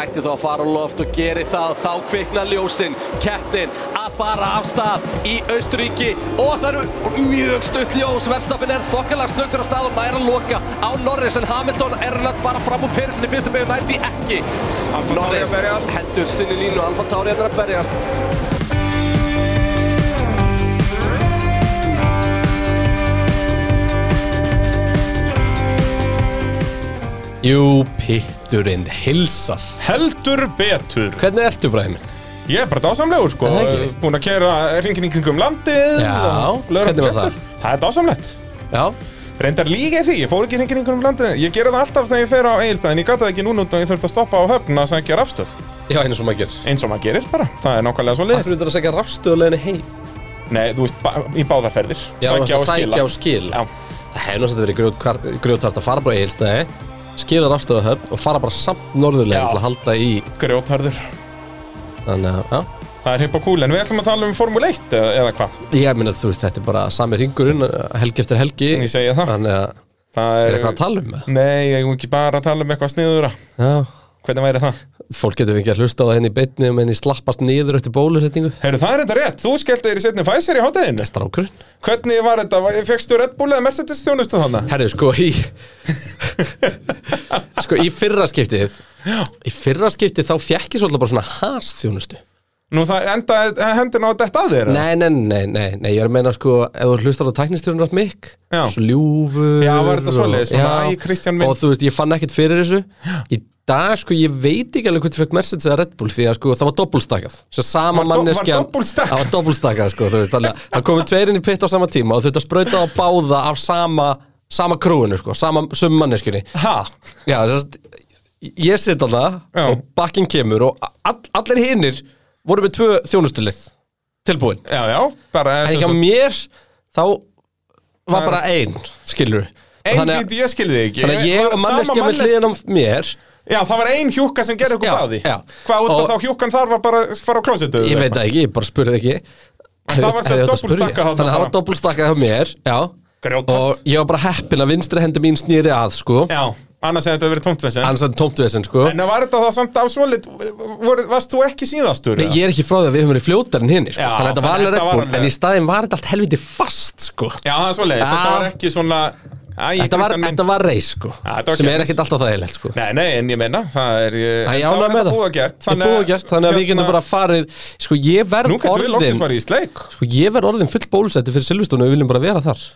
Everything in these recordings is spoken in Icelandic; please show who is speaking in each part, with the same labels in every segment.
Speaker 1: ætti þá að fara á loft og geri það, þá kvikna ljósin, keppnin að fara af stað í Austuríki og það eru mjög stutt ljós, verðstafin er þokkalega snöggur á stað og nær að loka á Norris en Hamilton er að fara fram úr Pyrrsin í fyrstu meginn, nær því ekki.
Speaker 2: Alfa Tauri að berjast.
Speaker 1: hendur sinni í línu, Alfa Tauri er að berjast.
Speaker 3: Jú, pitturinn hilsar
Speaker 2: Heldur betur
Speaker 3: Hvernig ertu, Bræmi?
Speaker 2: Ég er bara dásamlegur sko
Speaker 3: Er það ekki?
Speaker 2: Búin að kera ringin í kringum landið
Speaker 3: Já,
Speaker 2: og lögreglan
Speaker 3: hvernig var
Speaker 2: eftir. Það er dásamlegt
Speaker 3: Já,
Speaker 2: Reyndar líka í því, ég fór ekki hringin í kringum landið Ég gera það alltaf þegar ég fer á Egilstæðin Ég gata það ekki núna út og ég þurfti að stoppa á höfn að segja rafstöð
Speaker 3: já, eins og maður gerir
Speaker 2: Eins og maður gerir bara, það er nákvæmlega svo
Speaker 3: Af hverju þetta að segja rafstöðuleginni heim?
Speaker 2: Nei, þú veist, ba- í báðaferðir
Speaker 3: Já, sækja,
Speaker 2: Sækja og skila.
Speaker 3: sækja og skila
Speaker 2: Já.
Speaker 3: Það hefði náttúrulega verið grjótart að fara bara í heilstæði skila rafstöðuhöfn og fara bara samt norðurlegin
Speaker 2: Já.
Speaker 3: til að halda í
Speaker 2: Grjótharður
Speaker 3: Þannig að, já
Speaker 2: Það er hipp og kúl, en við ætlum að tala um Formule 1 eða, eða hvað
Speaker 3: Ég meina, þú veist, þetta er bara sami ringurinn helgi eftir helgi
Speaker 2: Ég segja það
Speaker 3: Þannig að,
Speaker 2: Það
Speaker 3: er eitthvað að tala um það?
Speaker 2: Nei, ég er ekki bara að tala um eitthvað sniðura
Speaker 3: Já
Speaker 2: Hvernig væri það?
Speaker 3: Fólk getur fengið að hlusta á það henni í beinni og henni slappast niður eftir bólusetningu
Speaker 2: Heyrðu, það er þetta rétt, þú skellt þér í setni Pfizer í hátæðinu
Speaker 3: Strákurinn
Speaker 2: Hvernig var þetta? Var- Fékkstu Red Bull eða Mercedes þjónustu þannig?
Speaker 3: Herri, sko í Sko í fyrra skiptið Í fyrra skiptið þá fekk ég svolítið bara svona has þjónustu
Speaker 2: Nú það enda hendin á að detta af þér eða?
Speaker 3: nei, nei, nei, nei, nei, ég er að meina sko Ef þú hlustar á tæknistjórun rátt mikk
Speaker 2: Já.
Speaker 3: Svo ljúfur
Speaker 2: Já, var þetta
Speaker 3: og-
Speaker 2: svoleiðis? Svona,
Speaker 3: Já.
Speaker 2: æ, Kristján minn.
Speaker 3: Og þú veist, ég fann ekkert fyrir þessu Í dag, sko, ég veit ekki alveg hvernig fekk Mercedes eða Red Bull Því að sko, það var doppulstakað Svo sama
Speaker 2: Var do- var
Speaker 3: manneskjan
Speaker 2: doppulstakað?
Speaker 3: Það var doppulstakað, sko, þú veist Þannig að það komu tveirinn í pitt á sama tíma Og þau þetta sprauta á báða af sama Sama krúinu, sko, sama sömu manneskjunni
Speaker 2: Ha?
Speaker 3: Já, sérst, ég sitt hana
Speaker 2: Já.
Speaker 3: og bakkinn kemur og all, allir hinnir voru með tvö þjónustulið tilbúin.
Speaker 2: Já, já, bara
Speaker 3: En
Speaker 2: sem
Speaker 3: hjá
Speaker 2: sagt-
Speaker 3: mér þá
Speaker 2: Það
Speaker 3: var
Speaker 2: er-
Speaker 3: bara ein, skilur við.
Speaker 2: Ein
Speaker 3: Þannig að-
Speaker 2: bítu, ég skilði þig ekki
Speaker 3: þannig að ég
Speaker 2: Var
Speaker 3: og
Speaker 2: sama
Speaker 3: manneskja með
Speaker 2: mannesk-
Speaker 3: hliðin á mér,
Speaker 2: Já, það var ein hjúkka sem gerði
Speaker 3: Já,
Speaker 2: okkur báði
Speaker 3: já.
Speaker 2: Hvað út af
Speaker 3: Og-
Speaker 2: þá hjúkkan þar var bara að fara á klósetu
Speaker 3: ég veit það ekki, ég bara spurði ekki.
Speaker 2: En það var sem sagt
Speaker 3: Hefði átt að spyrja.
Speaker 2: doppelstakkað þarna
Speaker 3: Þannig að það var
Speaker 2: bara.
Speaker 3: doppelstakkað hjá mér, já.
Speaker 2: Grjótart.
Speaker 3: Og ég var bara heppin að vinstri hendi mín snýri að, sko.
Speaker 2: Já, annars hefði þetta verið tómt vesen
Speaker 3: Annars er tómt við þessin, sko.
Speaker 2: En var þetta það samt af svolit voru- Varst þú ekki síðastur?
Speaker 3: Nei,
Speaker 2: eða?
Speaker 3: ég er ekki frá því að við höfum verið fljótar en hinn sko.
Speaker 2: Já,
Speaker 3: Þannig að þetta var
Speaker 2: þannig
Speaker 3: alveg
Speaker 2: að þetta var
Speaker 3: reddbúl
Speaker 2: alveg-
Speaker 3: En í staðin var þetta allt helviti fast sko.
Speaker 2: Já, það er svoleiðis,
Speaker 3: Já.
Speaker 2: þetta var ekki svona Æ,
Speaker 3: þetta, var,
Speaker 2: Kristján minn.
Speaker 3: þetta var reis sko.
Speaker 2: Já, þetta var
Speaker 3: Sem
Speaker 2: geðveis.
Speaker 3: er ekkert alltaf það eilegt sko.
Speaker 2: Nei, nei, en ég menna, það er ég,
Speaker 3: Það
Speaker 2: en
Speaker 3: ég
Speaker 2: þá er
Speaker 3: ánægð með
Speaker 2: þetta
Speaker 3: það
Speaker 2: búið að gert
Speaker 3: Þetta er búið að gert, Þannig að við getum bara farið Sko ég
Speaker 2: Nú
Speaker 3: verð
Speaker 2: getum við loksins
Speaker 3: orðin
Speaker 2: farið í sleik
Speaker 3: sko, Ég verð orðin full bólusætti fyrir Silvestónu Við viljum bara vera þar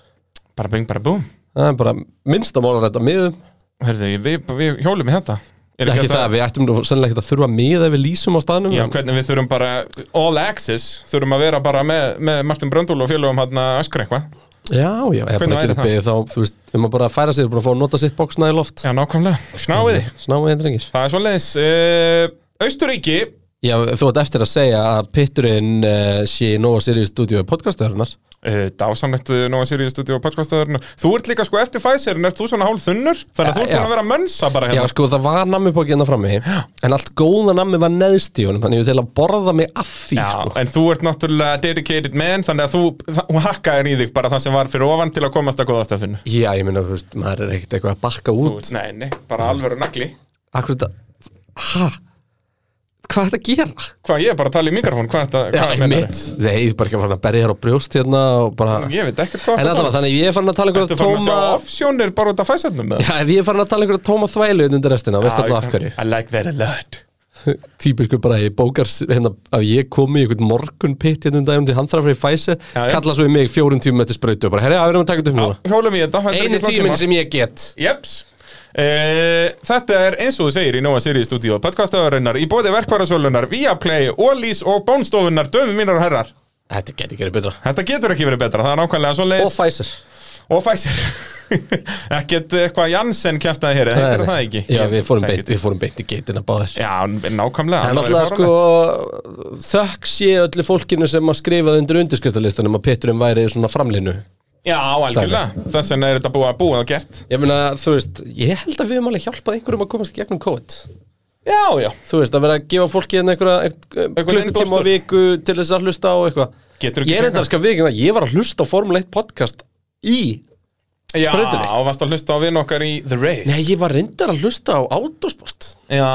Speaker 2: Bara bing, bara búm
Speaker 3: Það er bara minnst að mála þetta miðum
Speaker 2: Herðu, ég- við, við hjólum í þetta Er
Speaker 3: Ekki það, við ættum nú sennilega ekkert að þurfa miða Ef við lýsum á staðnum
Speaker 2: Já,
Speaker 3: en-
Speaker 2: hvernig við þurfum bara all access Þurfum að vera bara með, með Martin Bröndúl og félögum hann að öskra eitthvað
Speaker 3: já, já, ég er bara
Speaker 2: Hvernig væri
Speaker 3: að geta
Speaker 2: það?
Speaker 3: beðið þá Þú veist, ef maður bara að færa sér Bara að fá að nota sitt bóksna í loft
Speaker 2: Já, nákvæmlega Snáiði
Speaker 3: Snáið einn drengir
Speaker 2: Það er svoleiðis uh, Austuríki
Speaker 3: Já, þú ert eftir að segja að pitturinn uh, sé í Nova Sirius stúdíu podcastöðurnar
Speaker 2: uh, Dásamlegt uh, Nóa Sirius Studio podcastöðurinn Þú ert líka sko eftir Pfizer en er þú svona hálf þunnur Þannig að þú ert
Speaker 3: Já,
Speaker 2: búin að vera að mönsa bara
Speaker 3: Já,
Speaker 2: hérna
Speaker 3: sko, það var nammipokið hérna frammi En allt góða nammi var neðst í honum Þannig ég til að borða mig af því,
Speaker 2: Já,
Speaker 3: sko
Speaker 2: en þú ert náttúrulega dedicated man þannig að þú, það- þú hakkaðir í þig bara það sem var fyrir ofan til að komast að góðastöfinu
Speaker 3: Já, ég meina, þú veist, maður er ekkert eitthvað að bakka út
Speaker 2: Nei, nei, bara alvöru nagli
Speaker 3: Akkur þetta, ha? Hvað er þetta að gera?
Speaker 2: Hvað, ég er bara að tala í mikrofón, hvað er þetta,
Speaker 3: Já,
Speaker 2: hvað
Speaker 3: ég mitt, nei, ég er bara ekki að fara að berja hér á brjóst hérna og bara
Speaker 2: Ég veit ekkert hvað
Speaker 3: En alltaf, þannig að ég er farin að tala
Speaker 2: Þetta
Speaker 3: einhverja
Speaker 2: fann að sjá
Speaker 3: tóma
Speaker 2: offsjónir bara út af fæsarnum með
Speaker 3: Já, ef ég er farin að tala einhverja tóma þvælu hérna undir restina, veist alltaf af hverju
Speaker 2: I like that a lot
Speaker 3: típisku bara ég bókar s- hérna, að ég komi í einhvern morgunpitt hérna um dagum til handra fyrir Pfizer
Speaker 2: Já, já.
Speaker 3: kalla svo í mig fjórum tímum eftir sprautu og bara, herja, við erum að taka þetta upp núna
Speaker 2: Hjólum í þetta þetta er
Speaker 3: Sko. eini
Speaker 2: ekki flókið
Speaker 3: tíminn
Speaker 2: mál.
Speaker 3: sem ég get
Speaker 2: Jeps Uh, þetta er eins og þú segir í Nóa Sirius stúdíu podcastaðurinnar í bóði verkvarasölunar Viaplay, Ólís og Bónstofunar dömi mínar og herrar
Speaker 3: þetta getur ekki verið betra
Speaker 2: Þetta getur ekki verið betra, það er nákvæmlega svo
Speaker 3: og Pfizer
Speaker 2: og Pfizer ekkert eitthvað Janssen kæftaði hér eða heitir það ekki
Speaker 3: já,
Speaker 2: Ég
Speaker 3: við fórum,
Speaker 2: þekki
Speaker 3: beint, við fórum beint í geitina báðir
Speaker 2: já, nákvæmlega
Speaker 3: en
Speaker 2: það væri
Speaker 3: alltaf sko
Speaker 2: fáránlegt.
Speaker 3: þökk sé öllu fólkinu sem að skrifaði undir undirskriftalistanum að pitturum væri svona framlinu
Speaker 2: já, algjörlega, þess vegna er þetta búið að búið og gert
Speaker 3: ég meina, þú veist, ég held að við höfum alveg hjálpað einhverjum að komast í gegnum COVID
Speaker 2: já, já,
Speaker 3: þú veist, að vera að gefa fólki hérna einhverja klukkutíma
Speaker 2: innblástur.
Speaker 3: á viku til þess að hlusta á eitthvað
Speaker 2: Getur ekki
Speaker 3: Ég er
Speaker 2: tekið
Speaker 3: enda að skal við ekki, ég var að hlusta á Formule 1 podcast í
Speaker 2: Já,
Speaker 3: Sprautunni.
Speaker 2: og varst að hlusta á vinn okkar í The Race
Speaker 3: Nei, ég var reyndar að hlusta á autosport
Speaker 2: Já,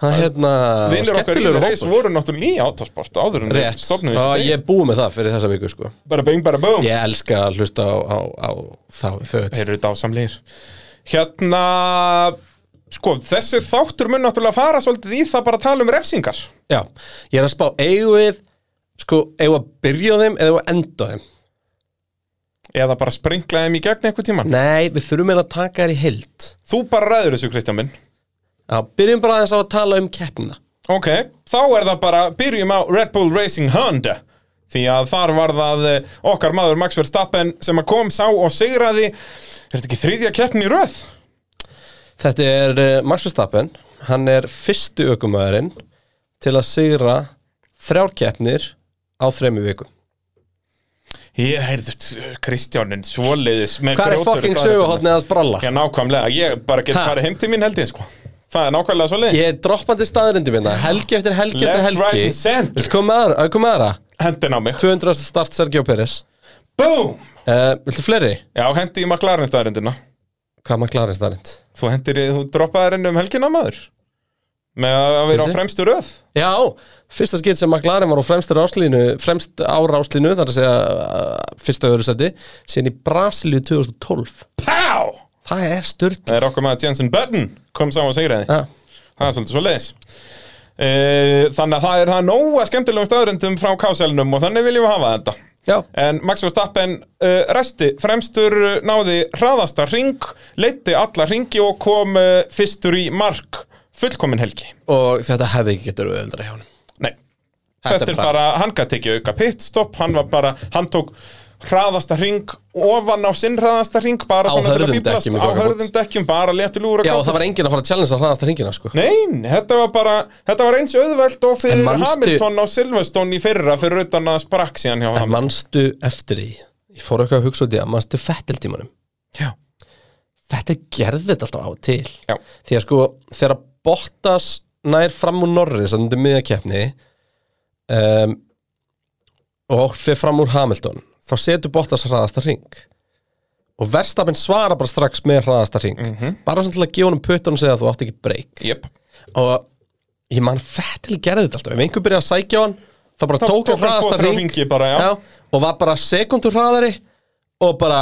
Speaker 3: Það er hérna
Speaker 2: vinnur okkar í The
Speaker 3: skemmtilegur
Speaker 2: Race
Speaker 3: hópur.
Speaker 2: voru náttúrulega í autosport áður en
Speaker 3: Rétt,
Speaker 2: stofnum
Speaker 3: Já, ég er búið með það fyrir þessa viku sko
Speaker 2: Bara bing, bara boom
Speaker 3: Ég elska að hlusta á, á, á þá föt
Speaker 2: Þeir eru dásamlegir Hérna Sko, þessi þáttur mun náttúrulega fara svolítið í það bara að tala um refsingar
Speaker 3: Já, ég er að spá eigum við sko, eigum við að byrja á þeim eða eigum við að enda á þeim
Speaker 2: Eða bara springla þeim í gegn einhver tíman
Speaker 3: Nei, við þurfum eða að taka þær í heild
Speaker 2: Þú bara ræður þessu, Kristján minn
Speaker 3: Já, byrjum bara aðeins á að tala um keppnina
Speaker 2: Ok, þá er það bara, byrjum á Red Bull Racing Honda Því að þar var það eh, okkar maður Max Verstappen sem að kom, sá og sigraði Er þetta ekki þriðja keppni í röð?
Speaker 3: Þetta er uh, Max Verstappen Hann er fyrstu ökumæðurinn til að sigra þrjárkeppnir á þremmu vikum
Speaker 2: Ég heyrðu t- Kristjáninn svoleiðis með
Speaker 3: Hvað er
Speaker 2: grjótur
Speaker 3: fucking
Speaker 2: staðreyndirnar.
Speaker 3: söguhotnið hans bralla?
Speaker 2: Já, nákvæmlega, ég bara get
Speaker 3: Ha?
Speaker 2: farið heim til mín held ég sko Það er nákvæmlega svoleiðis
Speaker 3: Ég er droppandi staðrindum minna Helgi eftir helgi
Speaker 2: Left,
Speaker 3: eftir helgi
Speaker 2: right and center.
Speaker 3: Viltu koma aðra? Að koma aðra?
Speaker 2: hendin á mig
Speaker 3: 200. start Sergio Pérez
Speaker 2: Boom!
Speaker 3: uh, Viltu fleiri?
Speaker 2: Já, hendi í McLaren staðarindina
Speaker 3: Hvað maður klarið staðrind?
Speaker 2: Þú hendir, þú droppaðir henni um helgina maður Með að vera á
Speaker 3: Heyrðu?
Speaker 2: fremstu röð
Speaker 3: Já, fyrsta skitt sem McLaren var á fremst ráslínu, fremst á ráslínu þar að segja uh, fyrsta öðru seti síðan í Brasilíu 2012
Speaker 2: Pá!
Speaker 3: Það er sturt
Speaker 2: Það er okkur maður Jensen Button kom sá og segraði
Speaker 3: ja.
Speaker 2: Það er svolítið svo leiðis Þannig að það er það er nóga skemmtilegum staðarindum frá káselnum og þannig viljum við hafa þetta
Speaker 3: Já,
Speaker 2: En Max Verstappen uh, resti fremstur uh, náði hraðasta ring, leiti alla ringi og kom uh, fyrstur í mark fullkomin helgi.
Speaker 3: og þetta hefði ekki getur auðvöldra hjá hann
Speaker 2: Nei, þetta, er bara, hann gæti ekki auka pitstopp, hann var bara, hann tók hraðasta ring ofan á sinn hraðasta ring, bara
Speaker 3: Á
Speaker 2: svona til að
Speaker 3: hörðum
Speaker 2: fíflast,
Speaker 3: dekkjum í
Speaker 2: á
Speaker 3: þokkabót.
Speaker 2: hörðum dekkjum, bara léttil úr að
Speaker 3: Já, og það var enginn að fara að challenge að hraðast að hringina sko.
Speaker 2: Nein, þetta var bara, þetta var eins auðvelt og fyrir
Speaker 3: En manstu-
Speaker 2: Hamilton á Silverstone í fyrra fyrir utan að sprakk síðan hjá
Speaker 3: En
Speaker 2: Hamilton.
Speaker 3: manstu eftir því Ég fór eitthvað að hugsa út í að manstu fettiltímanum
Speaker 2: Já.
Speaker 3: Þetta gerði þetta alltaf á og til
Speaker 2: Já.
Speaker 3: Því að sko, þegar Bottas nær fram úr Norris þannig til miðakeppni um, og fyrir fram úr Hamilton þá setur Bottas hraðasta ring og verstafinn svara bara strax með hraðasta ring bara svona til að gefa honum puttan og segja að þú átt ekki breyk
Speaker 2: Mhm. Jep.
Speaker 3: og ég man fettil gerði þetta alltaf ef einhver byrjaði að sækja á hann þá bara
Speaker 2: Þá
Speaker 3: tók hann hraðasta
Speaker 2: tvo, þrjá
Speaker 3: ring
Speaker 2: hringi bara, já.
Speaker 3: já, og var bara sekundur hraðari og bara,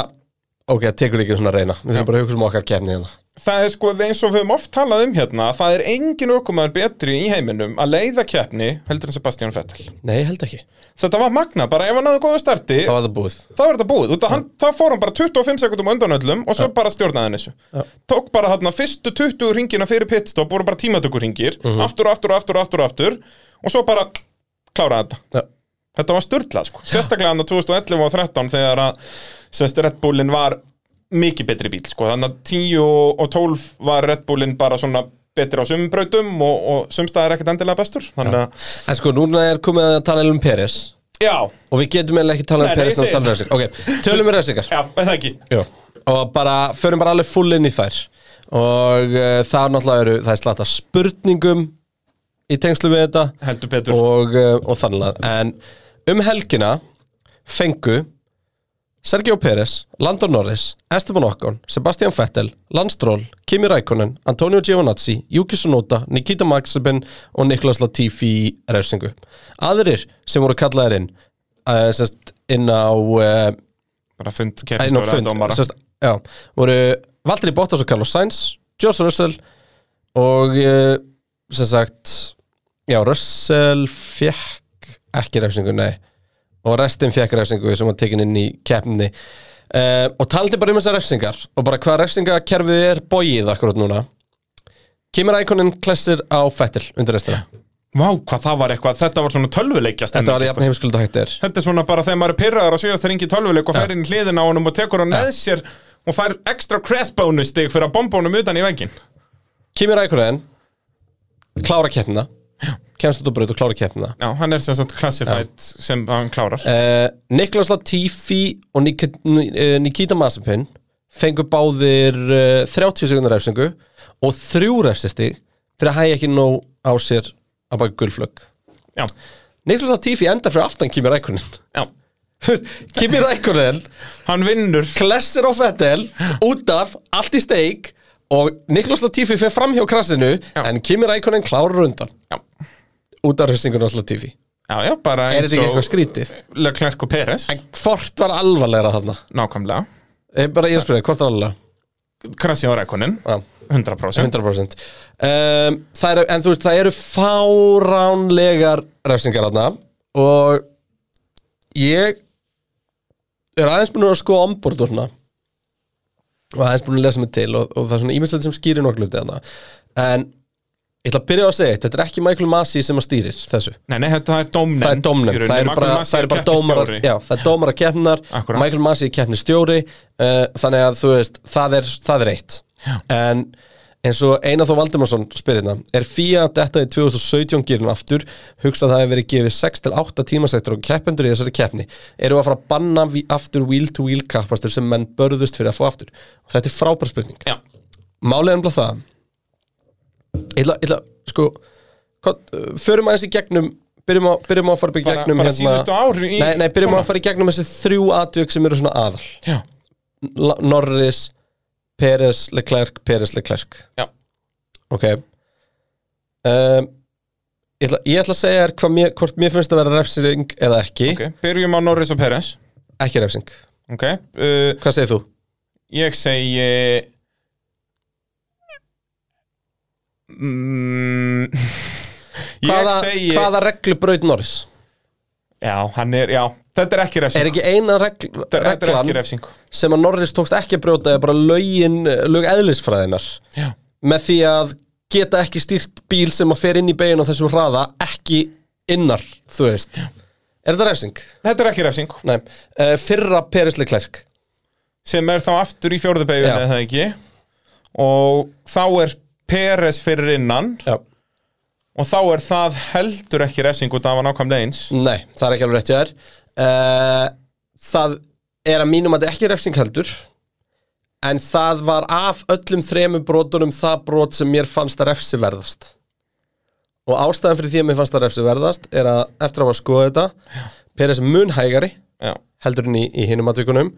Speaker 3: ok, það tekur ekki svona að reyna við þurfum bara að hugsa um okkar kefni hérna
Speaker 2: það er sko eins og við höfum oft talað um hérna að það er engin ökumæður betri í heiminum að leiða keppni heldur en Sebastian Vettel
Speaker 3: nei, ég held ekki,
Speaker 2: þetta var magna, bara ef hann hafði góða starti
Speaker 3: þá var það búið
Speaker 2: þá er þetta búið, það, hann, það fór hann bara 25 sekundum á undan öllum og svo bara stjórnaði hann þessu tók bara hann fyrstu 20 ringina fyrir pitstop voru bara tímatökur ringir aftur og aftur og aftur og aftur og aftur og svo bara kláraði þetta
Speaker 3: já.
Speaker 2: Þetta var störtlað sko, sérstaklega hann 2011 og 13 þegar að semst Red Bullin var mikið betri bíl sko, þannig að 10 og og 12 var Red Bullin bara svona betri á sumbrautum og, og sumstaðar ekkert endilega bestur, þannig að
Speaker 3: en sko, núna er komið að tala um Peres
Speaker 2: já,
Speaker 3: og við getum eiginlega ekki tala
Speaker 2: Nei,
Speaker 3: um Peres
Speaker 2: nei,
Speaker 3: og
Speaker 2: ég
Speaker 3: tala um refsingar ok, tölum við refsingar
Speaker 2: já, eða ekki
Speaker 3: Já. og bara, förum bara alveg full inn í þær og uh, það náttúrulega eru það er slata spurningum í tengslu við þetta
Speaker 2: heldur betur,
Speaker 3: og, uh, og þannig en um helgina fengu Sergio Pérez, Landon Norris, Esteban Okkon, Sebastian Vettel, Lance Stroll, Kimi Rækonen, Antonio Giovinazzi, Yuki Tsunoda, Nikita Maxabin og Niklas Latifi í refsingu. Aðrir sem voru kallaðir inn, uh, sest, inn á, uh,
Speaker 2: bara fund
Speaker 3: inn á
Speaker 2: keppnistöra
Speaker 3: fund,
Speaker 2: dómara,
Speaker 3: sest, já, voru Valtteri Bottas og Carlos Sainz, Josh Russell og uh, sem sagt, já, Russell fekk ekki refsingu, nei og restin fekk refsingu sem var tekin inn í keppni uh, og taldi bara um þessar refsingar og bara hvað refsingakerfið er bóið akkurat núna kemur ækonin klessir á fettil undir restina
Speaker 2: vá, hvað það var eitthvað þetta var svona tölvuleikja
Speaker 3: þetta var
Speaker 2: stemning
Speaker 3: jafn heimskulda hægt er
Speaker 2: þetta er svona bara þegar maður er pyrraður og síðast hringi tölvuleik og fer inn í hliðina á honum og tekur hann með sér og fær ekstra crash bonus stig fyrir að bomba honum utan í veginn
Speaker 3: kemur ækonin klára keppnina kemst út á braut og klára keppnina
Speaker 2: Já, hann er sem sagt classified sem hann klárar
Speaker 3: uh, Niklas Latifi og Nik eh, Nikita Mazepin fengu báðir uh, 30 sekundar refsingu og þrjú refsistig fyrir að hægja ekki nóg á sér að baka gulflögg
Speaker 2: Já,
Speaker 3: Niklas Latifi endar fyrir aftan kýmur ækunin
Speaker 2: já
Speaker 3: Þú veist, Kimi Rækonen
Speaker 2: Hann vinnur
Speaker 3: klessir á Fettel út af, allt í steik og Niklas Latifi fer fram hjá krassinu en Kimi Rækonen klárar undan
Speaker 2: Já,
Speaker 3: út af hristingunars Latifi
Speaker 2: já, já bara
Speaker 3: Er
Speaker 2: eins
Speaker 3: þetta ekki eitthvað
Speaker 2: og
Speaker 3: skrítið?
Speaker 2: Leclerc og Peres
Speaker 3: En hvort var alvarlegra þarna?
Speaker 2: Nákvæmlega
Speaker 3: Ég Eh, bara ég spyrir, hvort var alvarlegra?
Speaker 2: Krasi á rekonin,
Speaker 3: Já,
Speaker 2: 100%
Speaker 3: 100% um, það eru, En þú veist, það eru fáránlegar refsingar þarna og ég er aðeins búin að skoða ombord og svona og aðeins búin að lesa mig til og, og það er svona ímyndslegt sem skýrir nokkuð hluti þarna en ég ætla að byrja á að segja eitt þetta er ekki Michael Masi sem að stýrir þessu
Speaker 2: Nei, nei, þetta er domnend
Speaker 3: það er dómnefnd, það eru bara, það eru bara dómarar já, það er dómarar keppnar,
Speaker 2: Akkúrat.
Speaker 3: Michael Masi keppni stjóri uh, þannig að þú veist, það er, það er eitt já. en eins og Einar Þó Valdimarsson spyrir hérna, er FIA detta í 2017 gyrun aftur, hugsa að það hefur verið gefið 6-8 tímasektur og keppendur í þessari keppni, eru að fara að banna vi- aftur wheel-to-wheel kappastur sem menn börðust fyrir að fá aftur, og þetta er frábær spurning
Speaker 2: Já,
Speaker 3: Málið er umlað það Ég ætla, ég ætla, sko hvað, uh, Förum aðeins í gegnum Byrjum á, byrjum á að fara upp í
Speaker 2: Bara-
Speaker 3: gegnum hérna-
Speaker 2: bara síðustu ár í-
Speaker 3: Nei, nei, byrjum á
Speaker 2: svona.
Speaker 3: að fara í gegnum þessi þrjú atvik sem eru svona aðal
Speaker 2: já,
Speaker 3: La- Norris, Peres, Leclerc, Peres, Leclerc
Speaker 2: já
Speaker 3: Ok um, ég, ætla, ég ætla að segja þér hvað mér, hvort mér finnst að vera refsing eða ekki
Speaker 2: okay. Byrjum á Norris og Peres
Speaker 3: Ekki refsing
Speaker 2: Ok, uh,
Speaker 3: Hvað segir þú?
Speaker 2: ég segi mm, Ég
Speaker 3: Hvaða,
Speaker 2: segi
Speaker 3: hvaða reglu braut Norris?
Speaker 2: Já, hann er, já, þetta er ekki refsing
Speaker 3: Er ekki eina regl,
Speaker 2: Þetta- Þetta er
Speaker 3: reglan
Speaker 2: ekki refsing
Speaker 3: sem að Norris tókst ekki að brjóta er bara lögin, lög eðlisfræðinar
Speaker 2: Já,
Speaker 3: með því að geta ekki stýrt bíl sem að fer inn í beginn á þessum hraða ekki innar, þú veist Er þetta refsing?
Speaker 2: þetta er ekki refsing
Speaker 3: Nei, uh, fyrra Perisli Klerk
Speaker 2: sem er þá aftur í fjórðu beigum
Speaker 3: Já.
Speaker 2: eða það ekki og þá er Peres fyrir innan
Speaker 3: Já
Speaker 2: og þá er það heldur ekki refsing og það var nákvæmlega eins
Speaker 3: Nei, það er ekki alveg rétt hjá þér uh, Það er að mínum að þetta ekki refsing heldur en það var af öllum þremur brotunum það brot sem mér fannst að refsi verðast og ástæðan fyrir því að mér fannst að refsi verðast er að eftir að hafa skoða þetta Peres er mun hægari
Speaker 2: Já,
Speaker 3: heldur en í, í hinum atvikunum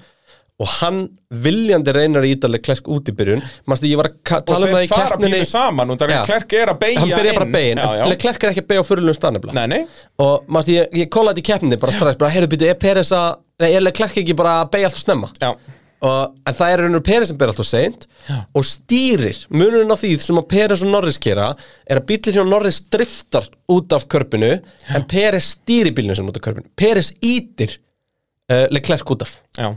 Speaker 3: og hann viljandi reynar í ítaleg klerk út í byrjun Manstu, ég var að ka-
Speaker 2: og
Speaker 3: tala um það
Speaker 2: þeir
Speaker 3: í
Speaker 2: fara
Speaker 3: keppninni
Speaker 2: pínu saman og það
Speaker 3: Já.
Speaker 2: er Klerk er að beigja
Speaker 3: hann byrja bara
Speaker 2: inn.
Speaker 3: að begin,
Speaker 2: já,
Speaker 3: en
Speaker 2: já.
Speaker 3: klerk er ekki að beigja á fyrirlum stannabla
Speaker 2: Nei, nei,
Speaker 3: og manstu, ég, ég kóla þetta í keppninni bara strax, bara heyrðu býtu, er Peres að nei, er Leclerc ekki bara að beigja alltaf snemma
Speaker 2: já,
Speaker 3: og, en það er raunur Peres sem beigja alltaf seint og stýrir, munurinn á því sem að Peres og Norris gera er að bílir hjá Norris driftar út af körpinu en Peres stýrir bílinu sem út af körpinu Peres ítir uh, Leclerc út af
Speaker 2: já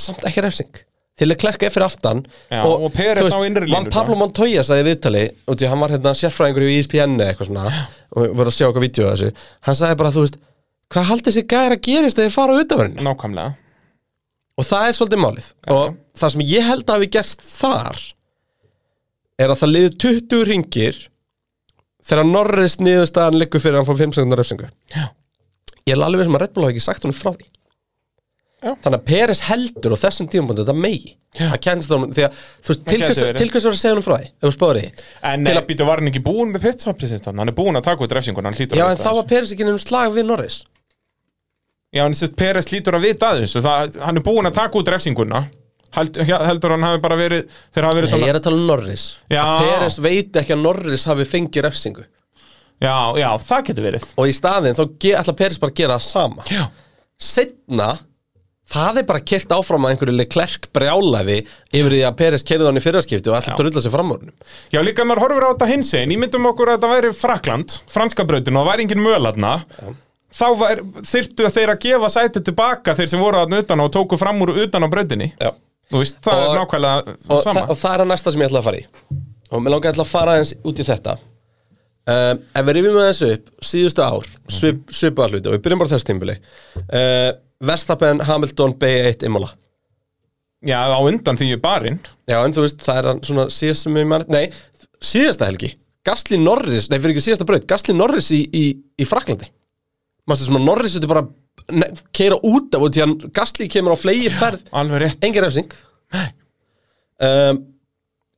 Speaker 3: samt ekki refsing til að klerka fyrir aftan
Speaker 2: Já, og Perez
Speaker 3: þú
Speaker 2: á innri
Speaker 3: Juan
Speaker 2: línurnar.
Speaker 3: Pablo Montoya sagði í viðtali og því hann var hérna sérfræðingur í ESPN eða eitthvað svona og var að sjá okkar vídeo af þessu hann sagði bara þú veist hvað haldið sér gæra að gerist þegar þeir fara á utanverðinu
Speaker 2: nákvæmlega
Speaker 3: og það er svolítið málið og það sem ég held að hafi gerst þar er að það liður 20 ringir þegar Norris niðurstaðan liggur fyrir að hann fór 5 sekundar refsingu
Speaker 2: Já.
Speaker 3: ég er alveg sem að Red Bull hafi ekki sagt honum frá því
Speaker 2: Já.
Speaker 3: þannig að Peres heldur á þessum tímabundi þetta megi
Speaker 2: Já.
Speaker 3: að kennst honum því að þú veist, til
Speaker 2: gæti
Speaker 3: hvers
Speaker 2: verið.
Speaker 3: til hvers var að segja honum frá því ef þú spáður því
Speaker 2: En eh,
Speaker 3: Til
Speaker 2: nei,
Speaker 3: að-
Speaker 2: býtu, var hann ekki búinn með pitstopið sitt hann? Hann er búinn að taka út refsingun, hann hlýtur
Speaker 3: já
Speaker 2: að
Speaker 3: en
Speaker 2: vita
Speaker 3: þá
Speaker 2: af
Speaker 3: var Peres ekki nefnum slag við Norris
Speaker 2: þessu. Já, en sérst, Peres hlýtur að vita af þessu það, Hann er búinn að taka út refsinguna Held, Heldur hann hafi bara verið Þeir hafi verið
Speaker 3: Nei,
Speaker 2: svona
Speaker 3: ég er að tala um Norris
Speaker 2: Já.
Speaker 3: að Peres veit ekki að Norris hafi fengið refsingu
Speaker 2: Já, já, það getur verið
Speaker 3: og í staðin þá ge- ætla Peres bara að gera það sama
Speaker 2: Já,
Speaker 3: setna það er bara kert áfram að einhverju Leclerc brjálaði yfir því að Peres kerði hann í fyrraskipti og ætla að drulla sér fram úr honum.
Speaker 2: já líka ef maður horfir á þetta hins einn Ímyndum um okkur að þetta væri Frakland, franska brautin og það væri engin mölarna Þá var, þyrftu þeir að gefa sætið tilbaka þeir sem voru þarna utan á og tóku fram úr utan á brautinni
Speaker 3: Já.
Speaker 2: Þú veist, það
Speaker 3: Og-
Speaker 2: er nákvæmlega
Speaker 3: og,
Speaker 2: sama
Speaker 3: það, og það er að næsta sem ég ætla að fara í og mér langar ætla að fara aðeins út í þetta um, ef við rifjum aðeins upp síðustu ár, svip, svipa hluti og við byrjum bara á þessu tímbili uh, Verstappen, Hamilton, B1, Imola
Speaker 2: Já, á undan því ég barinn
Speaker 3: Já, en þú veist, það er hann svona síðast sem ég mann Nei, síðasta helgi Gasly Norris, nei, fyrir ekki síðasta braut Gasly Norris í, í, í Fraklandi Mastu sem að Norris þetta bara ne, keira út af og því hann Gasly kemur á flegi ferð
Speaker 2: Alveg rétt
Speaker 3: Engin refsing um,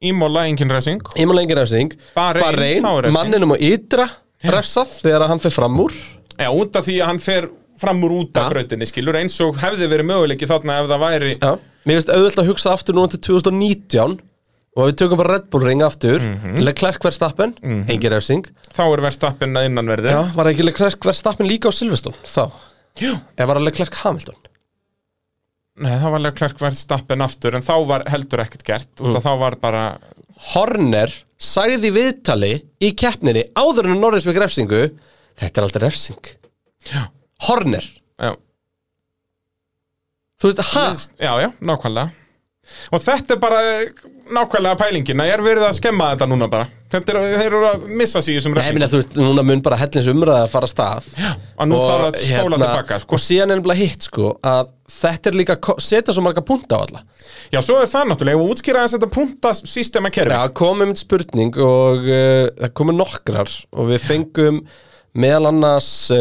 Speaker 2: Ímóla, engin refsing
Speaker 3: Ímanlega engin refsing
Speaker 2: Bahrein, þá er refsing.
Speaker 3: manninum á ytra refsað þegar hann fer fram úr
Speaker 2: Já, út af því að hann fer fram úr út af
Speaker 3: Ja.
Speaker 2: brautinni skilur eins og hefði verið möguleiki þarna ef það væri
Speaker 3: Já, mér finnst auðvitað að hugsa aftur núna til 2019 og ef við tökum bara Red Bull ring aftur mm -hmm.
Speaker 2: Mhm.
Speaker 3: Leclerc Verstappen, mm -hmm. engin refsing
Speaker 2: þá er verðstappin að innanverði
Speaker 3: Já, var ekki Leclerc Verstappen líka á Silveston þá?
Speaker 2: Já.
Speaker 3: Eða var það Leclerc Hamilton?
Speaker 2: Nei, það var alveg klærk verðstappin aftur en þá var heldur ekkert gert út
Speaker 3: Mm.
Speaker 2: af þá var bara
Speaker 3: Horner sagði í viðtali í keppninni áður en Norris fekk refsingu Þetta er aldrei refsing
Speaker 2: Já.
Speaker 3: Horner,
Speaker 2: já,
Speaker 3: þú veist, ha?
Speaker 2: já, já, nákvæmlega og þetta er bara eh, nákvæmlega pælingin að ég er verið að skemma þetta núna bara þetta er, þeir eru að missa sig í þessum
Speaker 3: Nei, ég
Speaker 2: refsingum
Speaker 3: meina, þú veist, núna mun bara hellins umræða að fara af stað
Speaker 2: að nú þarf að spóla tilbaka sko.
Speaker 3: hérna, Og síðan er nefnilega hitt, sko að þetta er líka, ko- setja svo marga punta á alla
Speaker 2: Já, svo er það náttúrulega, ef við útskýra aðeins þetta punktasystema kerfi
Speaker 3: Já, komum eitt spurning og uh, það komum nokkrar og við fengum meðal annars uh,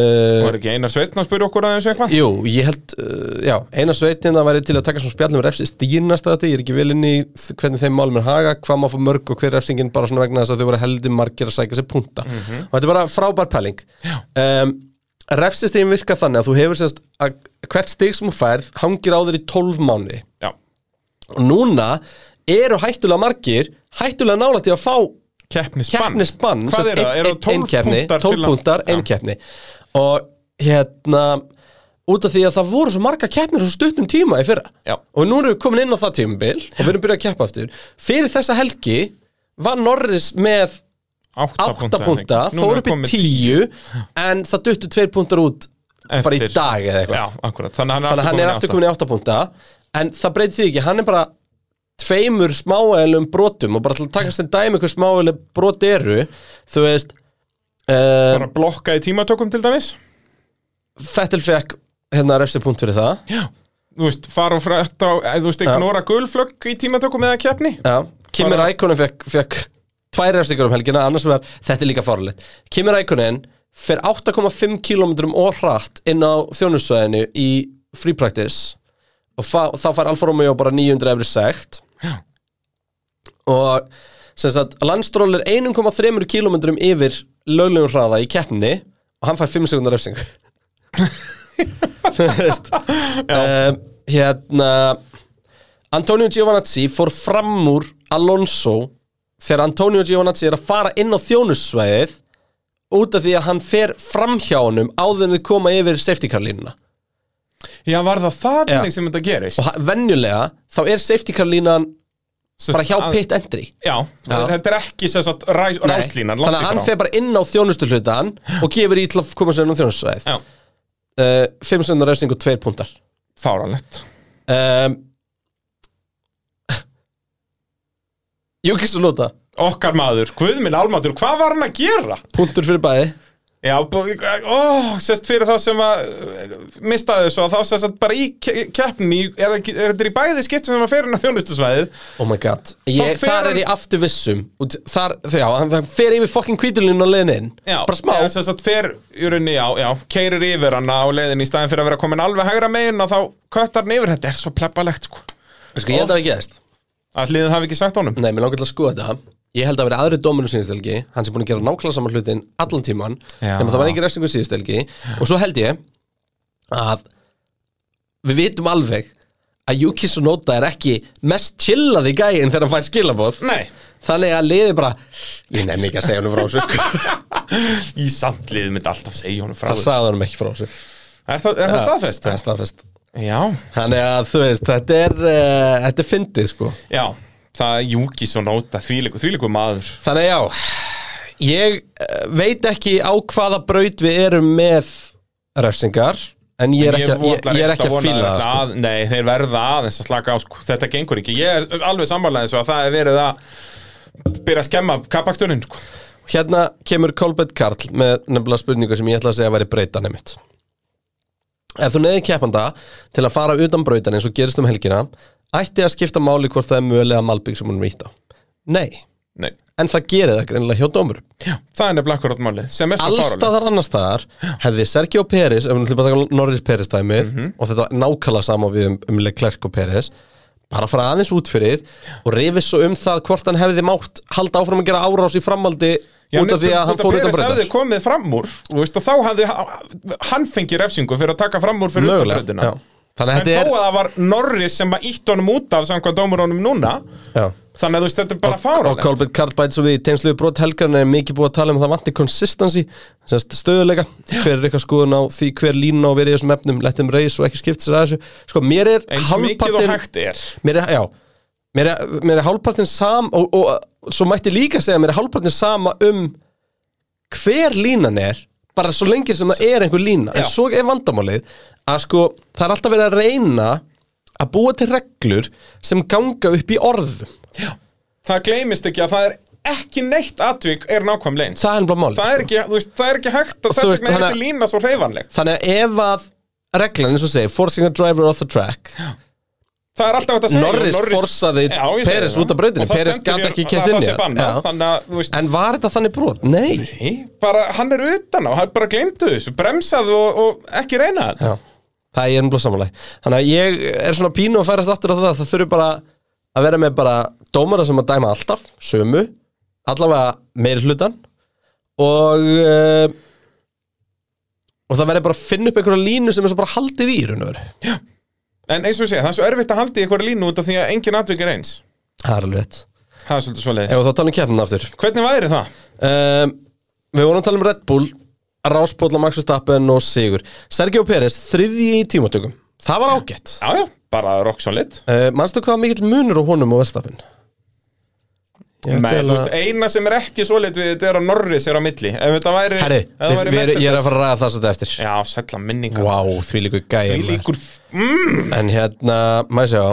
Speaker 2: Var ekki Einar Sveitn að spyrja okkur aðeins eitthvað?
Speaker 3: Jú, ég held, uh, já, eina sveitin að væri til að taka svona spjallum refsi stýrnast að þetta, ég er ekki vel inn í þ- hvernig þeim málum er haga, hvað má fá mörg og hver refsingin bara svona vegna þess að þau voru heldur margir að sækja sér punta. Og þetta er bara frábær pæling. Um, refsistíðin virka þannig að þú hefur sérst að hvert stig sem þú færð hangir á þér í 12 mánuði.
Speaker 2: Já,
Speaker 3: Og núna eru hættulega margir, hættulega nálægt í að fá
Speaker 2: keppnisbann
Speaker 3: keppnisbann
Speaker 2: Hvað er það? Er það 12 punktar?
Speaker 3: 12 punktar, ein keppni og hérna út af því að það voru svo marga keppnir á svo stuttum tíma í fyrra
Speaker 2: Já.
Speaker 3: og nú erum við komin inn á það tímabil og við erum byrjað að keppa aftur fyrir þessa helgi var Norris með 8 punta, fór upp í 10 en það duttu 2 puntar út bara í dag eða eitthvað
Speaker 2: Já, akkurat, þannig að hann er
Speaker 3: þannig að hann er aftur komin í 8 punta en það breytir því ekki, hann er bara tveimur smáælum brotum og bara til að takast þeim dæmi hver smáælu brot eru þú veist
Speaker 2: átta.
Speaker 3: uh,
Speaker 2: Bara blokka í tímatökum til dæmis
Speaker 3: Fettel fekk hérna refsipunkt fyrir það
Speaker 2: Já Þú veist, fara og frætt á, eh, þú veist, ignora gulflögg í tímatökum eða keppni
Speaker 3: Já, Kimi
Speaker 2: Bara-
Speaker 3: Rækonen fekk, fekk tvær refsingar um helgina, annars vegar þetta er líka farlegt. Kimi Rækonen fer 8,5 km og hratt inn á þjónusvæðinu í free practice og fa þá fær Alfa Romeo bara 900 efri sekt
Speaker 2: Já.
Speaker 3: og sem sagt, landstról er 1,3 km yfir löglegum hraða í keppni og hann fær 5 sekundar refsing Þú veist um, hérna Antonio Giovanazzi fór fram úr Alonso þegar Antonio Giovanazzi er að fara inn á þjónussvæðið út af því að hann fer fram hjá honum áður en þið koma yfir safety car línuna
Speaker 2: Já, var það
Speaker 3: Já.
Speaker 2: þannig sem þetta gerist?
Speaker 3: og ha- venjulega þá er safety car línan
Speaker 2: Sest,
Speaker 3: bara hjá
Speaker 2: að-
Speaker 3: pit entry
Speaker 2: Já, þetta er ekki sem sagt ræs,
Speaker 3: Nei,
Speaker 2: ráslínan,
Speaker 3: þannig að hann fer bara inn á þjónustu hlutan og gefur í til að koma sér inn á þjónustsvæðið
Speaker 2: Já,
Speaker 3: uh, 5 sekundar refsing og 2 punktar
Speaker 2: fáranlegt
Speaker 3: um, Jókis og Lota
Speaker 2: Okkar maður, guðminn almatur, hvað var hann að gera?
Speaker 3: punktur fyrir bæði
Speaker 2: Já, b- ó, sérst fyrir þá sem að eh, mistaði þessu að þá sérst að bara í ke- keppni eða ke- er þetta í bæði skipt sem að fer inn á þjónustusvæðið
Speaker 3: Oh my god ég,
Speaker 2: fer
Speaker 3: Þar er
Speaker 2: hann-
Speaker 3: ég aftur vissum Út- þar, þau, Já, hann hann fer yfir fucking kvítulínu og leiðin inn Bara smá
Speaker 2: eða sérst að fer í rauninni, já, já, keirir yfir hana á leiðinni í staðin fyrir að vera komin alveg hægra megin að þá köttar hann yfir, þetta er svo plebbalegt sko
Speaker 3: Sko, ég held að það ekki eðast
Speaker 2: að hliðið hafi ekki sagt honum
Speaker 3: Nei, mér langar til að skoða þetta Ég held að vera aðri dóminu síðustelgi Hann sem búin að gera nákvæmlega saman hlutin allan tíman
Speaker 2: Já.
Speaker 3: Nefnir það var engin refsingu síðustelgi Og svo held ég að Við vitum alveg að Yuki Sunoda er ekki mest chillaði gæinn þegar hann fær skilabóð
Speaker 2: Nei,
Speaker 3: Þannig að liði bara Ég nefn ekki að segja honum frá þessu sko.
Speaker 2: í samt liðið myndi alltaf segja honum frá
Speaker 3: Það
Speaker 2: þessu
Speaker 3: sagði honum ekki frá þessu
Speaker 2: Er það, er það staðfest?
Speaker 3: Það er staðfest
Speaker 2: Já,
Speaker 3: Þannig að þú veist, þetta er, uh, þetta er fyndið sko
Speaker 2: já, það er Júki svo nóta, þvílíku, þvílíku maður
Speaker 3: Þannig að já, ég eh, veit ekki á hvaða braut við erum með refsingar En ég er ekki, að- ég, ég er ekki að fíla það sko.
Speaker 2: sko. Nei, þeir verða aðeins að slaka á sko. Þetta gengur ekki, ég er alveg sammálaðið svo að það er verið að byrja að skemma kappaksturinn sko.
Speaker 3: Hérna kemur Kolbett Karl með nefnilega spurningu sem ég ætla að segja að væri breytan einmitt Ef þú neðir keppanda til að fara utan brautan eins og gerist um helgina Ætti að skipta máli hvort það er mögulega malbygg sem hún er vítt á Nei,
Speaker 2: Nei,
Speaker 3: en það gerir það greinilega hjá dómurum
Speaker 2: já, það er nefnilega akkurat málið sem er svo fáralegt
Speaker 3: allstaðar annars staðar hefði Sergio
Speaker 2: Mhm.
Speaker 3: Peris, ef við ætlum að taka Norris Peris dæmið og þetta var nákvæmlega sama við um, um Leclerc og Peris bara fara aðeins út fyrir og rifið svo um það hvort hann hefði mátt halda áfram að gera árás í framhaldi út af því að hann fór utan
Speaker 2: Peres hefði
Speaker 3: breytar
Speaker 2: komið fram úr þú veist, og þá hafði hann fengið refsingu fyrir að taka fram úr fyrir
Speaker 3: mögulega,
Speaker 2: utanbröðina
Speaker 3: já þannig
Speaker 2: en
Speaker 3: að
Speaker 2: þó að
Speaker 3: þetta
Speaker 2: það var Norris sem að ítt honum út af samkvæmt dómurónum núna
Speaker 3: er já.
Speaker 2: þannig að þú veist, þetta er bara
Speaker 3: og
Speaker 2: fáránlegt
Speaker 3: Kolbjörn Karl bæti svo við í tengsluðu brot helgarna er mikið búið að tala um að það vanti consistency semst stöðuleika, hver er eitthvað skoðun á því hver lína á að vera í þessum efnum let þeim reis og ekki skipta sér að þessu sko, mér er
Speaker 2: eins mikið og
Speaker 3: hálfpartin
Speaker 2: hægt er
Speaker 3: mér er, já, mér er, mér er hálfpartin sam og, og, og svo mætti líka segja að mér er hálfpartin sama um hver línan er bara svo lengi sem það er einhver lína en
Speaker 2: Já.
Speaker 3: svo er vandamálið að sko það er alltaf verið að reyna að búa til reglur sem ganga upp í orðum
Speaker 2: það gleymist ekki að það er ekki neitt atvík er nákvæmlega eins
Speaker 3: það er bara málið
Speaker 2: það
Speaker 3: sko.
Speaker 2: er ekki, þú veist, það er ekki hægt að
Speaker 3: Og þú
Speaker 2: þess
Speaker 3: veist,
Speaker 2: vegna er
Speaker 3: þannig
Speaker 2: þessi lína svo hreyfanleg
Speaker 3: Þannig að ef að reglan, eins og segir, forcing a driver off the track
Speaker 2: það er alltaf hægt að segja
Speaker 3: Norris,
Speaker 2: og
Speaker 3: forsaði
Speaker 2: Já, ég segi
Speaker 3: Peres
Speaker 2: það.
Speaker 3: út af brautinu
Speaker 2: Og það
Speaker 3: Peres gæti
Speaker 2: stendur í-
Speaker 3: ekki
Speaker 2: það-
Speaker 3: kett inn
Speaker 2: það
Speaker 3: í
Speaker 2: sé bannað,
Speaker 3: hann
Speaker 2: þannig að, þú veist,
Speaker 3: En var þetta þannig brot? Nei
Speaker 2: Nei, bara hann er utan á, hann bara glemdu þessu, bremsaðu og, og ekki reyna þetta.
Speaker 3: Já, það er ennblóð samanlega Þannig að ég er svona pínu að færast aftur á það Það þurfi bara að vera með bara dómara sem að dæma alltaf, sömu allavega meiri hlutan og uh, og það verður bara að finna upp einhverja línu sem er svo bara haldið í raun og veru.
Speaker 2: En eins og ég segja, það er svo erfitt að halda í einhverja línu út af því að engin atvik er eins.
Speaker 3: Það er alveg rétt.
Speaker 2: Það er svolítið
Speaker 3: Ef
Speaker 2: svoleiðis.
Speaker 3: þá tala um keppnin aftur
Speaker 2: Hvernig væri það?
Speaker 3: um, Við vorum að tala um Red Bull Ráspóla, Max Verstappen og Sigur Sergio Pérez, þriðji í tímatökum Það var ágætt
Speaker 2: Já, já, bara rock solid.
Speaker 3: uh, Manstu hvað mikill munur á honum og Verstappen? Ég
Speaker 2: Nei,
Speaker 3: ætla
Speaker 2: þú veist, eina sem er ekki svoleitt við þetta er að Norris er á milli. Ef þetta væri...
Speaker 3: Herri,
Speaker 2: eh, ef
Speaker 3: við,
Speaker 2: það væri
Speaker 3: við, ég er að
Speaker 2: Mercedes-
Speaker 3: fara að ræða það svolítið eftir
Speaker 2: Já, sætla minninga.
Speaker 3: Vá, því líku gæði
Speaker 2: Því líkur... Mm,
Speaker 3: En hérna, maður sjá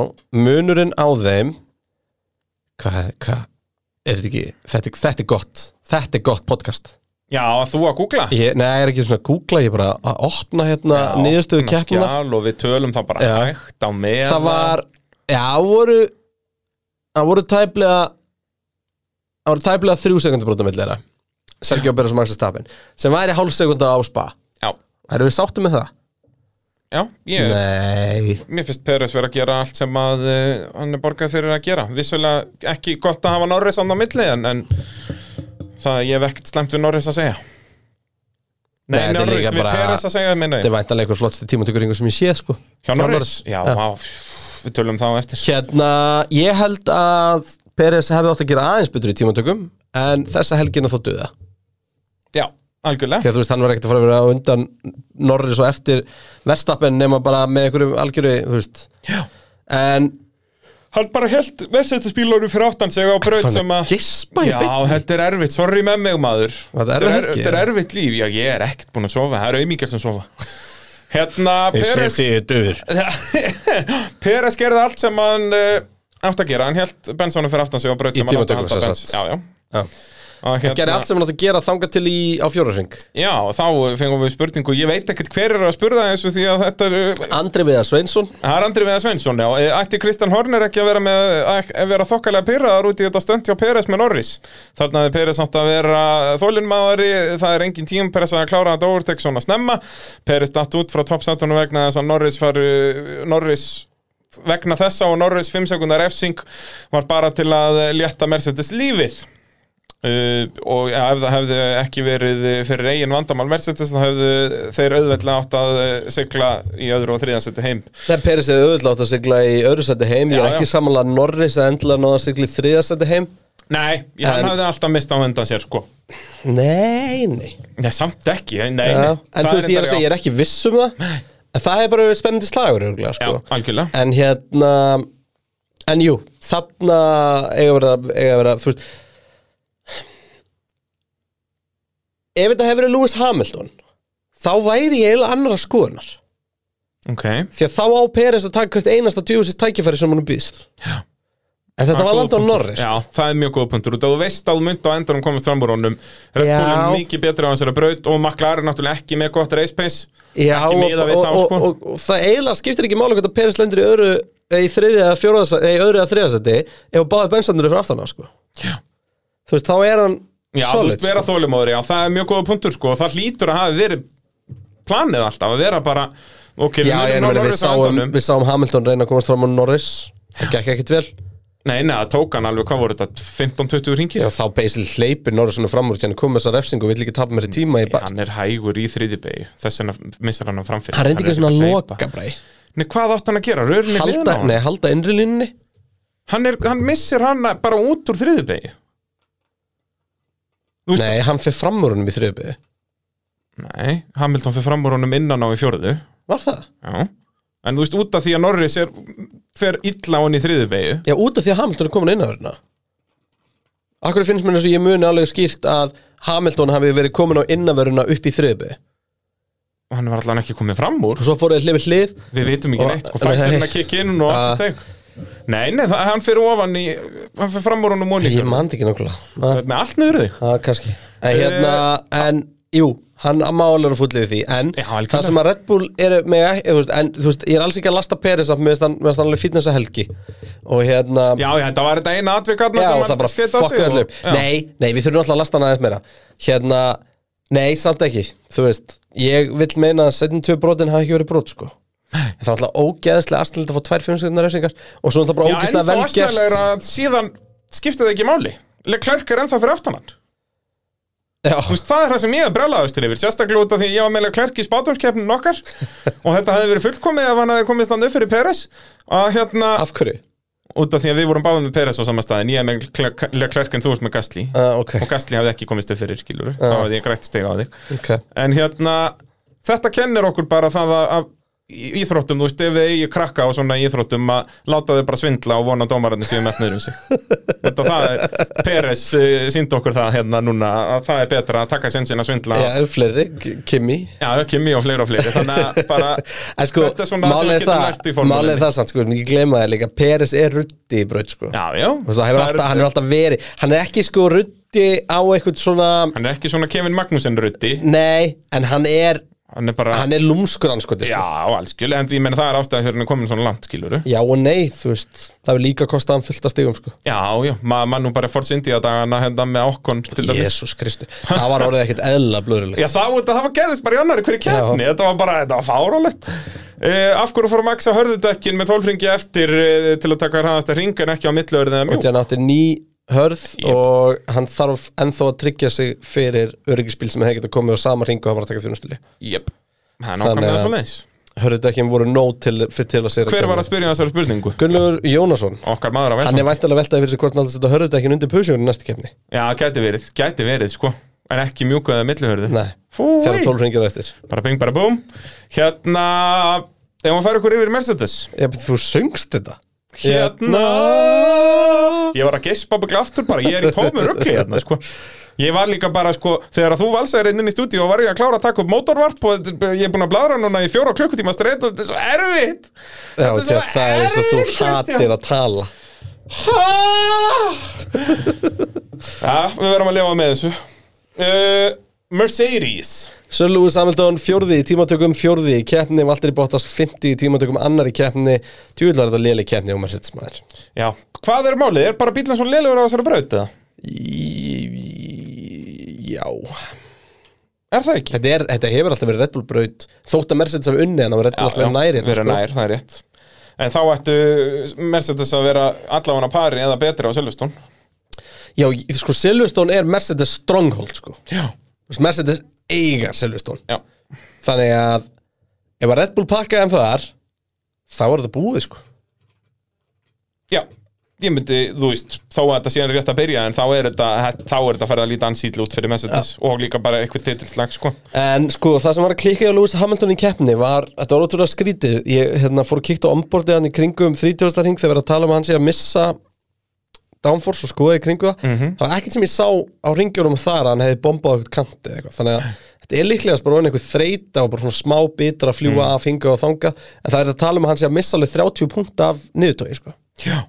Speaker 3: Munurinn á þeim Hvað, hvað Er þetta ekki, þetta, er- þetta er gott Þetta er gott podcast
Speaker 2: já, þú að googla.
Speaker 3: ég, Nei, ég er ekki svona að googla, ég er bara að opna hérna
Speaker 2: Já,
Speaker 3: niðurstöðu
Speaker 2: opna
Speaker 3: keppnar
Speaker 2: skjal Og við tölum það bara
Speaker 3: Já.
Speaker 2: hægt á með.
Speaker 3: það var já, það voru það voru tæplega það voru tæplega þrjú sekundu brotum millir þeirra Sergio Pérez og Max Verstappen sem væri hálf sekunda á spa
Speaker 2: Já,
Speaker 3: erum við sáttum með það?
Speaker 2: já, ég...
Speaker 3: Nei
Speaker 2: Mér finnst Peres vera að gera allt sem að uh, hann er borgað fyrir að gera Vissulega ekki gott að hafa Norris andan milli en, en það ég hef ekkert slemt við Norris að segja
Speaker 3: Nei,
Speaker 2: Nei,
Speaker 3: þetta er
Speaker 2: Norris,
Speaker 3: líka
Speaker 2: við
Speaker 3: bara-
Speaker 2: bara... Peres að segja minna
Speaker 3: þetta er væntanlega einhver flottsti tímatökuringu sem ég sé sko
Speaker 2: Hjá Norris? Já,
Speaker 3: Já.
Speaker 2: já. við tölum þá eftir
Speaker 3: hérna, ég held að Pérez hefði átt að gera aðeins betur í tímatökum en þessa helgina þó duða
Speaker 2: Já, algjörlega
Speaker 3: því að þú veist, hann var ekkert að fara að vera á undan Norris og eftir Verstappen nema bara með einhverjum algjöru, þú veist
Speaker 2: Já.
Speaker 3: en
Speaker 2: Hann bara held verðsættisbílónu fyrir aftan sig á braut
Speaker 3: Ertu
Speaker 2: sem
Speaker 3: farin að
Speaker 2: að
Speaker 3: gispa í
Speaker 2: Já,
Speaker 3: beinni?
Speaker 2: þetta er erfitt, sorry með mig maður
Speaker 3: Var þetta erfið
Speaker 2: Þetta er,
Speaker 3: helgi,
Speaker 2: þetta er
Speaker 3: eða?
Speaker 2: erfitt líf, já ég er ekkert búin að sofa Það eru auðmíkjar sem sofa Hérna, Peres
Speaker 3: er döður
Speaker 2: Peres gerði allt sem hann uh, átt að gera, hann held Bensonu fyrir aftan sig og braut
Speaker 3: Í
Speaker 2: sem hann átti að
Speaker 3: tímatökum, sem
Speaker 2: halda Bens
Speaker 3: sagt.
Speaker 2: Já, já Og
Speaker 3: Gerði
Speaker 2: hérna,
Speaker 3: allt sem hann átti að gera þanga til í, á fjórarring
Speaker 2: já, og þá fengum við spurningu Ég veit ekkert hver er að spurða þessu því að þetta er
Speaker 3: Andri Viðar Sveinsson
Speaker 2: Það er Andri Viða Sveinsson, já Eh, Ætti Kristján Horner ekki að vera, með, eh, að að vera þokkalega pyrraðar út í þetta stönd hjá Peres með Norris Þarna hefði Peres átt að vera þólinmaðari Það er engin tíum Peres að klára þetta overtek svona snemma Peres datt út frá toppsættunum vegna þess að Norris, faru, Norris vegna þessa og Norris 5 sekundar F-sync var bara til að létta Mercedes lífið uh, og ja, ef það hefði ekki verið fyrir eigin vandamál Mercedes þá hefðu þeir auðveldlega átt að uh, sigla í öðru og þriðansetti heim
Speaker 3: Þegar Peris hefði auðvitað átt að sigla í öðru seti heim Ég er
Speaker 2: Já,
Speaker 3: ekki
Speaker 2: já.
Speaker 3: samanlega Norris að endilega náða að sigla í þriða seti heim
Speaker 2: Nei, ég, hann
Speaker 3: En-
Speaker 2: hafði alltaf mist á undan sér sko
Speaker 3: Nei, nei
Speaker 2: Nei, samt ekki, nei, nei
Speaker 3: Já, En
Speaker 2: Það
Speaker 3: þú veist, ég er að
Speaker 2: reyndar,
Speaker 3: segja, ég er ekki viss um það En það hefur bara verið spennandi slagur örugglega,
Speaker 2: já,
Speaker 3: sko.
Speaker 2: já, algjörlega
Speaker 3: En hérna En jú, þarna eiga að vera, eiga að vera Þú veist Ef þetta hefur verið Lewis Hamilton Þá væri ég eiginlega annara skoðunar
Speaker 2: Ok,
Speaker 3: því að þá á Peres að taka hvert einasta djúfisist tækifæri sem hann býðst en þetta var
Speaker 2: góður
Speaker 3: landa á
Speaker 2: punktur.
Speaker 3: Norris
Speaker 2: Já, það er mjög góð punktur út af Þú veist að þú myndi á endanum komast fram úr honum Red
Speaker 3: Já.
Speaker 2: Bullin mikið betri á þessari braut og McLaren náttúrulega ekki með gott race pace
Speaker 3: Já,
Speaker 2: Ekki
Speaker 3: og,
Speaker 2: miðað við
Speaker 3: og,
Speaker 2: þá,
Speaker 3: og,
Speaker 2: sko.
Speaker 3: og, og, það eiginlega skiptir ekki mála hvort að Peres lendur í öðru eða í þriðja eða fjóraða eða í öðru eða þriðja seti ef báði bensandur fyrir aftan á sko.
Speaker 2: Já.
Speaker 3: þú veist, þá er hann
Speaker 2: Já, þú
Speaker 3: solid sko.
Speaker 2: veist, vera þólumóður, já, það er mjög góða punktur sko, og það hlýtur að hafa verið planið alltaf, að vera bara ok,
Speaker 3: Já, ég
Speaker 2: munum ná
Speaker 3: meina, við,
Speaker 2: Norris á
Speaker 3: sáum,
Speaker 2: endanum.
Speaker 3: við sáum Hamilton reyna að komast fram á Norris það gekk ekkert vel
Speaker 2: Nei, nei, það tók hann alveg, hvað voru þetta, 15-20 ringir?
Speaker 3: Já, þá beisil hleypir Norrisson fram úr þannig kom þessa refsing og vill ekki tapa mér í tíma í ba-
Speaker 2: Hann er hægur í þriðjubegi, þess vegna missar hann hann framfyrir
Speaker 3: hann reyndi ekki svona að
Speaker 2: hleypa.
Speaker 3: loka bræ
Speaker 2: Nei, hvað átt hann að gera? Rörin er hliðin á
Speaker 3: halda,
Speaker 2: hann
Speaker 3: nei, halda innri línunni
Speaker 2: hann, er, hann missir hann bara út úr þriðjubegi Þú veist-
Speaker 3: nei, hann fyrir fram úr húnum í þriðbyrði
Speaker 2: Nei, Hamilton fyrir fram úr honum innan á í fjórðu
Speaker 3: var það?
Speaker 2: Já En þú veist, út af því að Norris er, fer illa á hann í þriðjubegi
Speaker 3: já, út af því að Hamilton er komin inn á hérna akkur finnst mér eins og ég muni alveg skýrt að Hamilton hafi verið komin á innavöruna upp í þriðbyrði
Speaker 2: og hann var allan ekki komið fram úr
Speaker 3: og svo fór þeir hlið við hlið
Speaker 2: Við vitum ekki
Speaker 3: Og-
Speaker 2: neitt, sko, fæsir hann að kikki inn og
Speaker 3: Ah.
Speaker 2: aftur steg Nei, nei, það, hann fyrir ofan í hann fyrir fram úr honum og
Speaker 3: ég
Speaker 2: líka
Speaker 3: mandi ekki nákvæmlega
Speaker 2: með allt niður þig
Speaker 3: Já, kannski En hérna, en, jú, hann má alveg fúllið því En
Speaker 2: Eh. Já, algjörlega.
Speaker 3: það sem að Red Bull eru með ekki, þú veist, En þú veist, ég er alls ekki að lasta Peris Af meðan hann alveg fínn þessa helgi Og hérna,
Speaker 2: Já, já, þetta var þetta eina atvikarna
Speaker 3: já,
Speaker 2: sem
Speaker 3: og það bara
Speaker 2: skeytti á sig
Speaker 3: fokkaði
Speaker 2: og-
Speaker 3: allir upp
Speaker 2: Já.
Speaker 3: Nei, nei, við þurfum alltaf að lasta hann aðeins meira Hérna, nei, samt ekki Þú veist, ég vil meina að Settin tvö brotin hafi ekki verið brot, sko En Það er alltaf ógeðslega arstilegt að fá tvær fimmskunnar refsingar og svo er það bara
Speaker 2: Já, en
Speaker 3: ógeðslega
Speaker 2: það
Speaker 3: velgert
Speaker 2: er að síðan skiptið það ekki máli Klerk er ennþá fyrir aftan hann Þú
Speaker 3: Já,
Speaker 2: veist, það er það sem ég er brjálaðastur yfir sérstaklega út af því að ég var meðlega klærk í spátumskeppnin okkar og þetta hefði verið fullkomið ef hann hefði komið stand upp fyrir Peres að hérna,
Speaker 3: af hverju?
Speaker 2: út af því að við vorum báðum með Peres á sama staðin, ég er meðlega klærk en þú veist með Gastli
Speaker 3: Uh, ok,
Speaker 2: og Gastli hefði ekki komist upp fyrir skilur þá hefði ég grætt steg á þig
Speaker 3: ok
Speaker 2: en hérna, þetta kennir okkur bara það að, að í- íþróttum, þú veist, ef við eigi krakka á svona íþróttum að láta þau bara svindla og vona að dómararnir síðan með nöðrum sig þetta það er, Peres uh, síndi okkur það hérna núna að það er betra að taka sensin að svindla
Speaker 3: Já, eru fleiri, K- Kimi
Speaker 2: Já, Kimi og fleiri og fleiri Þannig að bara
Speaker 3: En sko,
Speaker 2: Þetta er svona það sem
Speaker 3: málið
Speaker 2: við
Speaker 3: er
Speaker 2: getum lært í
Speaker 3: það
Speaker 2: formúlunni.
Speaker 3: Málið er það samt, sko, við erum ekki gleyma það líka Peres er ruddi í braut, sko
Speaker 2: Já, já
Speaker 3: Þú veist, það hefur
Speaker 2: Það er-
Speaker 3: alltaf, Hann er alltaf verið Hann er ekki, sko, ruddi á eitthvað svona
Speaker 2: Hann er ekki svona Kevin Magnussen rutti
Speaker 3: Nei, en hann er
Speaker 2: Hann er bara
Speaker 3: Hann er lúmskur anskoti,
Speaker 2: Já,
Speaker 3: sko
Speaker 2: allskjölu En ég meina það er ástæðan fyrir hann er komin svona langt, skiluru
Speaker 3: Já og nei, þú veist Það hefur líka kostað hann fullt að stigum, sko
Speaker 2: Já, já, ma mann nú bara Force India dagana hérna með Okkon til dæmis
Speaker 3: Jésús Kristi Það var orðið ekkert eðla blöðurlega
Speaker 2: Já, það, það, það var gerðist bara í annari hverju kefni Þetta var bara, þetta var fárálegt uh, Af hverju fór Max að hörðudekkin með tólfringi eftir uh, til að taka hraðasta hring en ekki á milliöður eða
Speaker 3: Og
Speaker 2: mjú
Speaker 3: því hann átti ný hörð
Speaker 2: Jep.
Speaker 3: Og hann þarf ennþá að tryggja sig Fyrir öryggisbíl sem hefði getað komið á sama ring Og hann var að taka þjónustili
Speaker 2: Jep, það er
Speaker 3: Þannig
Speaker 2: nákvæmlega
Speaker 3: að-
Speaker 2: svo
Speaker 3: Hörðudekkin voru nóg til, fyrir til að sér
Speaker 2: Hver var að spyrja þessari spurningu?
Speaker 3: Gunnlaugur Jónasson
Speaker 2: Okkar maður að velta
Speaker 3: Hann er væntalega veltaði fyrir sig hvort hann alltaf setja hörðudekkin undir pusjónu í næstu kefni
Speaker 2: Já, gæti verið, gæti verið sko En ekki mjúku eða millihörðu
Speaker 3: Nei,
Speaker 2: Fúi.
Speaker 3: þegar tólf ringir á eftir
Speaker 2: Bara ping, bara búm Hérna, ef maður færi ykkur yfir í Mercedes
Speaker 3: Ég, Þú söngst þetta
Speaker 2: Hérna Ég var að gespa byggla aftur bara, ég er í tómi rugli hérna sko Ég var líka bara sko, þegar að þú valsæðir inn inn í stúdíu og var ég að klára að taka upp mótorvarp og þetta- ég er búin að bladra núna í fjóra klukkutíma streit og þetta er svo erfitt
Speaker 3: Já, því
Speaker 2: Þetta er
Speaker 3: að
Speaker 2: svo
Speaker 3: það er svo þú
Speaker 2: erfitt, Kristján.
Speaker 3: hatir að tala
Speaker 2: Já, við verðum að lifa með þessu uh, Mercedes
Speaker 3: Sir Lewis Hamilton fjórði í tímatökum fjórði í keppni, Valtteri Bottas 50 í tímatökum annar í keppni, tjúðlar þetta léli keppni og maður setjast maður
Speaker 2: Já, hvað er málið? Er bara bílinn svo lélegur á þessari braut eða?
Speaker 3: Í- Já
Speaker 2: Er það ekki?
Speaker 3: þetta, er, þetta hefur alltaf verið Red Bull braut þótt að Mercedes hafi unni en það var Red Bull alltaf verið hérna, sko. næri
Speaker 2: Verið nær, hérna, sko. það er rétt En þá ættu Mercedes að vera allavega á pari eða betri á Silvestón
Speaker 3: Já, ég- sko Silverstone er Mercedes stronghold sko.
Speaker 2: Já
Speaker 3: Þú veist, Mercedes eigar Silverstone
Speaker 2: Já,
Speaker 3: Þannig að ef að Red Bull pakkaði en þar þá er þetta búið sko
Speaker 2: já Ég myndi, þú veist, þó að þetta síðan er rétt að byrja en þá er þetta, þá er þetta að fara að líta ansýtla út fyrir Mercedes og líka bara eitthvað titilslag, sko
Speaker 3: En sko, það sem var að klikka á Lewis Hamilton í keppni var, þetta var ótrúlega skrítið ég hérna, fór að kíkta á onboardið hann í kringum 30. hring þegar við erum að tala um að hann sé að missa downforce og skoða í kringu það það var ekkert sem ég sá á ringjónum þar að hann hefði bombað á eitthvað kanti eða eitthvað þannig að þetta er líklega bara orðin eitthvað þreita og bara svona smá bitar að fljúa af hinga og þanga en það er að tala um að hann sé að missa alveg 30 punkt af niðurtói sko,
Speaker 2: Já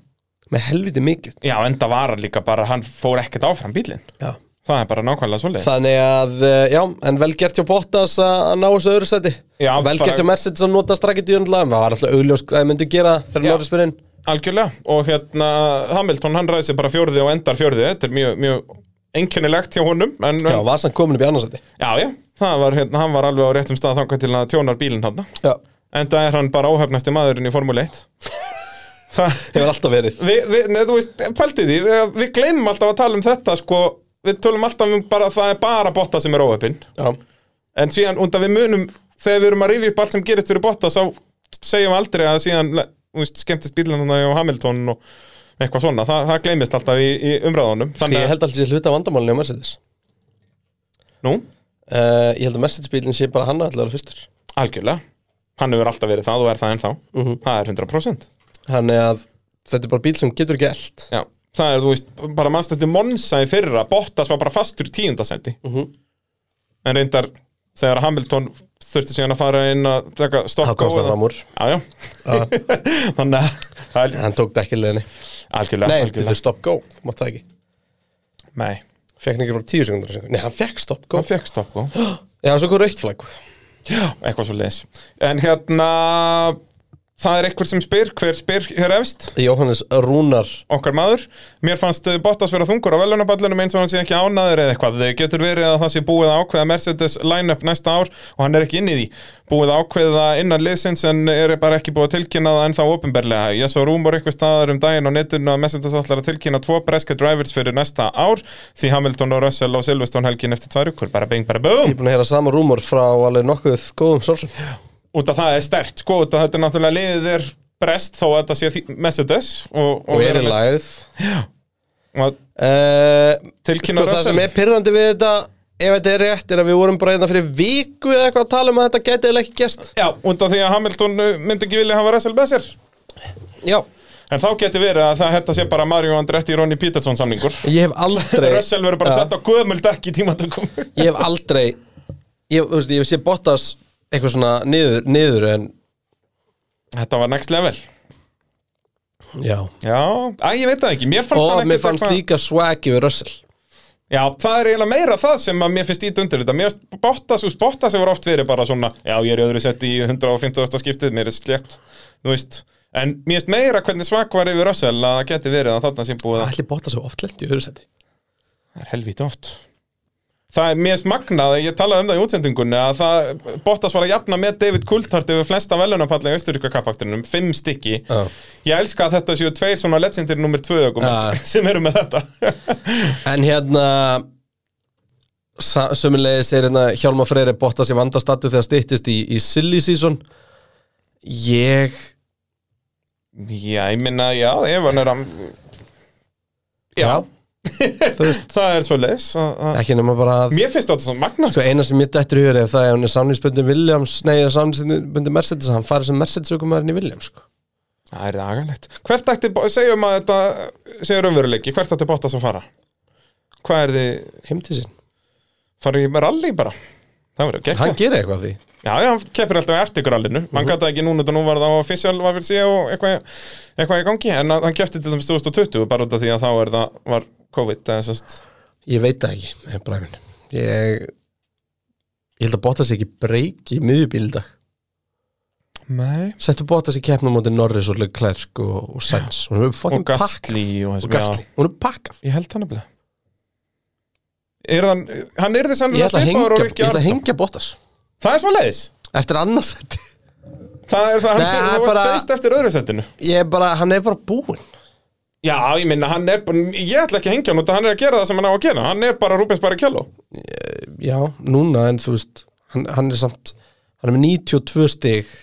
Speaker 3: með helviti mikið
Speaker 2: Já, enda var hann líka bara, hann fór ekkert áfram bílinn
Speaker 3: Já.
Speaker 2: Það er bara nákvæmlega svoleið
Speaker 3: Þannig að, eh, já, en vel gert hjá Bottas að að ná þessu öðru seti
Speaker 2: Já,
Speaker 3: Vel
Speaker 2: bara-
Speaker 3: gert hjá Mercedes að nota strakkið djúrnlega Það var alltaf augljós að það myndi gera þegar
Speaker 2: Já.
Speaker 3: Norris byrinn
Speaker 2: Algjörlega, og hérna Hamilton, hann ræði sig bara fjórði og endar fjórði Þetta er mjög, mjög einkennilegt hjá honum en,
Speaker 3: Já, var samt komin upp í annarsæti
Speaker 2: Já, já, það var, hérna, hann var alveg á réttum stað þangað til að tjónar bílinn hann
Speaker 3: Já
Speaker 2: Enda er hann bara óhefnasti maðurinn í Formule 1 það,
Speaker 3: hefur alltaf verið
Speaker 2: við, við, nei, þú veist, pæltið því við, við gleymum alltaf að tala um þetta sko, við tölum alltaf um bara það er bara botta sem er óöpinn
Speaker 3: Já,
Speaker 2: en síðan undan við munum þegar við erum að rifja upp allt sem gerist fyrir botta þá segjum við aldrei að síðan le- þú veist, skemmtist bílanuna á Hamilton og eitthvað svona, Þa, það gleymist alltaf í, í umræðunum
Speaker 3: Þannig... Sko, ég
Speaker 2: að,
Speaker 3: held alltaf sér hluta vandamálinu á Mercedes
Speaker 2: nú,
Speaker 3: uh, Ég held að Mercedes bílinn sé bara hann allar fyrstur
Speaker 2: algjörlega hann hefur alltaf verið það og er það ennþá það er 100%
Speaker 3: Þannig að þetta er bara bíl sem getur ekki eld
Speaker 2: Já, það er, þú veist, bara mannstætti Monsa í fyrra, Bottas var bara fastur í tíundasendi mm
Speaker 3: Mhm.
Speaker 2: En reyndar, þegar Hamilton þurfti síðan að fara inn að taka stokka
Speaker 3: Þá komst
Speaker 2: og-
Speaker 3: hann fram úr
Speaker 2: Já, já,
Speaker 3: Já.
Speaker 2: þannig að það er
Speaker 3: Hann tók dekkileginni
Speaker 2: algjörlega,
Speaker 3: Nei,
Speaker 2: algjörlega
Speaker 3: þetta er stop go, þú mátt það ekki
Speaker 2: Nei,
Speaker 3: Fekk hann ekki bara tíu sekundur Nei, hann fekk stop go
Speaker 2: hann fekk stokka
Speaker 3: Já, svo kom rautt flagg
Speaker 2: Já, eitthvað svo leis En hérna, það er eitthvað sem spyr, hver spyr hér efst?
Speaker 3: Jóhannes Rúnar
Speaker 2: Okkar maður, mér fannst eh, Bottas vera þungur á velunaballunum eins og hann sé ekki ánaður eða eitthvað Eh, Getur verið að það sé búið að ákveða Mercedes line-up næsta ár og hann er ekki inn í því Búið að ákveða innan liðsins en er bara ekki búið að tilkynna það ennþá opinberlega Ég svo rúmur eitthvað staðar um daginn á netinu að Mercedes ætlar að tilkynna tvo breska drivers fyrir næsta ár Því Hamilton og Russell á Silveston helgin eftir tvær ykkur, bara bing, bara boom
Speaker 3: Ég er búin að heyra sama rúmur frá alveg nokkuð góðum sólsum
Speaker 2: út af það er stert sko, út af þetta er náttúrulega liðið er brest þó að þetta sé því- Mercedes og,
Speaker 3: Og er í lagð
Speaker 2: og að
Speaker 3: uh,
Speaker 2: tilkynna
Speaker 3: Sko það sem er pyrrandi við þetta Ef þetta er rétt er að við vorum bara hérna fyrir viku eða eitthvað að tala um að þetta gæti eða ekki gerst
Speaker 2: Já, út af því að Hamilton uh, myndi ekki vilja hafa Russell með sér
Speaker 3: Já,
Speaker 2: en þá geti verið að það, þetta sé bara Mario Andretti Ronny Peterson samningur
Speaker 3: ég hef aldrei
Speaker 2: Russell verður bara
Speaker 3: Já.
Speaker 2: sett á gömul dekk í tímatökum
Speaker 3: ég hef aldrei ég, þú veist, ég sé Bottas eitthvað svona niður, niður en
Speaker 2: Þetta var next level
Speaker 3: já
Speaker 2: Já, að ég veit það ekki, mér fannst
Speaker 3: og
Speaker 2: hann ekki
Speaker 3: mér fannst líka swaggy við Russell
Speaker 2: Já, það er eiginlega meira það sem að mér finnst ít undir þetta Mér finnst Bottas og Bottas hefur oft verið bara svona Já, ég er í öðru sett í 150. skiptið, mér er slétt Þú veist En mér finnst meira hvernig svak var yfir Russell að það geti verið að þarna sem búið að
Speaker 3: ætli Bottas hefur oft lent í öðru seti
Speaker 2: Það er helvíti oft Það er mér finnst magnað, ég talaði um það í útsendingunni að það, Bottas var að jafna með David Coulthard yfir flesta velunapalla í Austuríka kappakturinum, fimm stykki
Speaker 3: Já.
Speaker 2: Ég elska að þetta séu tveir svona legendir nummer tvö ökum
Speaker 3: Já.
Speaker 2: sem eru með þetta
Speaker 3: en hérna sömulegis er hérna Hjálmar Freyri Bottas í vandastatu þegar styttist í, í silly season ég
Speaker 2: Já, ég minna, já, ef hann er að
Speaker 3: já, þú veist
Speaker 2: Það er svo leis
Speaker 3: ekki nema bara að
Speaker 2: Mér finnst þetta svo magna
Speaker 3: Sko eina sem mér dettur í hugur ef það er hann er samlingsbundin Williams, nei, er samlingsbundin Mercedes, hann farið sem Mercedes-aukumæðurinn í Williams, sko.
Speaker 2: Það er það agalegt Hvert ætti, Bo- segjum að þetta segjum raunveruleiki, hvert ætti Bottas að fara? Hvað er þið,
Speaker 3: Heim til sín.
Speaker 2: farið í rally bara? Það verður
Speaker 3: Hann
Speaker 2: ekki
Speaker 3: gerir eitthvað af því.
Speaker 2: Já, já, hann keppir alltaf í artikurallinu mm -hmm. Hann gata ekki núna, þetta nú var það á official var fyrir sig og eitthvað, eitthvað í gangi En að- hann keppti til dæmis 2020 bara út af því að þá er það var COVID eða sérst
Speaker 3: Ég veit það ekki, með bræmin Ég Ég held að Bottas ekki breyki í miðjubíl í dag
Speaker 2: Nei
Speaker 3: Settu Bottas í keppnum móti Norris og Leclerc og, og Sainz Hún er
Speaker 2: Og
Speaker 3: fucking pakkað
Speaker 2: Gastli og
Speaker 3: Og
Speaker 2: þessum
Speaker 3: Gastli, hún er pakkað
Speaker 2: Ég held hann nefnilega Er hann, hann er þið
Speaker 3: Ég
Speaker 2: sennilega
Speaker 3: ætla að
Speaker 2: svipaður
Speaker 3: hengja,
Speaker 2: og
Speaker 3: ég
Speaker 2: Rikki
Speaker 3: ætla að
Speaker 2: Arndór
Speaker 3: hengja Bottas
Speaker 2: Það er svo leiðis
Speaker 3: Eftir annars seti
Speaker 2: Það er það, hann
Speaker 3: Nei,
Speaker 2: fyrir, þú
Speaker 3: bara-
Speaker 2: varst beist eftir öðru setinu
Speaker 3: Ég er bara, hann er bara búinn
Speaker 2: Já, ég minna, hann er, bara- ég ætla ekki að hengja hann út að hann er að gera það sem hann á að gera Hann er bara Rúbens Barrichello
Speaker 3: Já, núna en þú veist Hann, hann er samt, hann er með 92 stig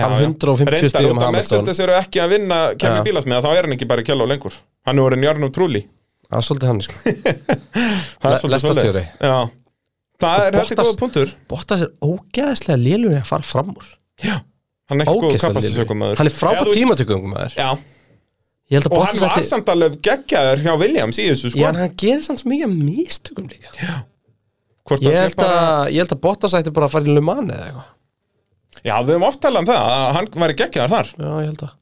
Speaker 3: Af 150
Speaker 2: Reyndar
Speaker 3: stigum
Speaker 2: út að
Speaker 3: Hamilton
Speaker 2: Mercedes eru ekki að vinna
Speaker 3: Já.
Speaker 2: kemni bílasmiða, þá er hann ekki Barrichello lengur Hann er orðin Jarno Trulli
Speaker 3: Það er svolítið hann sko.
Speaker 2: Það
Speaker 3: Le-
Speaker 2: er svolítið
Speaker 3: lestarstjóri. Sko,
Speaker 2: svoleiðis. Já, það er heldur
Speaker 3: Bottas-
Speaker 2: góða punktur
Speaker 3: Bottas er ógeðslega lélur að fara fram úr
Speaker 2: Já, hann er ekki sko, góð
Speaker 3: Ógeðslega
Speaker 2: kapastisökum
Speaker 3: lélur Hann er frábært tímatökum maður
Speaker 2: Já,
Speaker 3: Ég held að
Speaker 2: og hann
Speaker 3: Bottas
Speaker 2: var
Speaker 3: ætti
Speaker 2: samt alveg geggjaður hjá Williams í
Speaker 3: Já,
Speaker 2: þessu sko
Speaker 3: en hann gerir samt svo mikið af mistökum líka
Speaker 2: Hvort
Speaker 3: Ég
Speaker 2: það sé
Speaker 3: held,
Speaker 2: bara-
Speaker 3: að, ég held að Bottas ætti bara að fara í Le Mans eða eitthvað
Speaker 2: Já, við höfum oft talað um það, að hann væri geggjaður þar
Speaker 3: Já, ég held að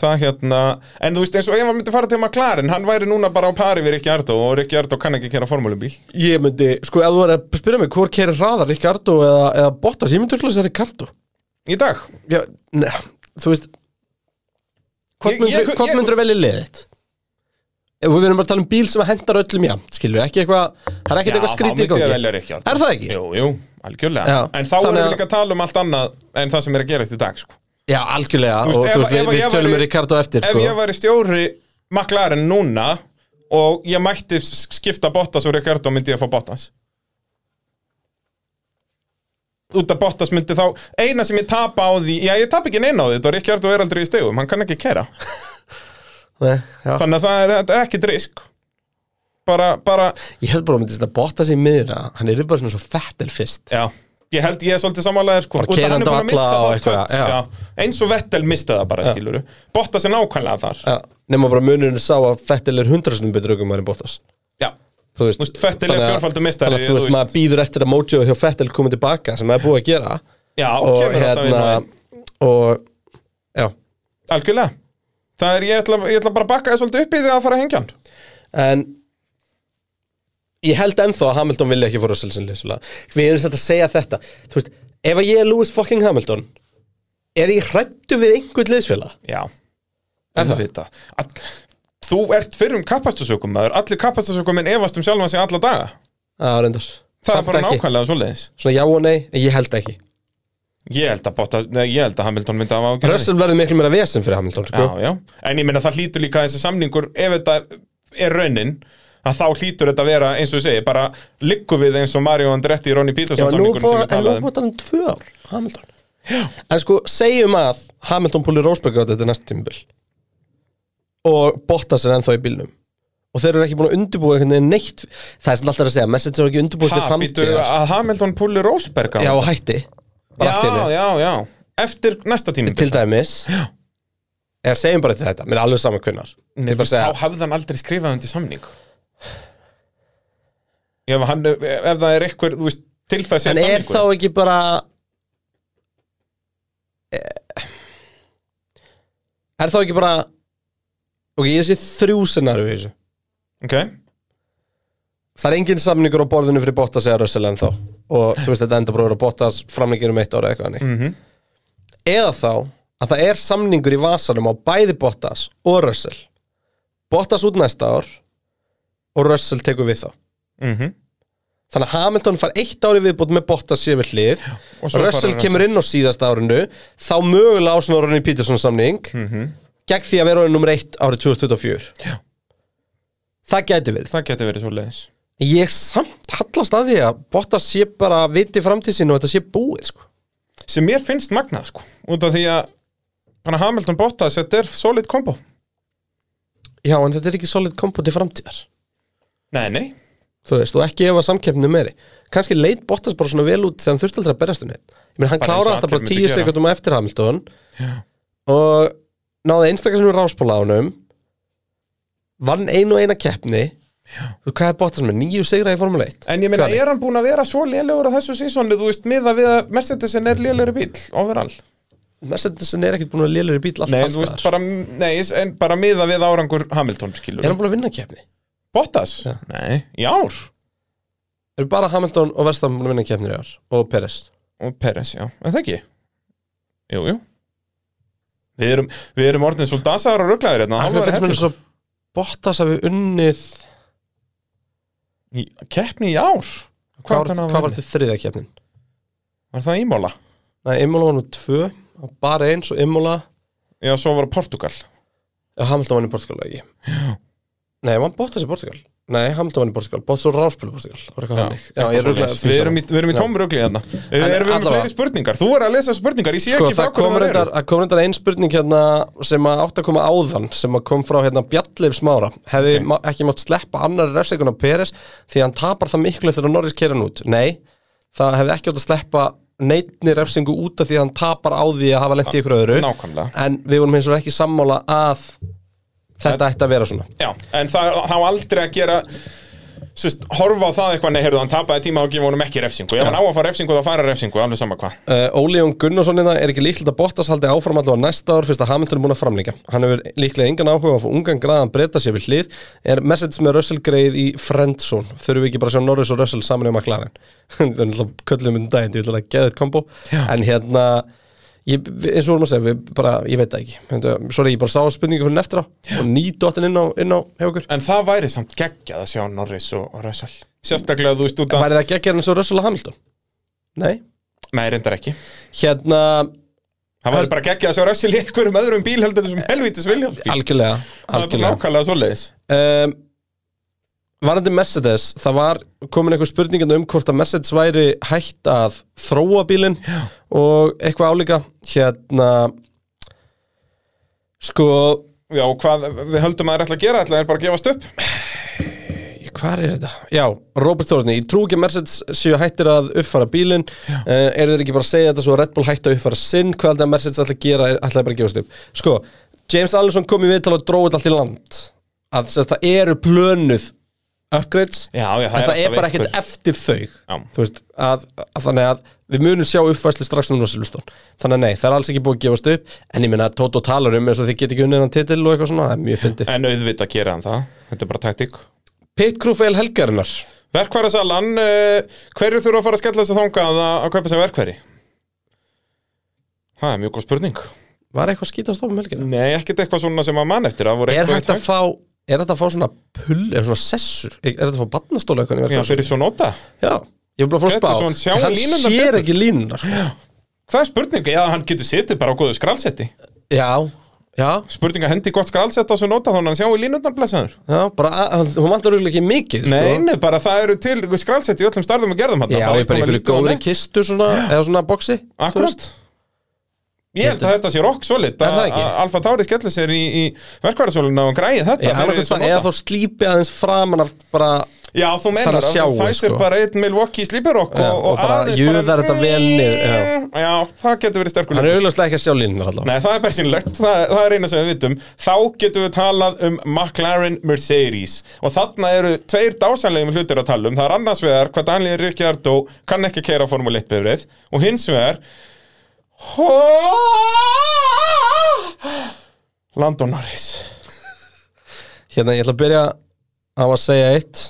Speaker 2: það hérna, en þú veist eins og ef hann myndi fara til McLaren, hann væri núna bara á pari við Rikki Ardó og Rikki Ardó kann ekki kera formúlubíl
Speaker 3: Ég myndi, sko, ef þú er að spyrja mig Hvor kerir hraðar, Ricardo eða, eða Bottas Ég myndi örugglega að það er Ricardo
Speaker 2: í dag
Speaker 3: Já, ne, þú veist
Speaker 2: Ég-
Speaker 3: Hvort
Speaker 2: ég-
Speaker 3: myndur,
Speaker 2: ég-
Speaker 3: hvort myndur velja liðið þitt? Ef Við erum bara að tala um bíl sem hendar öllum jæmt, skilur við, ekki eitthvað Það er ekkert eitthvað skrítið í
Speaker 2: Já, þá myndi ég
Speaker 3: gangi
Speaker 2: velja Rikki Ardó
Speaker 3: Er það ekki?
Speaker 2: Jú, jú, algjörlega
Speaker 3: Já,
Speaker 2: En þá
Speaker 3: þannig
Speaker 2: erum við
Speaker 3: að-
Speaker 2: líka að tala um allt annað en það sem er að gerast í dag sko.
Speaker 3: Já, algjörlega
Speaker 2: Þú veist,
Speaker 3: og
Speaker 2: ef-
Speaker 3: þú veist,
Speaker 2: ef
Speaker 3: við,
Speaker 2: ég
Speaker 3: við tölum
Speaker 2: væri-
Speaker 3: við Ricardo eftir
Speaker 2: Ef
Speaker 3: sko.
Speaker 2: ég væri stjóri maklarinn núna og ég mætti s- skipta Bottas og Ricardo myndi ég að fá Bottas út af Bottas myndi þá eina sem ég tapa á því, já ég tapa ekki neina á því þetta Ricardo er aldrei í stegum, hann kann ekki kæra
Speaker 3: Nei, já.
Speaker 2: þannig að það er, þetta er ekki drisk bara, bara,
Speaker 3: Ég held bara að myndi þetta botta sig í miðuna Hann er bara svona svo fettel fyrst
Speaker 2: já ég held ég er svolítið samanlega sko.
Speaker 3: Bara
Speaker 2: Út af hann er
Speaker 3: keyrandi
Speaker 2: búinn að
Speaker 3: alla
Speaker 2: missa
Speaker 3: og
Speaker 2: það
Speaker 3: eitthvað,
Speaker 2: touch,
Speaker 3: já.
Speaker 2: já. eins og Vettel misti það bara skilur Bottas er nákvæmlega þar
Speaker 3: ja. Nefna bara munurinn sá að fettel er hundrasunum betur aukum en Bottas
Speaker 2: já,
Speaker 3: Þú veist,
Speaker 2: Þú veist, Vettel er
Speaker 3: þannig að-
Speaker 2: fjórfaldur meistari,
Speaker 3: Þannig að þú
Speaker 2: þú
Speaker 3: veist,
Speaker 2: veist.
Speaker 3: maður býður eftir að Mojo hjá fettel komið tilbaka sem maður er búið að gera
Speaker 2: já
Speaker 3: Og
Speaker 2: kemur alltaf
Speaker 3: hérna
Speaker 2: inn á einn.
Speaker 3: Og, já
Speaker 2: Algjörlega Það er, ég ætla, ég ætla bara að bakka það svolítið upp í því að fara að hengja hann
Speaker 3: En Ég held ennþá að Hamilton vilja ekki fóra Selsin leysulega Við erum satt að segja þetta Þú veist, ef að ég er Lewis fucking Hamilton Er ég hrættu við einhvern liðsfélag?
Speaker 2: Já En það vita Þú ert fyrir um kapastusökum maður Allir kapastusökumin efast um sjálfan sig alla daga
Speaker 3: Já, reyndar
Speaker 2: Það
Speaker 3: Samt
Speaker 2: er bara
Speaker 3: ekki.
Speaker 2: nákvæmlega svoleiðis
Speaker 3: Svona já og nei, en ég held ekki
Speaker 2: Ég held að, bota, nei, ég held að Hamilton myndi að hafa ágjörði
Speaker 3: Russell verður miklu meira vesen fyrir Hamilton sko.
Speaker 2: Já, já En ég meina það hlýtur líka að þessi samningur Ef þetta er raunin að þá hlýtur þetta að vera eins og ég segi bara liggu við eins og Mario Andretti Ronny
Speaker 3: Já,
Speaker 2: Peterson
Speaker 3: en nú
Speaker 2: samningur sem við um.
Speaker 3: búið
Speaker 2: talaðum
Speaker 3: að hann tvö ár Hamilton já. En sko, segjum að Hamilton púlir Rósberg á þetta næsta tímabil og Bottas er ennþá í bílnum og þeir eru ekki búin að undirbúa einhvern veginn neitt það er sem alltaf að segja, message eru ekki undirbúið til
Speaker 2: Ha, býtu
Speaker 3: framtíðar
Speaker 2: að Hamilton púli Rósberg á
Speaker 3: Já, og hætti bara allt í
Speaker 2: já,
Speaker 3: hennu,
Speaker 2: já, já Eftir næsta tíma
Speaker 3: til dæmis já. eða segjum bara til þetta, mér er alveg saman kvinnar
Speaker 2: Nei,
Speaker 3: bara
Speaker 2: veist,
Speaker 3: segja-
Speaker 2: þá hafði hann aldrei skrifað undir samning ef, hann, ef það er eitthvað þú veist, til það sé
Speaker 3: En er þá
Speaker 2: samningur
Speaker 3: ekki bara eh, Er þá ekki bara Ok, ég sé þrjú scenaríu í þessu
Speaker 2: Ok,
Speaker 3: Það er engin samningur á borðinu fyrir Bottas eða Russell en þá Og þú veist þetta enda bara að vera Bottas framlengir um eitt ára eitthvað mm
Speaker 2: Mhm,
Speaker 3: -hmm. Eða þá að það er samningur í vasanum á bæði Bottas og Russell Bottas út næsta ár og Russell tekur við þá
Speaker 2: mhm,
Speaker 3: Þannig að Hamilton fær eitt ári viðbútt með Bottas sér við hlið
Speaker 2: og svo
Speaker 3: Russell
Speaker 2: fara
Speaker 3: kemur inn á síðasta árinu þá mögulega á svona Ronny Peterson samning gegn því að vera orðin nummer eitt árið 2024
Speaker 2: Mhm. Já.
Speaker 3: Það gæti verið
Speaker 2: það geti verið svo leiðis
Speaker 3: Ég samt hallast að því að Bottas sé bara viti framtíð sín og þetta sé búið sko.
Speaker 2: sem mér finnst magnað sko út af því að hann að Hamilton Bottas þetta er solid kombo
Speaker 3: Já, en þetta er ekki solid kombo til framtíðar
Speaker 2: nei, nei,
Speaker 3: Þú veist, og ekki ef að samkeppninu meiri Kanski leit Bottas bara svona vel út þegar hann þurfti aldrei að berjast um neitt Ég meina, hann
Speaker 2: Bara
Speaker 3: klára
Speaker 2: eins og
Speaker 3: alltaf bara
Speaker 2: allir
Speaker 3: 10
Speaker 2: myndu gera.
Speaker 3: sekundum á eftir Hamilton og náði einstakar sem við ráspóla á honum vann einu og eina keppni Já. hvað er Bottas með? Nýju sigra í Formule 1
Speaker 2: en ég meina
Speaker 3: Hvað er-
Speaker 2: er hann búin að vera svo lélegur á þessu sísónu, þú veist, miða við að Mercedesin er lélegur bíl, overall
Speaker 3: Mercedesin er ekkert búin að lélur í bíl all,
Speaker 2: nei,
Speaker 3: alls
Speaker 2: þú veist,
Speaker 3: staðar.
Speaker 2: bara, nei, en bara miða við árangur Hamilton, skilur
Speaker 3: Er hann búin að vinna keppni?
Speaker 2: Bottas?
Speaker 3: Já.
Speaker 2: nei, í ár
Speaker 3: Er bara Hamilton og Verstappen búin að vinna keppnir í ár og Peres
Speaker 2: og Peres, já, en það ekki Jú, jú Við erum, við erum orðin svo dasaðar og rugglaðir hérna
Speaker 3: Akkur
Speaker 2: hálfari
Speaker 3: finnst mér svo
Speaker 2: hellingur.
Speaker 3: Bottas hafi unnið
Speaker 2: Í- Keppni í ár
Speaker 3: Hvað,
Speaker 2: Hvað var,
Speaker 3: hvað var þetta þriðja keppnin?
Speaker 2: var það ímála?
Speaker 3: Nei, Imola var nú tvö og bara eins og Imola
Speaker 2: Já, svo var það Portugal
Speaker 3: Já, Hamilton vann í Portugal ekki Já. Nei, vann Bottas í Portugal Nei, Hamilton vann í Portugal, Bottas og Ráspil í Portugal Það var eitthvað hannig Já, ég er
Speaker 2: Svoleiðis. Við erum í, við erum í
Speaker 3: Já.
Speaker 2: tóm ruggli hérna Erum við með
Speaker 3: allavega-
Speaker 2: fleiri spurningar? Þú er að lesa spurningar, ég sé
Speaker 3: Sko,
Speaker 2: ekki
Speaker 3: það
Speaker 2: frá
Speaker 3: kom
Speaker 2: hverju
Speaker 3: reyndar, það kom reyndar einn spurning hérna sem að átt að koma áðan sem að kom frá hérna Bjalleif Smára hefði okay. ekki mátt sleppa annar refsinguna Peres því að hann tapar það miklu eftir að Norris kera hann út Nei, það hefði ekki átt að sleppa neitni refsingu út af því að hann tapar á því að hafa lent í ykkur öðru
Speaker 2: Nákvæmlega.
Speaker 3: En við vorum hins vegar ekki sammála að þetta ætti að vera svona
Speaker 2: Já, en það það á aldrei að gera Sist, horfa á það eitthvað, nei, heyrðu, hann tapaði tíma og gefa honum ekki refsingu Ef hann á að fá refsingu, þá fara refsingu, alveg sama hvað
Speaker 3: Uh, Óli Jón Gunnarsson hérna er ekki líklegt að Bottas haldi áfram allavega næsta ár fyrst að Hamilton er búin að framlíka hann hefur líklega engan áhuga á að fá ungan graðan breyta sér við hlið er message með Russell greið í Friendzone þurfum við ekki bara að sjá Norris og Russell saman um að klara hann það er náttúrulega köllum um daginn ég vil að geða þetta kombo en hérna ég, við- eins og vorum að segja við bara, ég veit það ekki Þetta- sorry ég bara sá spurningu fyrir neftra og ný dottin inn á, inn á hjá okkur
Speaker 2: En það væri samt geggjað að sjá Norris og, og Russell Sérstaklega þú veist út að
Speaker 3: væri það ekki að gera eins og Russell og Hamilton? Nei
Speaker 2: Nei, reyndar ekki
Speaker 3: hérna
Speaker 2: Það var bara geggjað að sjá Russell í einhverjum öðrum bíl heldur en þessum helvítis Williams bíl
Speaker 3: algjörlega,
Speaker 2: Það er bara
Speaker 3: algjörlega.
Speaker 2: nákvæmlega svoleiðis
Speaker 3: um, Varandi Mercedes það var komin einhver spurningin um hvort að Mercedes væri hægt að þróa bílinn og eitthvað álíka hérna sko
Speaker 2: Já, og hvað við höldum að það er ætla að gera, ætla að það er bara að gefast upp
Speaker 3: hvað er þetta? Já, Robert Þórni ég trú ekki að Mercedes séu hættir að uppfara bílinn uh, eru þeir ekki bara að segja þetta svo að Red Bull hætti að uppfara sinn hvað heldur að Mercedes ætla að gera ætla bara að gefast upp sko, James Allison kom í viðtal og dróði þetta allt í land að sérst, það eru plönuð upgrades
Speaker 2: Já,
Speaker 3: en
Speaker 2: já,
Speaker 3: það er
Speaker 2: alltaf
Speaker 3: bara
Speaker 2: einhver-
Speaker 3: ekkert eftir þau
Speaker 2: Já.
Speaker 3: þú veist, að, að þannig að við munum sjá uppfæslu strax um Silveston þannig að nei, það er alls ekki búið að gefast upp en ég minna að Tóto talar um eins og þið get ekki unnið hann titil og eitthvað svona, það er mjög fyndið
Speaker 2: En auðvitað gera hann það, þetta er bara taktík
Speaker 3: Pit Crew fail helgarinnar
Speaker 2: Verkværasalan, uh, hverju þurfa að fara að skella þess að þangað að, að kaupa sem verkværi? Það er mjög góð spurning
Speaker 3: var eitthvað skítast á um helgarinnar
Speaker 2: Nei, ekkert eitthvað svona sem að mann eftir það voru
Speaker 3: er
Speaker 2: eitthvað
Speaker 3: hægt að fá er þetta að fá svona pull, er svona sessur er þetta að fá barnastóla eitthvað í
Speaker 2: Já,
Speaker 3: verkefni?
Speaker 2: fyrir svo nota
Speaker 3: já, ég er bara að fór að
Speaker 2: Þetta er svona, sjá
Speaker 3: spá hann
Speaker 2: línurnar
Speaker 3: sér
Speaker 2: betur.
Speaker 3: ekki línuna sko.
Speaker 2: Hvað er spurning? Já, hann getur setið bara á góðu skrálsetti
Speaker 3: já, já,
Speaker 2: Spurning að hendi í gott skrálsett á svo nota þannig að hann sjá í línundan blessaður
Speaker 3: já, bara að- hún vantar auðvitað ekki mikið sko.
Speaker 2: Nei, nei, bara það eru til skrálsetti í öllum starðum og gerðum hann
Speaker 3: Já, ég bara einhverju góðri kistu svona, eða svona boxi þú veist.
Speaker 2: Akkurat Ég held að þetta sé rock solid
Speaker 3: Er það ekki?
Speaker 2: að Alfa Tauri skellir sér í, í verkvæðarsóluna og græði þetta
Speaker 3: Já,
Speaker 2: fyrir
Speaker 3: annarkvæmt
Speaker 2: Sonata.
Speaker 3: það, eða þá slípi aðeins framan af bara
Speaker 2: Já, þú
Speaker 3: þarf
Speaker 2: meinar
Speaker 3: að
Speaker 2: að
Speaker 3: sjá,
Speaker 2: þú fæsir
Speaker 3: sko.
Speaker 2: bara einn Milwaukee sleeper rock
Speaker 3: Já,
Speaker 2: og,
Speaker 3: og bara
Speaker 2: aðeins Mm,
Speaker 3: juðar þetta vel niður,
Speaker 2: Já. það getur verið sterkur
Speaker 3: Hann er
Speaker 2: leikur.
Speaker 3: auðvitað ekki að sjá línur allavega
Speaker 2: Nei, það er persínlegt, það, það er eina sem við vitum Þá getum við talað um McLaren Mercedes Og þarna eru tveir dásanlegum hlutir að tala um Það er annars vegar hvað Daniel Ricciardo kann ekki keira Formule 1 bifrið Og hins vegar Landon Norris
Speaker 3: Hérna, ég ætla að byrja á að segja eitt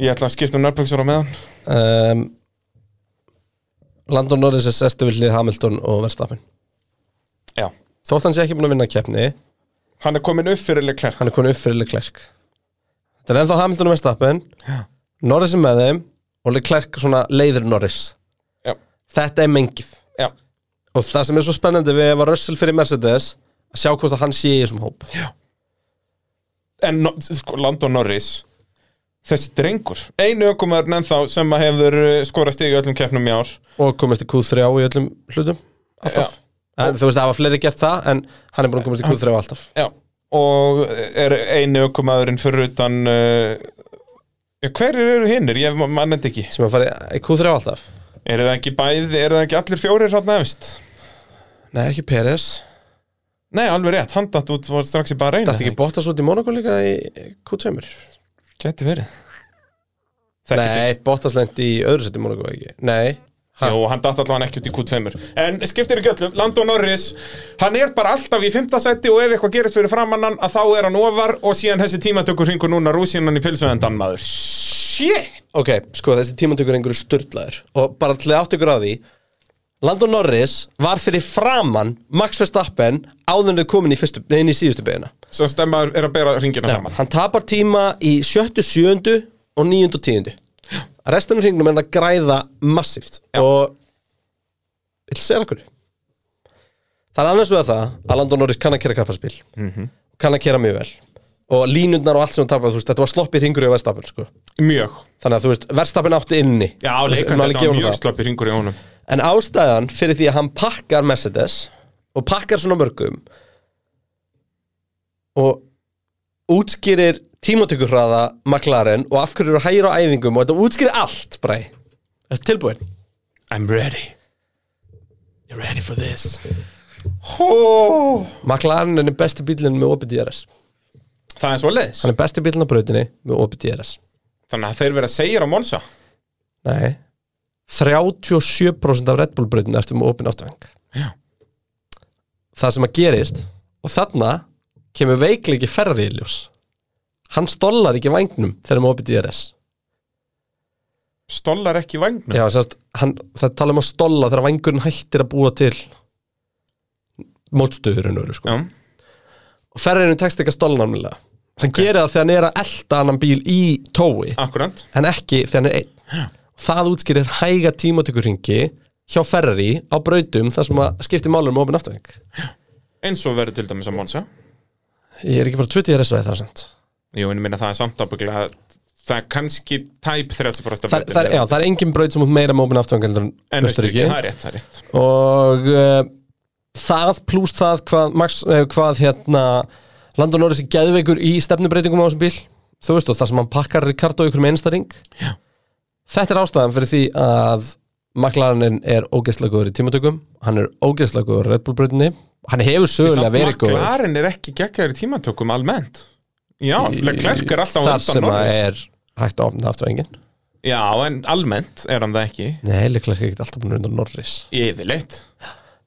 Speaker 2: Ég ætla að skipta um nörbjöksur á meðan
Speaker 3: um, Landon Norris er sestu við hlið Hamilton og Verstappen
Speaker 2: Já,
Speaker 3: Þótt hann sé ekki búin að vinna keppni
Speaker 2: hann er komin upp fyrir leikler
Speaker 3: Hann er komin upp fyrir Leclerc Þetta er ennþá Hamilton og Verstappen Norris er með þeim og Leclerc svona leiður Norris
Speaker 2: Já,
Speaker 3: Þetta er mengið
Speaker 2: já,
Speaker 3: Og það sem er svo spennandi við ef að Russell fyrir Mercedes að sjá hvort að hann sé í þessum hóp
Speaker 2: já. En no, sko, Landon Norris Þessi drengur Einu ökumæður ennþá sem að hefur uh, skorað stig í öllum keppnum í ár
Speaker 3: og komist í Q3 í öllum hlutum alltaf en, þú veist það hafa fleiri gert það en hann er búin að komast í Q3 alltaf
Speaker 2: Já, og er einu ökumæðurinn fyrir utan uh, já, Hverjir eru hinnir? Ég mannend ekki
Speaker 3: sem að fara í Q3 alltaf
Speaker 2: Eru það ekki bæði, eru það ekki allir fjórir hann efst?
Speaker 3: nei ekki Peres
Speaker 2: Nei, alveg rétt, hann datt út var strax í bara reyna
Speaker 3: dætti ekki Bottas út í Monaco líka í Q2
Speaker 2: Gæti verið Það geti-
Speaker 3: nei Bottas lendi í öðru seti í Monaco ekki nei ha?
Speaker 2: Jú, hann datt allan ekki út í Q2 En skiptir ekki öllum, Landon Norris Hann er bara alltaf í fymta seti og ef eitthvað gerist fyrir framannan að þá er hann ofar og síðan þessi tímatökur hringur núna rúsinan í pilsuðendan maður Shit
Speaker 3: ok sko þessi tímantökur einhverju sturdlaður og bara til að átt ykkur á því Landon Norris var fyrir framann Max Verstappen áðunlega komin í, fyrstu, nei, inn í síðustu beina
Speaker 2: Svo stemmaður er að bera ringina saman
Speaker 3: hann tapar tíma í sjöttu, sjöndu og níundu og tíundu restanum hringnum er hann að græða massíft og ég vil segja okkur það er annars vegar það að Landon Norris kann að kera kappaspil
Speaker 2: Mhm.
Speaker 3: kann að kera mjög vel og línundnar og allt sem hann tapar þú veist, þetta var sloppið hringur í verðstapin sko.
Speaker 2: Mjög
Speaker 3: þannig að þú veist, verðstapin átti inni
Speaker 2: Já,
Speaker 3: Þú veist,
Speaker 2: leikann
Speaker 3: maður
Speaker 2: þetta
Speaker 3: gefur
Speaker 2: var
Speaker 3: honum
Speaker 2: mjög
Speaker 3: það.
Speaker 2: slappir ringur í honum
Speaker 3: En ástæðan fyrir því að hann pakkar Mercedes og pakkar svona mörgum og útskýrir tímatökurhraða McLaren og af hverju eru hægir á æfingum og þetta útskýrir allt, bræ Er tilbúin?
Speaker 2: I'm ready
Speaker 3: You're ready for this
Speaker 2: Hó
Speaker 3: McLaren er besti bílinn með opið DRS
Speaker 2: Það er svo leiðis
Speaker 3: Hann er besti bílinn á brautinni með opið DRS
Speaker 2: Þannig að þeir vera segir á Monsa
Speaker 3: Nei 37% af Red Bull brautinni ertu með opið náttúrvang
Speaker 2: Já.
Speaker 3: Það sem að gerist og þarna kemur veikleiki ferri í ljós Hann stollar ekki vagnum þegar maður opið DRS
Speaker 2: Stollar ekki vagnum
Speaker 3: Já, sérst, hann, það tala um að stolla þegar vangurinn hættir að búa til mótstöðurinn öru sko.
Speaker 2: Já.
Speaker 3: og ferriðinu tekst ekki að stolla námiðlega hann gerir það þegar hann er að elta annan bíl í tói
Speaker 2: Akkurant
Speaker 3: en ekki þegar hann er einn það útskýrir hæga tímatökurringi hjá Ferrari á brautum þar sem að skipti málum um opinn afturveng
Speaker 2: eins og verður til dæmis að Monsa
Speaker 3: Ég er ekki bara 20 RS að það sent
Speaker 2: Jú, en ég minna það er samt ábygglega það er kannski tæp 30% af
Speaker 3: það, er- það, er-
Speaker 2: brautinni.
Speaker 3: já, það er engin braut sem út meira með opinn afturveng heldur en
Speaker 2: en Östuríki,
Speaker 3: Östuríki
Speaker 2: það er rétt, það er rétt
Speaker 3: og uh, það pluss það hvað, Max, eh, hvað hérna Landon Norris er geðveikur í stefnubreitingum á þessum bíl þú veist og þar sem hann pakkar Ricardo ykkur með einsta ring
Speaker 2: Já.
Speaker 3: þetta er ástæðan fyrir því að McLarenin er ógeðslega góður í tímatökum hann er ógeðslega góður í Red Bull brautinni hann hefur sögulega verið góður
Speaker 2: McLaren er ekki geggjaður í tímatökum almennt Já, Leclerc er alltaf á
Speaker 3: þar
Speaker 2: undan
Speaker 3: sem að
Speaker 2: Norris
Speaker 3: er hægt að opna aftur engin
Speaker 2: Já, en almennt er hann það ekki
Speaker 3: nei, Leclerc er ekkert alltaf búin undan Norris
Speaker 2: Yfirleitt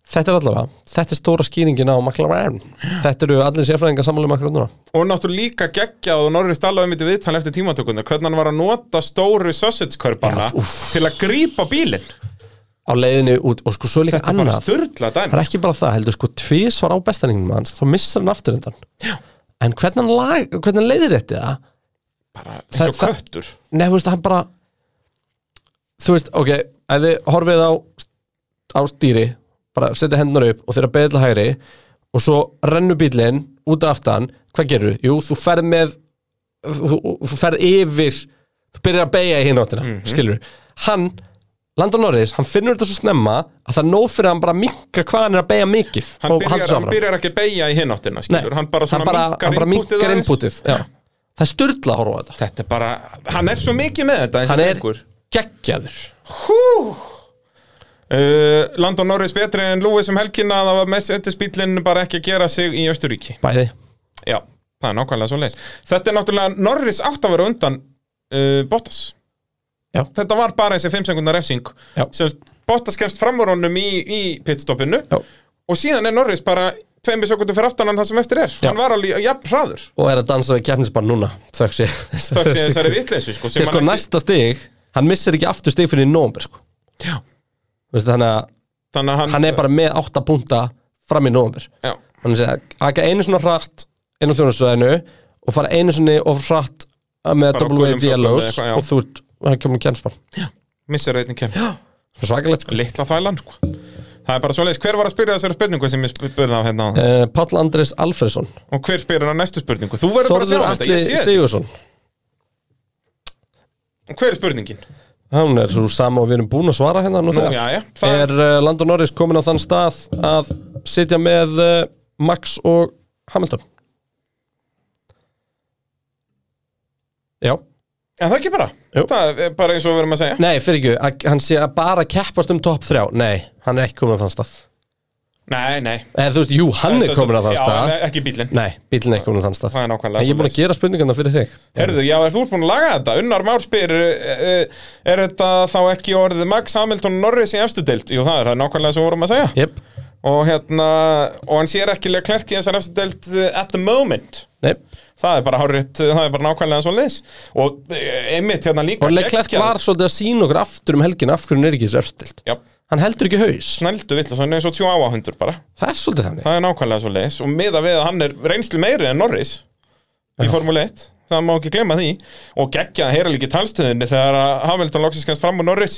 Speaker 3: þetta er allavega, þetta er stóra skýringin á McLaren þetta eru allir sérfræðingar sammála um McLaren núna
Speaker 2: Og náttúrulega líka geggjað og Norris talaði um þetta viðtal eftir tímatökuna Hvernig hann var að nota stóru sausage-körpana
Speaker 3: Já, úff.
Speaker 2: til að grípa bílinn
Speaker 3: á leiðinu út og sko svo er líka
Speaker 2: Þetta er bara
Speaker 3: annað
Speaker 2: störla
Speaker 3: það
Speaker 2: dæmi
Speaker 3: er ekki bara það, heldur sko tvís var á bestaningnum hans, þá missar hann aftur undan
Speaker 2: Já.
Speaker 3: en hvernig hann, lag, hvernig hann leiðir þetta það
Speaker 2: Bara eins og
Speaker 3: það-
Speaker 2: köttur
Speaker 3: Nei, þú veist, hann bara Þú veist, ok, ef þið horfið á á stýri, bara setja hendunar upp og þeirra beðið til hægri og svo rennur bílinn út af aftan hvað gerir þú? Jú, þú ferð með þú, þú ferð yfir þú byrjar að beigja í hinn áttina,
Speaker 2: Mhm.
Speaker 3: mm skilur hann, Landon Norris, hann finnur þetta svo snemma að það er nóg fyrir hann bara að minka hvað hann er að beigja mikið
Speaker 2: Hann
Speaker 3: og halda
Speaker 2: byrjar,
Speaker 3: svo
Speaker 2: hann
Speaker 3: áfram.
Speaker 2: byrjar ekki að beigja í hináttina skilur, hann bara svona
Speaker 3: hann bara, hann bara
Speaker 2: minnkar
Speaker 3: minkar
Speaker 2: inputið aðeins.
Speaker 3: inputið já. það er styrla að horfa á þetta
Speaker 2: Þetta er bara, hann er svo mikið með þetta
Speaker 3: hann er
Speaker 2: uh,
Speaker 3: geggjaður
Speaker 2: Landon Uh, Norris betri en Lewis um helgina Það var Mercedes bílinn bara ekki að gera sig í Östuríki
Speaker 3: bæði
Speaker 2: Já, það er nákvæmlega svo leis Þetta er náttúrulega Norris átt að vera undan uh, Bottas
Speaker 3: Já.
Speaker 2: Þetta var bara þessi 5 sekundar refsing
Speaker 3: Já.
Speaker 2: sem Bottas kemst framur honum í, í pitstoppinu
Speaker 3: Já.
Speaker 2: og síðan er Norris bara tveimur sekundur fyrir aftan hann það sem eftir er
Speaker 3: Já.
Speaker 2: Hann var alveg, já, hraður
Speaker 3: og er að dansa við keppnisbann núna þöggs ég
Speaker 2: Þökk sé þessari vitleysu sko, sem
Speaker 3: Þegar sko
Speaker 2: hann ekki-
Speaker 3: næsta stig, hann missir ekki aftur stig fyrir í nómber sko
Speaker 2: Já.
Speaker 3: Veistu, þannig að
Speaker 2: Þannig að hann,
Speaker 3: hann er bara með 8 punta fram í nómber
Speaker 2: Já,
Speaker 3: hann er að aka einu svona hratt inn á þjónastöðinu og fara einu svona of hratt með
Speaker 2: Bara á gulum
Speaker 3: WAD
Speaker 2: flöggum eða
Speaker 3: yellows
Speaker 2: eitthvað, já.
Speaker 3: og þú ert, hann kemur keppnisbann
Speaker 2: missir einnig kem
Speaker 3: svakalegt sko
Speaker 2: Litla þælan sko Það er bara svoleiðis, hver var að spyrja þessari spurningu sem ég sp- spurði á hérna á
Speaker 3: uh, Páll Andrés Alfredsson
Speaker 2: og hver spyrir að næstu spurningu? Þú verður bara að
Speaker 3: Þorður
Speaker 2: sjá þetta,
Speaker 3: Atli
Speaker 2: ég sé
Speaker 3: Sigursson
Speaker 2: þetta Hver er spurningin?
Speaker 3: Hún er svo sama og við erum búin að svara hérna nú
Speaker 2: Nú,
Speaker 3: þegar.
Speaker 2: jæja, það-
Speaker 3: Er uh, Landon Norris komin á þann stað að sitja með uh, Max og Hamilton? Já.
Speaker 2: En það er ekki bara
Speaker 3: Jú.
Speaker 2: Það er bara eins og við erum að segja
Speaker 3: Nei, fyrir ekki, að, hann sé að bara keppast um topp þrjá. Nei, hann er ekki komin á þann stað.
Speaker 2: Nei, nei
Speaker 3: Eða þú veist, jú, hann
Speaker 2: Svo-
Speaker 3: er komin á
Speaker 2: já,
Speaker 3: þann stað.
Speaker 2: en Ekki bílinn
Speaker 3: Nei, bílinn er ekki komin á þann stað.
Speaker 2: Það er nákvæmlega
Speaker 3: En ég er búin
Speaker 2: svoleiðis.
Speaker 3: að gera spurningarna fyrir þig.
Speaker 2: Herðu, já, er þú ert búin að laga þetta? Unnar Már spyr eh, eh, Er þetta þá ekki orðið Max Hamilton og Norris í efstu deild? Jú, það er það er nákvæmlega eins og við vorum að segja
Speaker 3: Jep,
Speaker 2: Og hérna, og hann sér ekki Leclerc í þessari efstu deild eh, at the moment
Speaker 3: nei.
Speaker 2: Það er bara hárétt, það er bara nákvæmlega svo leis Og eh, einmitt hérna líka
Speaker 3: Og Leclerc
Speaker 2: geggjað-
Speaker 3: var svolítið að sína okkur aftur um helgin af hverju hann er ekki þessu uppstilt.
Speaker 2: Já,
Speaker 3: Hann heldur ekki haus.
Speaker 2: snældu vill, þannig eins og tjó áhundur bara
Speaker 3: Það er svolítið þannig.
Speaker 2: Það er nákvæmlega svo leis Og miða við að hann er reynslu meiri en Norris Í Formule 1, það má ekki glemma því Og geggjað að heyra líka í talstöðinni Þegar að Hamilton loksins kemst fram á Norris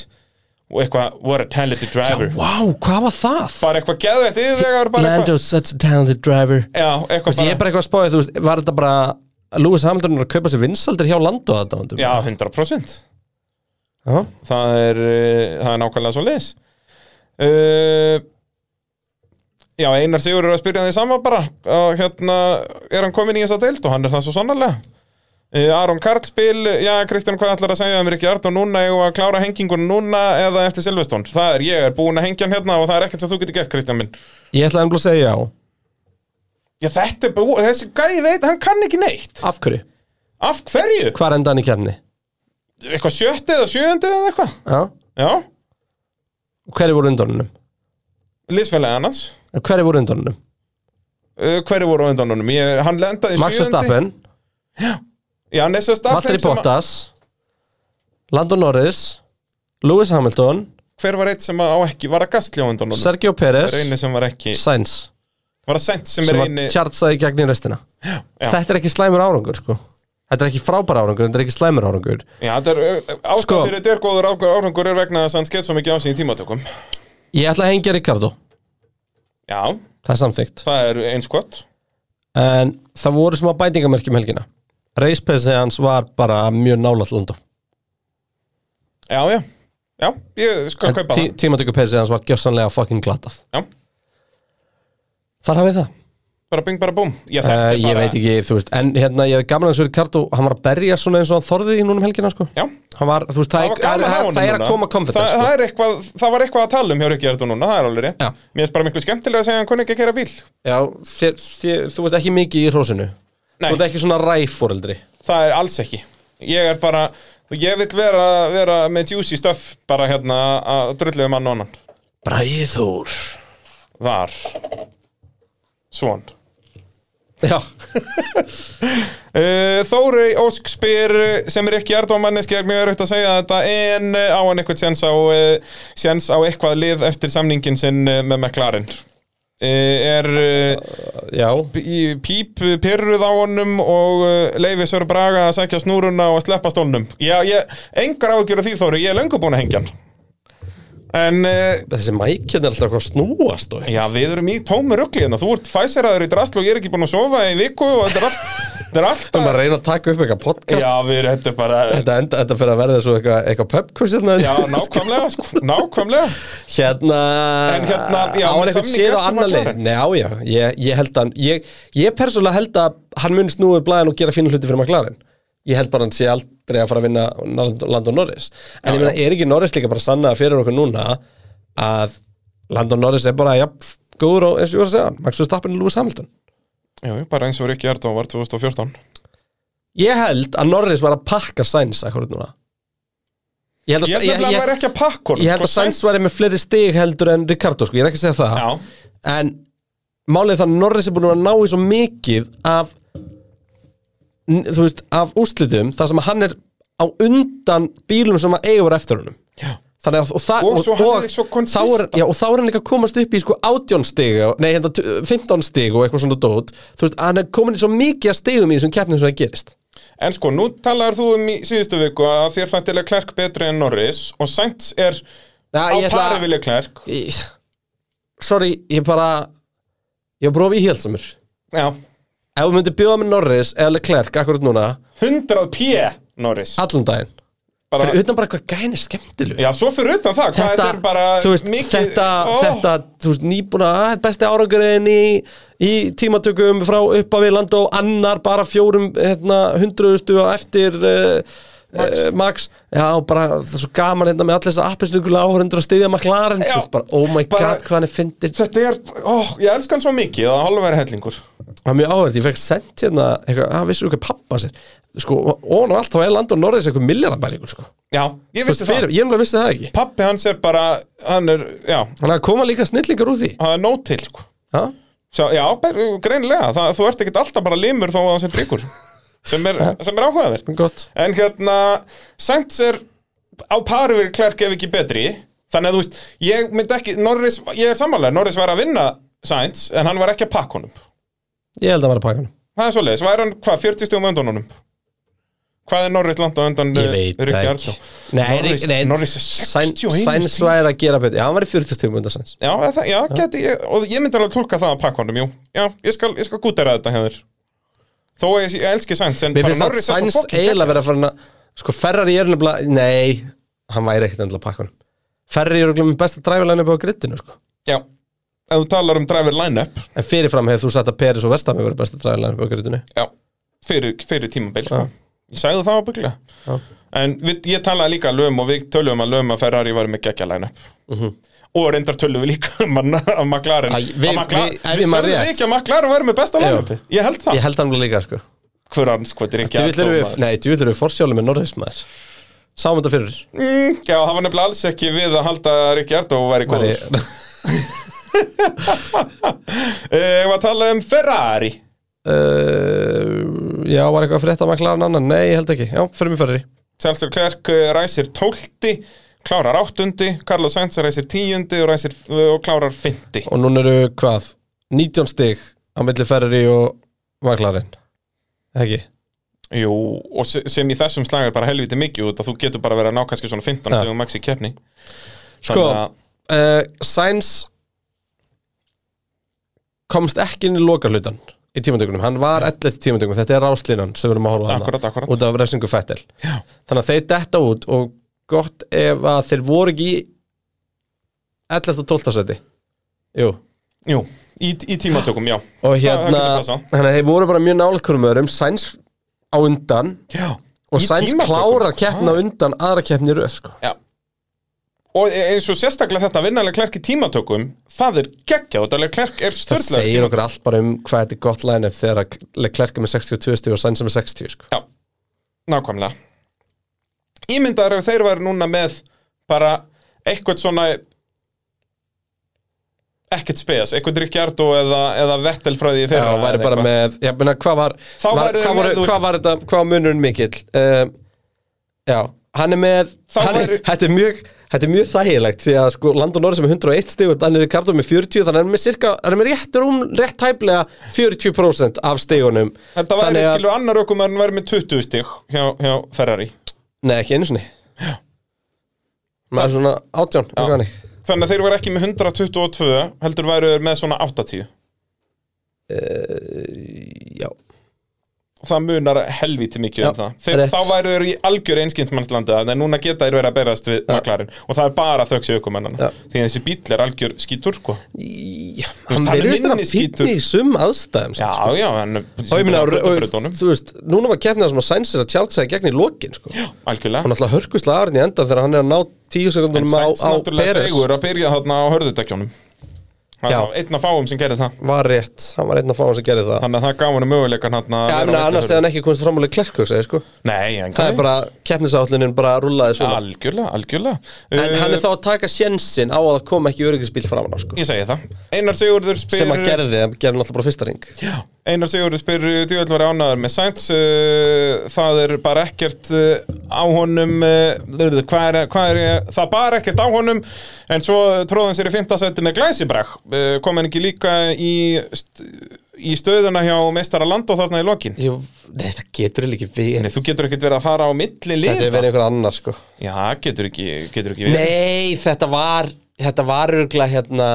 Speaker 2: Og eitthvað, what a talented driver
Speaker 3: Vá, hvað var það?
Speaker 2: Bara eitthvað geðvægt yfirvegar bara eitthvað
Speaker 3: Lando's such a talented driver
Speaker 2: Já, eitthvað
Speaker 3: Vist, Ég er
Speaker 2: bara
Speaker 3: bara eitthvað að spáði, þú veist, var þetta bara að Lewis Hamilton er að kaupa sér vinsaldir hjá Lando þetta vandum
Speaker 2: Já, 100%
Speaker 3: Já,
Speaker 2: það er, uh, það er nákvæmlega svo leis uh, Já, Einar Sigur er að spyrja því sama bara og hérna, er hann komin í þessa deild og hann er það svo sannarlega uh, Aron Karlspil, já Kristján hvað ætlar að segja um Rikki Ardó núna og að klára hengingun núna eða eftir Silveston það er, ég er búin að hengja hann hérna og það er ekkert sem þú getur gert Kristján minn
Speaker 3: Ég ætlaði nefnilega að segja já,
Speaker 2: Já, þetta er búið, þessi gæði veit, hann kann ekki neitt
Speaker 3: af hverju?
Speaker 2: Af hverju?
Speaker 3: Hvar enda hann í kemni?
Speaker 2: Eitthvað sjötti eða sjöundi eða eitthvað
Speaker 3: Já,
Speaker 2: Já,
Speaker 3: hverju voru undanunum?
Speaker 2: liðsfélagi annars
Speaker 3: Hverju voru undanunum?
Speaker 2: Uh, hverju voru á undan honum? Ég, hann lendaði í
Speaker 3: Max
Speaker 2: sjöundi.
Speaker 3: Verstappen,
Speaker 2: Já, Nessa Stappen
Speaker 3: Valtteri Bottas Lando Norris Lewis Hamilton,
Speaker 2: Hver var eitt sem að á ekki, var að gastli á undan honum?
Speaker 3: Sergio Perez
Speaker 2: Reini sem var ekki
Speaker 3: Sainz,
Speaker 2: Var að sent sem,
Speaker 3: sem
Speaker 2: er
Speaker 3: var
Speaker 2: eini
Speaker 3: tjartsaði gegn í restina
Speaker 2: já.
Speaker 3: Þetta er ekki slæmur árangur, sko Þetta er ekki frábær árangur, þetta er ekki slæmur árangur
Speaker 2: Já, þetta er uh, ástæð
Speaker 3: Sko.
Speaker 2: fyrir þetta er góður árangur er vegna þess að hann skeitt svo mikið á sig í tímatökum
Speaker 3: Ég ætla að hengja Ricardo,
Speaker 2: Já,
Speaker 3: það er samþygt
Speaker 2: það er eins gott
Speaker 3: En það voru smá bætingamerkjum helgina Reispesi hans var bara mjög nálægt London
Speaker 2: Já, já, já, ég skal kaupa
Speaker 3: Tí,
Speaker 2: það
Speaker 3: Tímatöku pesi hans var gjössanlega fucking glatað
Speaker 2: Já,
Speaker 3: Þar hafið það
Speaker 2: bara bing, bara búm Ég,
Speaker 3: uh, Ég veit ekki, þú veist En hérna, ég hef gaman að þessu Ricardo Hann var að berja svona eins og hann þorðið í núna um helgina sko.
Speaker 2: Já,
Speaker 3: Hann var, þú veist, það,
Speaker 2: það
Speaker 3: er,
Speaker 2: var gaman að hafa
Speaker 3: það,
Speaker 2: honum
Speaker 3: það er að
Speaker 2: núna.
Speaker 3: koma
Speaker 2: það,
Speaker 3: confidence
Speaker 2: það,
Speaker 3: sko.
Speaker 2: er eitthvað, það var eitthvað að tala um hjá Rikki Erdu núna, það er alveg rétt
Speaker 3: Já.
Speaker 2: Mér finnst bara miklu skemmtilega að segja hann kunni ekki að kera bíl
Speaker 3: Já, þér, þér, þú ert ekki mikið í hrósinu
Speaker 2: Nei.
Speaker 3: Þú ert ekki svona ræforeldri
Speaker 2: Það er alls ekki Ég er bara, ég vil vera, vera með juicy stuff bara hérna að drulluðu mann og annan
Speaker 3: Bræður
Speaker 2: Þar Svon
Speaker 3: Já,
Speaker 2: uh, Þórey Ósk spyr uh, sem er ekki erdomanneski er mjög erfitt að segja þetta en uh, á hann eitthvað séns á, uh, séns á eitthvað lið eftir samningin sinn uh, með McLaren uh, Er uh,
Speaker 3: já
Speaker 2: í- píp pyrruð á honum og uh, leifi Sör Braga að sækja snúruna og að sleppa stólnum Já, ég, engar ágjur af því Þórey, ég er löngu búin að hengja hann En uh,
Speaker 3: Þessi mækjan er alltaf eitthvað að snúast og
Speaker 2: Já, við erum í tómi ruggli hérna, þú ert fæseraður í drasl og ég er ekki búin að sofa í viku og þetta er allt, þetta er allt
Speaker 3: Það er að reyna að taka upp eitthvað podcast
Speaker 2: Já, við erum, þetta er bara,
Speaker 3: Þetta, enda, þetta fyrir að verða svo eitthvað, eitthvað pubquiz hérna
Speaker 2: já, nákvæmlega, sko, nákvæmlega
Speaker 3: Hérna,
Speaker 2: En hérna, já,
Speaker 3: á hann eitthvað
Speaker 2: með samning
Speaker 3: séð á
Speaker 2: eftir
Speaker 3: annan leik
Speaker 2: McLaren.
Speaker 3: Nei, Já, já, ég, ég held að hann- ég, ég persónulega held að hann muni snúið blæðin og gera fínu hluti fyrir McLaren Ég held bara hann sé aldrei að fara að vinna Landon Norris En ég meina, er ekki Norris líka bara sanna fyrir okkur núna að Landon Norris er bara, já, góður og eins og ég var að segja hann Max Verstappen og Lewis Hamilton
Speaker 2: Jú, jú, bara eins og Rikki Erdó var 2014
Speaker 3: Ég held að Norris var að pakka Sainz akkurat núna Ég held að,
Speaker 2: Ég held nefnilega að hann var ekki að pakka honum
Speaker 3: Ég held
Speaker 2: sko,
Speaker 3: að Sainz væri með fleiri stig heldur en Ricardo sko, ég er ekki að segja það
Speaker 2: Já,
Speaker 3: En málið er það að Norris er búin að vera að ná í svo mikið af n- þú veist, af úrslitum þar sem að hann er á undan bílum sem að eiga voru eftir honum já. Þannig að og, það,
Speaker 2: Og svo hann er svo
Speaker 3: þá er,
Speaker 2: konsistent.
Speaker 3: já, og þá er hann ekki að komast upp í sko 18 stig og- Nei, hérna tu- 15 stig og eitthvað svona dót Þú veist, hann er komin í svo mikið að stigum í þessum keppnum sem það gerist
Speaker 2: en sko, nú talaðar þú um í síðustu viku að þér þættilega Klerk betri en Norris og Sainz er
Speaker 3: Já,
Speaker 2: á
Speaker 3: ég ætla-
Speaker 2: pari vilja Klerk
Speaker 3: ég, Sorry, ég bara Ég var brófi í hélsamur
Speaker 2: Já,
Speaker 3: Ef þú myndir bjóða með Norris eða Leclerc akkurat núna,
Speaker 2: 100 p Norris
Speaker 3: allan daginn
Speaker 2: bara,
Speaker 3: Ah, Fyrir utan bara eitthvað gæni skemmtilegu
Speaker 2: Já, svo fyrir utan það, hvað þetta er bara
Speaker 3: þú veist, þetta,
Speaker 2: Ó,
Speaker 3: þetta, þú veist, nýbúna að þetta er besti árangurinn í, í tímatökum frá upp af Íland og annar bara fjórum, hérna, hundruðustu á eftir uh, Max. Max, já, bara það er svo gaman hérna með allir þessar appisnugula áhörundur að styðja McLaren,
Speaker 2: Já.
Speaker 3: þú veist, bara, oh my
Speaker 2: Bara-
Speaker 3: god, hvað hann er fyndin
Speaker 2: Þetta er, ó, ég elska hann svo mikið að hálfa verið hellingur
Speaker 3: Það var mjög áhverð, ég fekk sendt hérna eitthvað, að vissur hvað pappa sér sko, og á allt þá er Landon Norris eitthvað milljarabæringur sko.
Speaker 2: Já, ég
Speaker 3: Þú veist,
Speaker 2: vissi það
Speaker 3: fyrir, ég umlega vissi það ekki
Speaker 2: Pappi hans er bara, hann er, já,
Speaker 3: Þannig að koma líka snillingar úr því
Speaker 2: hann er nóg til, sko
Speaker 3: ha?
Speaker 2: Sjá, já, ber- greinilega, það, þú ert ekkert alltaf bara limur þó að hann sé drikkur sem er, sem er áhugavert
Speaker 3: Gott
Speaker 2: En hérna, Sainz er á pari við Klerk ef ekki betri Þannig að þú veist, ég myndi ekki, Norris, ég er samanlega, Norris var að vinna Sainz En hann var ekki að pakka honum
Speaker 3: Ég held að vera pakkanum
Speaker 2: Það er svoleiðis, væri hann hvað, 40 stíðum undan honum? Hvað er Norris langt á undan eh,
Speaker 3: Ég veit það ekki Nei,
Speaker 2: Norris-
Speaker 3: nei, nei,
Speaker 2: Norris er
Speaker 3: Sain-
Speaker 2: 61
Speaker 3: Sainz
Speaker 2: stig.
Speaker 3: væri að gera betur Já, hann var í 40 stífum undan Sainz
Speaker 2: Já, eða það, já, geti ég, og ég myndi alveg tólka það að pakka honum, jú Já, ég skal, ég skal gútera þetta hefur Þó að ég, ég elski Sainz, en
Speaker 3: Mér
Speaker 2: bara
Speaker 3: finnst að
Speaker 2: Norris er
Speaker 3: Sainz
Speaker 2: svo fokkin
Speaker 3: eiginlega verið að fara að Sko, Ferrari er nefnilega Nei, hann væri ekkert endilega pakkanum Ferrari er nefnilega besta dræfilegni upp á grittinu sko.
Speaker 2: Já, ef þú talar um driver line-up
Speaker 3: En fyrirfram hefur þú sagt að Peris og Vestami verið besta dræfilegni upp á grittinu
Speaker 2: Já, fyrir, fyrir tímabil, sko Ég sagði það ábygglega
Speaker 3: Já.
Speaker 2: En við, ég talaði líka alveg um og við töluðum alveg um að Ferrari var með geggja line-up Og reyndar töluðum við líka um að að McLaren
Speaker 3: Mhm. Æ, við-
Speaker 2: að McLaren-
Speaker 3: við- ef
Speaker 2: Við
Speaker 3: ég man
Speaker 2: sögðum
Speaker 3: rétt.
Speaker 2: ekki að McLaren væri með besta
Speaker 3: Já.
Speaker 2: line-upi Ég held það
Speaker 3: Ég held hann líka sko
Speaker 2: Hver hans, hvað er ekki
Speaker 3: Djúvill erum við, nei, djúvill erum við forsjálum með Norris maður Sáum þetta fyrir
Speaker 2: Mm, já, það var nefnilega alls ekki við að halda Rikki Erdó og væri góður.
Speaker 3: Væri-
Speaker 2: Eh, Ég var að tala um Ferrari.
Speaker 3: Uh, já, var eitthvað að frétta maður klara en annan? Nei, ég held ekki. Já, fyrir mig fyrir.
Speaker 2: Seltjör Klerk eh, ræsir tólti, klárar áttundi, Carlos Sainz ræsir tíundi og, ræsir, eh, og klárar finti.
Speaker 3: Og núna eru hvað? 19 stig á milli Ferrari og maklarinn. Ekki?
Speaker 2: Jú, og se- sem í þessum slag er bara helviti mikið út að þú getur bara verið að ná kannski svona 15
Speaker 3: Já.
Speaker 2: stegum max í keppni.
Speaker 3: Sko,
Speaker 2: Þannig að-
Speaker 3: uh, Sainz komst ekki inn í lokarlutan í tímatökunum, hann var 11 tímatökunum þetta er ráslínan sem við erum að horfa á þarna,
Speaker 2: Akkurat, akkurat.
Speaker 3: út af refsingu Fettel Já. þannig að þeir detta út og gott ef að þeir voru ekki í 11. og 12. seti Jú,
Speaker 2: Jú, í, í tímatökum, já
Speaker 3: og
Speaker 2: það
Speaker 3: hérna
Speaker 2: getur passað.
Speaker 3: þannig að þeir voru bara mjög nálægt hverjum öðrum Sainz á undan
Speaker 2: Já,
Speaker 3: og
Speaker 2: í
Speaker 3: Sainz
Speaker 2: tímatökum,
Speaker 3: klárar
Speaker 2: sko.
Speaker 3: keppna á undan aðra keppni í röð sko.
Speaker 2: Já Og e- eins og sérstaklega þetta vinnalega klerk í tímatökum Það er geggjað og þetta klerk er
Speaker 3: það
Speaker 2: störlega
Speaker 3: segir okkur allt bara um hvað þetta er gott line-up þegar að Leclerc er með 62 stíð og Sainz er með 60 sko.
Speaker 2: Já, nákvæmlega Ímyndaður ef þeir væri núna með bara eitthvað svona ekkert spes, eitthvað Ricciardo eða, eða Vettel frá því í
Speaker 3: Já,
Speaker 2: fyrra
Speaker 3: og væri
Speaker 2: eða
Speaker 3: bara
Speaker 2: eitthvað.
Speaker 3: með, já, meina, hvað var,
Speaker 2: Þá
Speaker 3: var,
Speaker 2: væru þeir
Speaker 3: hvað,
Speaker 2: með,
Speaker 3: voru,
Speaker 2: þú veist-
Speaker 3: hvað var þetta, hvað var munurinn mikill? Um, já, hann er með,
Speaker 2: Þá
Speaker 3: hann, er-
Speaker 2: væru-
Speaker 3: þetta, er mjög, þetta er mjög þægilegt því að sko Landon Norris er með 101 stig og Daniel Ricardo með 40 þannig að hann er með cirka, hann er með rétt rúm, rétt hæflega 40% af stigunum
Speaker 2: Þetta væri skilur annar okkur maður væri með 20 stig hjá, hjá Ferrari
Speaker 3: Nei, ekki einu sinni Maður er svona átján, eitthvað hannig
Speaker 2: Þannig að þeir væri ekki með 122 heldur væri þeir með svona 80
Speaker 3: Eh, Já,
Speaker 2: það munar helvítið mikið
Speaker 3: Já,
Speaker 2: um það þeir,
Speaker 3: rétt.
Speaker 2: þá væru þeir í algjör einskynnsmannslandi en núna geta þeir verið að berast við maklarinn og það er bara þöggs í
Speaker 3: Já.
Speaker 2: aukumennana því að þessi bíll er algjör skítur sko.
Speaker 3: Já,
Speaker 2: veist,
Speaker 3: hann
Speaker 2: hann er
Speaker 3: verður þetta
Speaker 2: minni skítur.
Speaker 3: fínni í sum aðstæðum
Speaker 2: já,
Speaker 3: samt, sko.
Speaker 2: já, en eh,
Speaker 3: og ég meina,
Speaker 2: situr á
Speaker 3: og- og-
Speaker 2: götubrautunum.
Speaker 3: þú veist, núna var keppnið það sem að Sainz er að tjálta sig gegn í lokin sko. hann
Speaker 2: algjörlega
Speaker 3: alltaf hörkuslega aðrinn í enda þegar hann er að ná tíu sekundunum á,
Speaker 2: Sainz
Speaker 3: á
Speaker 2: náttúrulega
Speaker 3: Peres
Speaker 2: segur að byrja þarna á hörðutekjónum
Speaker 3: Já.
Speaker 2: einn af fáum sem gerir það
Speaker 3: var rétt, hann var einn af fáum sem gerði það
Speaker 2: þannig að það gaf hann möguleikan hann
Speaker 3: Já, ég meina, annars hefði hann ekki komist fram alveg klerk hugsaði, sko.
Speaker 2: nei, en
Speaker 3: það er bara, keppnisátlunin bara rúlaði svona
Speaker 2: algjörlega, algjörlega
Speaker 3: en
Speaker 2: Uh,
Speaker 3: hann er þá að taka sjensin á að koma ekki öryggisbíl fram hann sko.
Speaker 2: ég segi það Einar Sigurður spyr
Speaker 3: sem að gerði, það gerði náttúrulega bara fyrsta ring
Speaker 2: Já, Einar Sigurður spyr djúvel var ánæður með Sainz uh, það er bara ekkert uh, á honum uh, hvað er, hvað er, það bara ekkert á honum en svo tróðan sér í fymta seti með glæsibrag uh, kom hann ekki líka í st í stöðuna hjá meistara land og þarna í lokin
Speaker 3: Jú, nei, það getur eiginlega ekki
Speaker 2: Nei,
Speaker 3: verið
Speaker 2: þú getur ekkert verið að fara á
Speaker 3: þetta
Speaker 2: milli
Speaker 3: er
Speaker 2: liða
Speaker 3: verið einhver annar sko.
Speaker 2: Já, getur ekki, getur ekki verið
Speaker 3: Nei, þetta var þetta var örgla hérna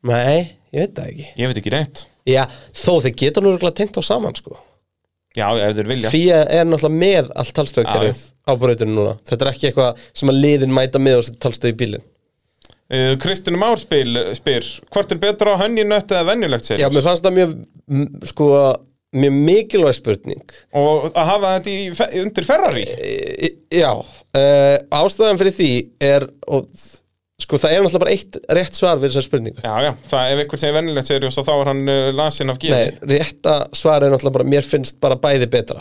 Speaker 3: Nei, ég veit það ekki
Speaker 2: Ég veit ekki neitt
Speaker 3: Já, þó þeir geta nú örgla tengt á saman sko
Speaker 2: Já, ef þeir vilja
Speaker 3: Fía er náttúrulega með allt talstöðkerfið á brautinu núna Þetta er ekki eitthvað sem að liðin mæta með og setja talstöð í bílinn
Speaker 2: uh, Kristinn Már spyr, spyr Hvort er betra á hönnjunött eða venjulegt sér
Speaker 3: Já, mér fannst það mjög, m- sko, mjög mikilvæg spurning
Speaker 2: Og að hafa þetta í, fe- undir Ferrari
Speaker 3: E- e- Já, uh, ástæðan fyrir því er og, sko, það er náttúrulega bara eitt rétt svar við þessar spurningu
Speaker 2: Já, já, það ef einhvern segir venjulegt seriós þá er hann uh, lasin af
Speaker 3: Nei,
Speaker 2: gíði
Speaker 3: rétta svar er náttúrulega bara mér finnst bara bæði betra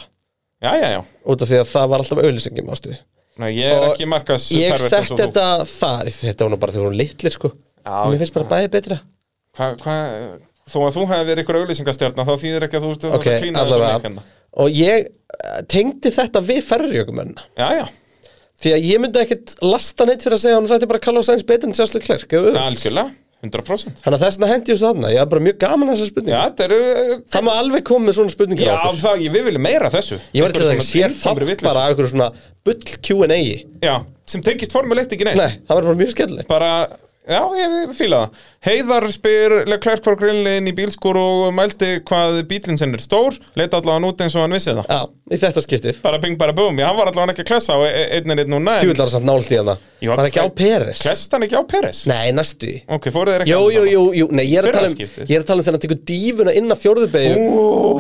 Speaker 2: Já, já, já,
Speaker 3: út af því að það var alltaf auðlýsingin ástu
Speaker 2: Nei, ég er
Speaker 3: Og
Speaker 2: ekki markas
Speaker 3: ég sett þetta þar þetta var nú bara þegar hún litlir sko
Speaker 2: Já.
Speaker 3: mér finnst bara bæði betra
Speaker 2: Hva, hva, Þó að þú hefði verið ykkur auðlýsingastjarna þá þýðir ekki að þú ert
Speaker 3: ok,
Speaker 2: að klína þessu leik
Speaker 3: allavega
Speaker 2: hérna.
Speaker 3: og ég eh, tengdi þetta við ferriökumenn
Speaker 2: Já, já,
Speaker 3: því að ég myndi ekkit lasta neitt fyrir að segja hann þetta er bara Carlos Sainz betur en Sjáslu Klerk þannig
Speaker 2: algjörlega, 100%
Speaker 3: að þess vegna hendi ég þessu þarna ég er bara mjög gaman að þessa
Speaker 2: Já,
Speaker 3: spurningu
Speaker 2: þetta eru
Speaker 3: það má alveg koma með svona spurningar
Speaker 2: Já,
Speaker 3: á okkur
Speaker 2: það, við viljum meira af þessu
Speaker 3: ég var til að
Speaker 2: Einhverju svona
Speaker 3: sé
Speaker 2: eintómri
Speaker 3: þátt
Speaker 2: vitleysu.
Speaker 3: bara að einhverju svona bull Q&A nei,
Speaker 2: Já, sem tengist formuleitt ekki neitt
Speaker 3: það var bara mjög skemmtilegt
Speaker 2: Bara, já, ég ég fíla það Heiðar spyr Leclerc fór grillin í bílskur og mældi hvað bílinn sinn er stór Leita allavega hann út eins og hann vissi það
Speaker 3: já, í þetta skiptið
Speaker 2: bara bing bara búm, já hann var allavega ekki að klessa á e- e- einn en einn núna en-
Speaker 3: djúvillar samt nált í hana
Speaker 2: Ég var-
Speaker 3: var ekki á Peres
Speaker 2: klesst hann ekki á Peres?
Speaker 3: nei, næstu í
Speaker 2: ok, fóruð þeir ekki
Speaker 3: Jú, jú,
Speaker 2: alveg saman?
Speaker 3: jú, jú, nei, ég er að
Speaker 2: Fyrra
Speaker 3: tala um
Speaker 2: skiptið.
Speaker 3: Ég er að tala um þegar hann tekur dífuna inn af fjórðubegin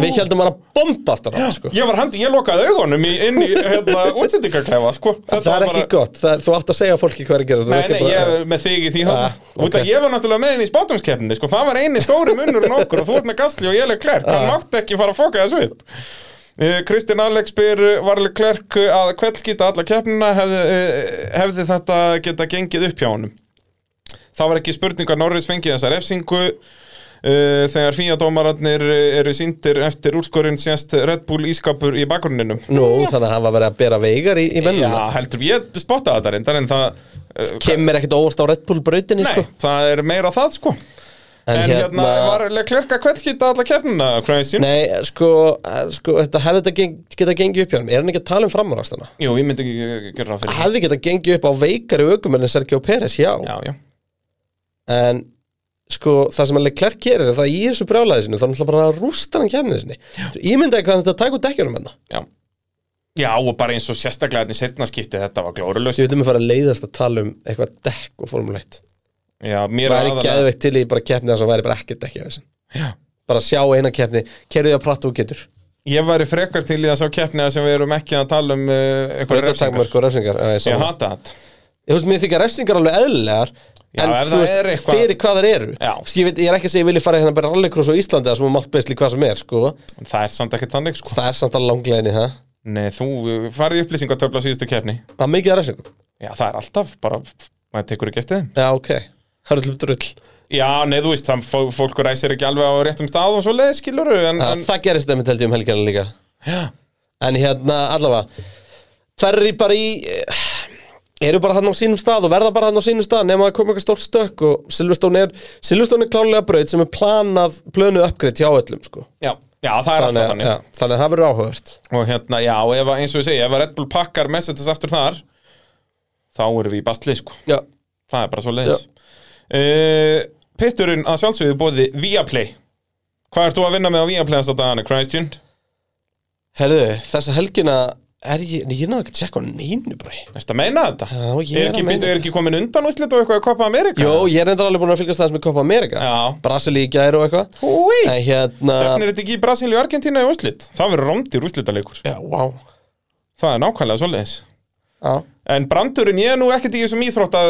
Speaker 3: Við heldum hann að bomba aftur hann, sko
Speaker 2: ég var handi, ég lokaði augunum í, inn í hérna, útsendingaklefa sko. Þetta
Speaker 3: Það er
Speaker 2: var
Speaker 3: ekki gott, það er, þú átt að segja fólki hvað er að gera þú
Speaker 2: Nei,
Speaker 3: ert
Speaker 2: nei,
Speaker 3: ekki bara-
Speaker 2: ég er með þig í því ah,
Speaker 3: Ah,
Speaker 2: Út
Speaker 3: ok.
Speaker 2: að ég var náttúrulega með henni í spátumskeppninni sko. Það var eini stóri munnur en okkur og þú ert með Gastli og ég er Klerk Hann
Speaker 3: Ah.
Speaker 2: mátti ekki fara að foka þessu upp Eh, Kristinn Alex spyr eh, var Klerk að kveldskýta alla keppnina hefði, eh, hefði þetta geta gengið upp hjá honum Það var ekki spurning að Norris fengi þessa refsingu Uh, þegar fíadómararnir eru sýndir eftir úrskorinn sést Red Bull ískapur í bakgrunninum
Speaker 3: Nú, þannig að hann var verið að bera veigar í, í
Speaker 2: Já,
Speaker 3: mennuna
Speaker 2: heldur, ég spottaði þetta reyndar en það uh,
Speaker 3: Kemur ekkert óvart á Red Bull brautinni,
Speaker 2: Nei,
Speaker 3: sko
Speaker 2: það er meira það sko En, hérna, var Leclerc að kveldkýta alla keppnina, Christian?
Speaker 3: Nei, sko, eh, sko þetta hefði þetta geng, geta gengið upp hjá hann Er hann ekki að tala um framúrastana?
Speaker 2: Jú, ég myndi ekki gera það fyrir því.
Speaker 3: Hefði geta gengið upp á veikari aukumennin Sergio Pérez, já.
Speaker 2: Já, já,
Speaker 3: En sko, það sem að Leclerc gerir er það að í þessu brjálæði sinu, þá er náttúrulega bara að rústa hann kemnið sinni Ímyndaði hvað þetta tæk úr dekkjunum hérna. hennar
Speaker 2: já Já, og bara eins og sérstaklega þetta í setna skipti þetta var glórulust
Speaker 3: Ég veitum að fara að leiðast að tala um eitthvað dekk og formulegt
Speaker 2: Já, mér
Speaker 3: Það er
Speaker 2: aðalega-
Speaker 3: geðveikt til í bara keppni þess að væri bara ekkert dekki á þessu
Speaker 2: Já.
Speaker 3: Bara sjá eina keppni, kerðu því að prata og getur
Speaker 2: Ég væri frekar til í að sá keppni þar sem við erum ekki að tala um uh, eitthvað refsingar
Speaker 3: Brautartakmörk og refsingar já, Ég
Speaker 2: Ég
Speaker 3: sama.
Speaker 2: hata þetta
Speaker 3: Ég veist, mér þykja refsingar alveg eðlilegar
Speaker 2: Já,
Speaker 3: en
Speaker 2: ef
Speaker 3: þú
Speaker 2: það
Speaker 3: veist,
Speaker 2: er eitthvað-
Speaker 3: fyrir hvað þær eru
Speaker 2: Já.
Speaker 3: Þú veist, ég, veit, ég er ekki að segja ég vilja fara í hérna bara rallycross á Íslandi það sem er máttbeisli hvað sem er sko.
Speaker 2: En Það er samt ekki þannig sko
Speaker 3: það er samt að langleginni það
Speaker 2: Nei, þú uh, farið í upplýsingatöfla síðustu keppni
Speaker 3: það er mikið að refsingum
Speaker 2: Já, það er alltaf bara maður tekur ekki eftir þeim
Speaker 3: Já, ok. Það er allum drull.
Speaker 2: Já, nei, þú veist, það fó- fólk ræsir ekki alveg á réttum stað og svo leiðis, skilur en,
Speaker 3: En,
Speaker 2: en,
Speaker 3: það gerist nefnir teldi um helgina líka.
Speaker 2: já,
Speaker 3: En hérna, allavega, ferri bara í, eh, eru bara hann á sínum stað og verða bara hann á sínum stað nema að koma eitthvað stórt stökk og Silvestóni er, Silvestóni er klálega braut sem er planað, plönuð uppgreitt hjá öllum, sko.
Speaker 2: já, já, það er alltaf þannig
Speaker 3: ja, þannig að það verður áhugavert.
Speaker 2: Og hérna, já, ef, að- eins og ég segi, ef að Red Bull pakkar Mercedes aftur þar þá erum við í bastli, sko
Speaker 3: Já.
Speaker 2: Það er bara svo leiðis Pitturinn að sjálfsögðu bóði Viaplay Hvað ert þú að vinna með á Viaplay þess að dagana, Christian?
Speaker 3: Herðu, þessa helgina er ég, nei, ég náðu ekki að tjekka á neinu bara.
Speaker 2: Ertu að meina þetta?
Speaker 3: Já, ég
Speaker 2: er
Speaker 3: er
Speaker 2: ekki,
Speaker 3: að meina
Speaker 2: bíddu, Er ekki komin undan úslit og eitthvað að kopa Amerika?
Speaker 3: Jó, ég er reyndar alveg búin að fylgast aðeins með Copa America.
Speaker 2: Já.
Speaker 3: Brasilíu í gæri og eitthvað.
Speaker 2: Húi
Speaker 3: En hérna...
Speaker 2: Stefnir þetta ekki í Brasil og Argentína í úslit? Það verður rómdir úslitaleikur
Speaker 3: Já, wow.
Speaker 2: Það er nákvæmlega svoleiðis
Speaker 3: Já.
Speaker 2: En brandurinn, ég er nú ekkert í þessum íþrótta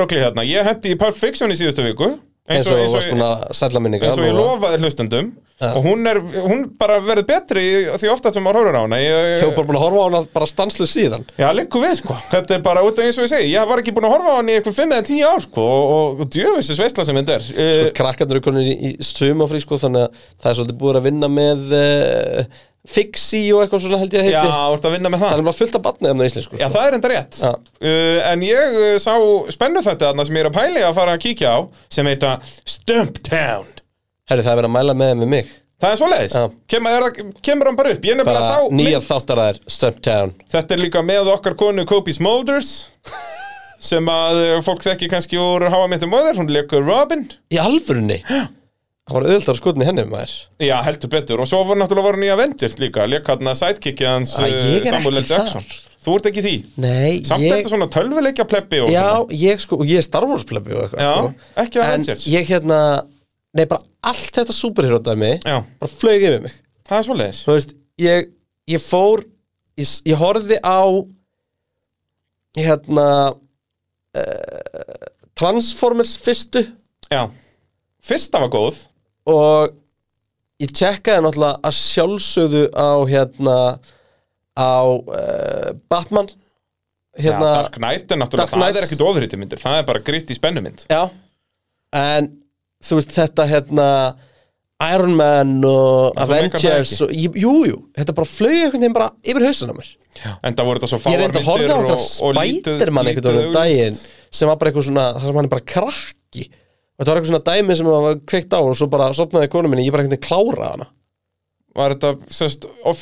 Speaker 2: rögli hérna Ég hendi í Pulp Fiction í síðustu viku
Speaker 3: eins og þú varst búin að sætla minninga
Speaker 2: eins og ég lofaði hlustendum Og hún, er, hún bara verður betri í- því ofta sem maður horfir á hana Ég,
Speaker 3: Ég var bara búin að horfa á hana bara stanslu síðan
Speaker 2: Já, lengur við sko, þetta er bara út af eins og ég segi Ég var ekki búin að horfa á hann í eitthvað 5 eða 10 ár sko Og, og, og djöfisins veistla sem þetta er e,
Speaker 3: Sko krakkarnir eru konin í, í sumafrí sko Þannig að það er svolítið búið að vinna með uh, Fixi og eitthvað svona held ég að
Speaker 2: Já,
Speaker 3: heiti
Speaker 2: þú ert að vinna með
Speaker 3: Það
Speaker 2: það
Speaker 3: er bara fullt af batnið um það ísli sko
Speaker 2: Já, það er enda rétt
Speaker 3: Já.
Speaker 2: uh, En ég uh, sá spennu þetta þarna sem ég er að pæli að fara að kíkja á Sem heita Stumptown
Speaker 3: Herri það er verið að mæla með þeim við mig
Speaker 2: Það er svoleiðis
Speaker 3: Já.
Speaker 2: Kem, er, það- Kemur hann bara upp, ég er nefnilega
Speaker 3: Bara
Speaker 2: sá
Speaker 3: nýjar
Speaker 2: mynd-
Speaker 3: þáttaræðir, Stumptown
Speaker 2: Þetta er líka með okkar konu Kobe Smulders Sem að uh, fólk þekki kannski úr Háa mitt um öður, hún leikur Robin
Speaker 3: Í alvörunni Það var auðvitað skotin í henni maður
Speaker 2: Já, heldur betur Og svo var náttúrulega var hann í Avengers líka Lekk hann að sidekickið hans
Speaker 3: Æ, ég er
Speaker 2: eh,
Speaker 3: ekki
Speaker 2: Samuel L. Jackson Þú ert ekki í því
Speaker 3: Nei,
Speaker 2: Samt ég...
Speaker 3: ég
Speaker 2: þetta svona tölvuleikja pleppi og
Speaker 3: Já,
Speaker 2: svona
Speaker 3: ég sko, og ég er Star Wars plebbi og eitthvað
Speaker 2: Já,
Speaker 3: sko.
Speaker 2: ekki
Speaker 3: En
Speaker 2: Avengers
Speaker 3: ég hérna Nei, bara allt þetta superhero dæmi
Speaker 2: Já,
Speaker 3: Bara flög yfir mig
Speaker 2: það er svoleiðis
Speaker 3: þú veist, ég, ég fór ég, ég horfði á hérna uh, Transformers fyrstu
Speaker 2: Já Fyrsta var góð
Speaker 3: og ég tjekkaði náttúrulega að sjálfsögðu á hérna á uh, Batman hérna,
Speaker 2: Já, Dark Knight er náttúrulega
Speaker 3: Dark Knight.
Speaker 2: Það er ekkit ofrýtti myndir Það er bara gritt í spennumynd
Speaker 3: já en þú veist þetta hérna Iron Man og
Speaker 2: þú meikar það
Speaker 3: Avengers
Speaker 2: ekki.
Speaker 3: og, jú, jú, þetta bara flög einhvern veginn bara yfir hausin á mér
Speaker 2: En það voru þetta svo
Speaker 3: Ég
Speaker 2: fáar
Speaker 3: reyndi að horfa á
Speaker 2: myndir
Speaker 3: okkar Spiderman einhvern veginn um daginn sem var bara eitthvað svona, það sem hann er bara krakki og þetta var eitthvað svona dæmi sem hann var kveikt á og svo bara sopnaði konu minni, ég bara einhvern veginn kláraði hana
Speaker 2: Var þetta, sérst, of,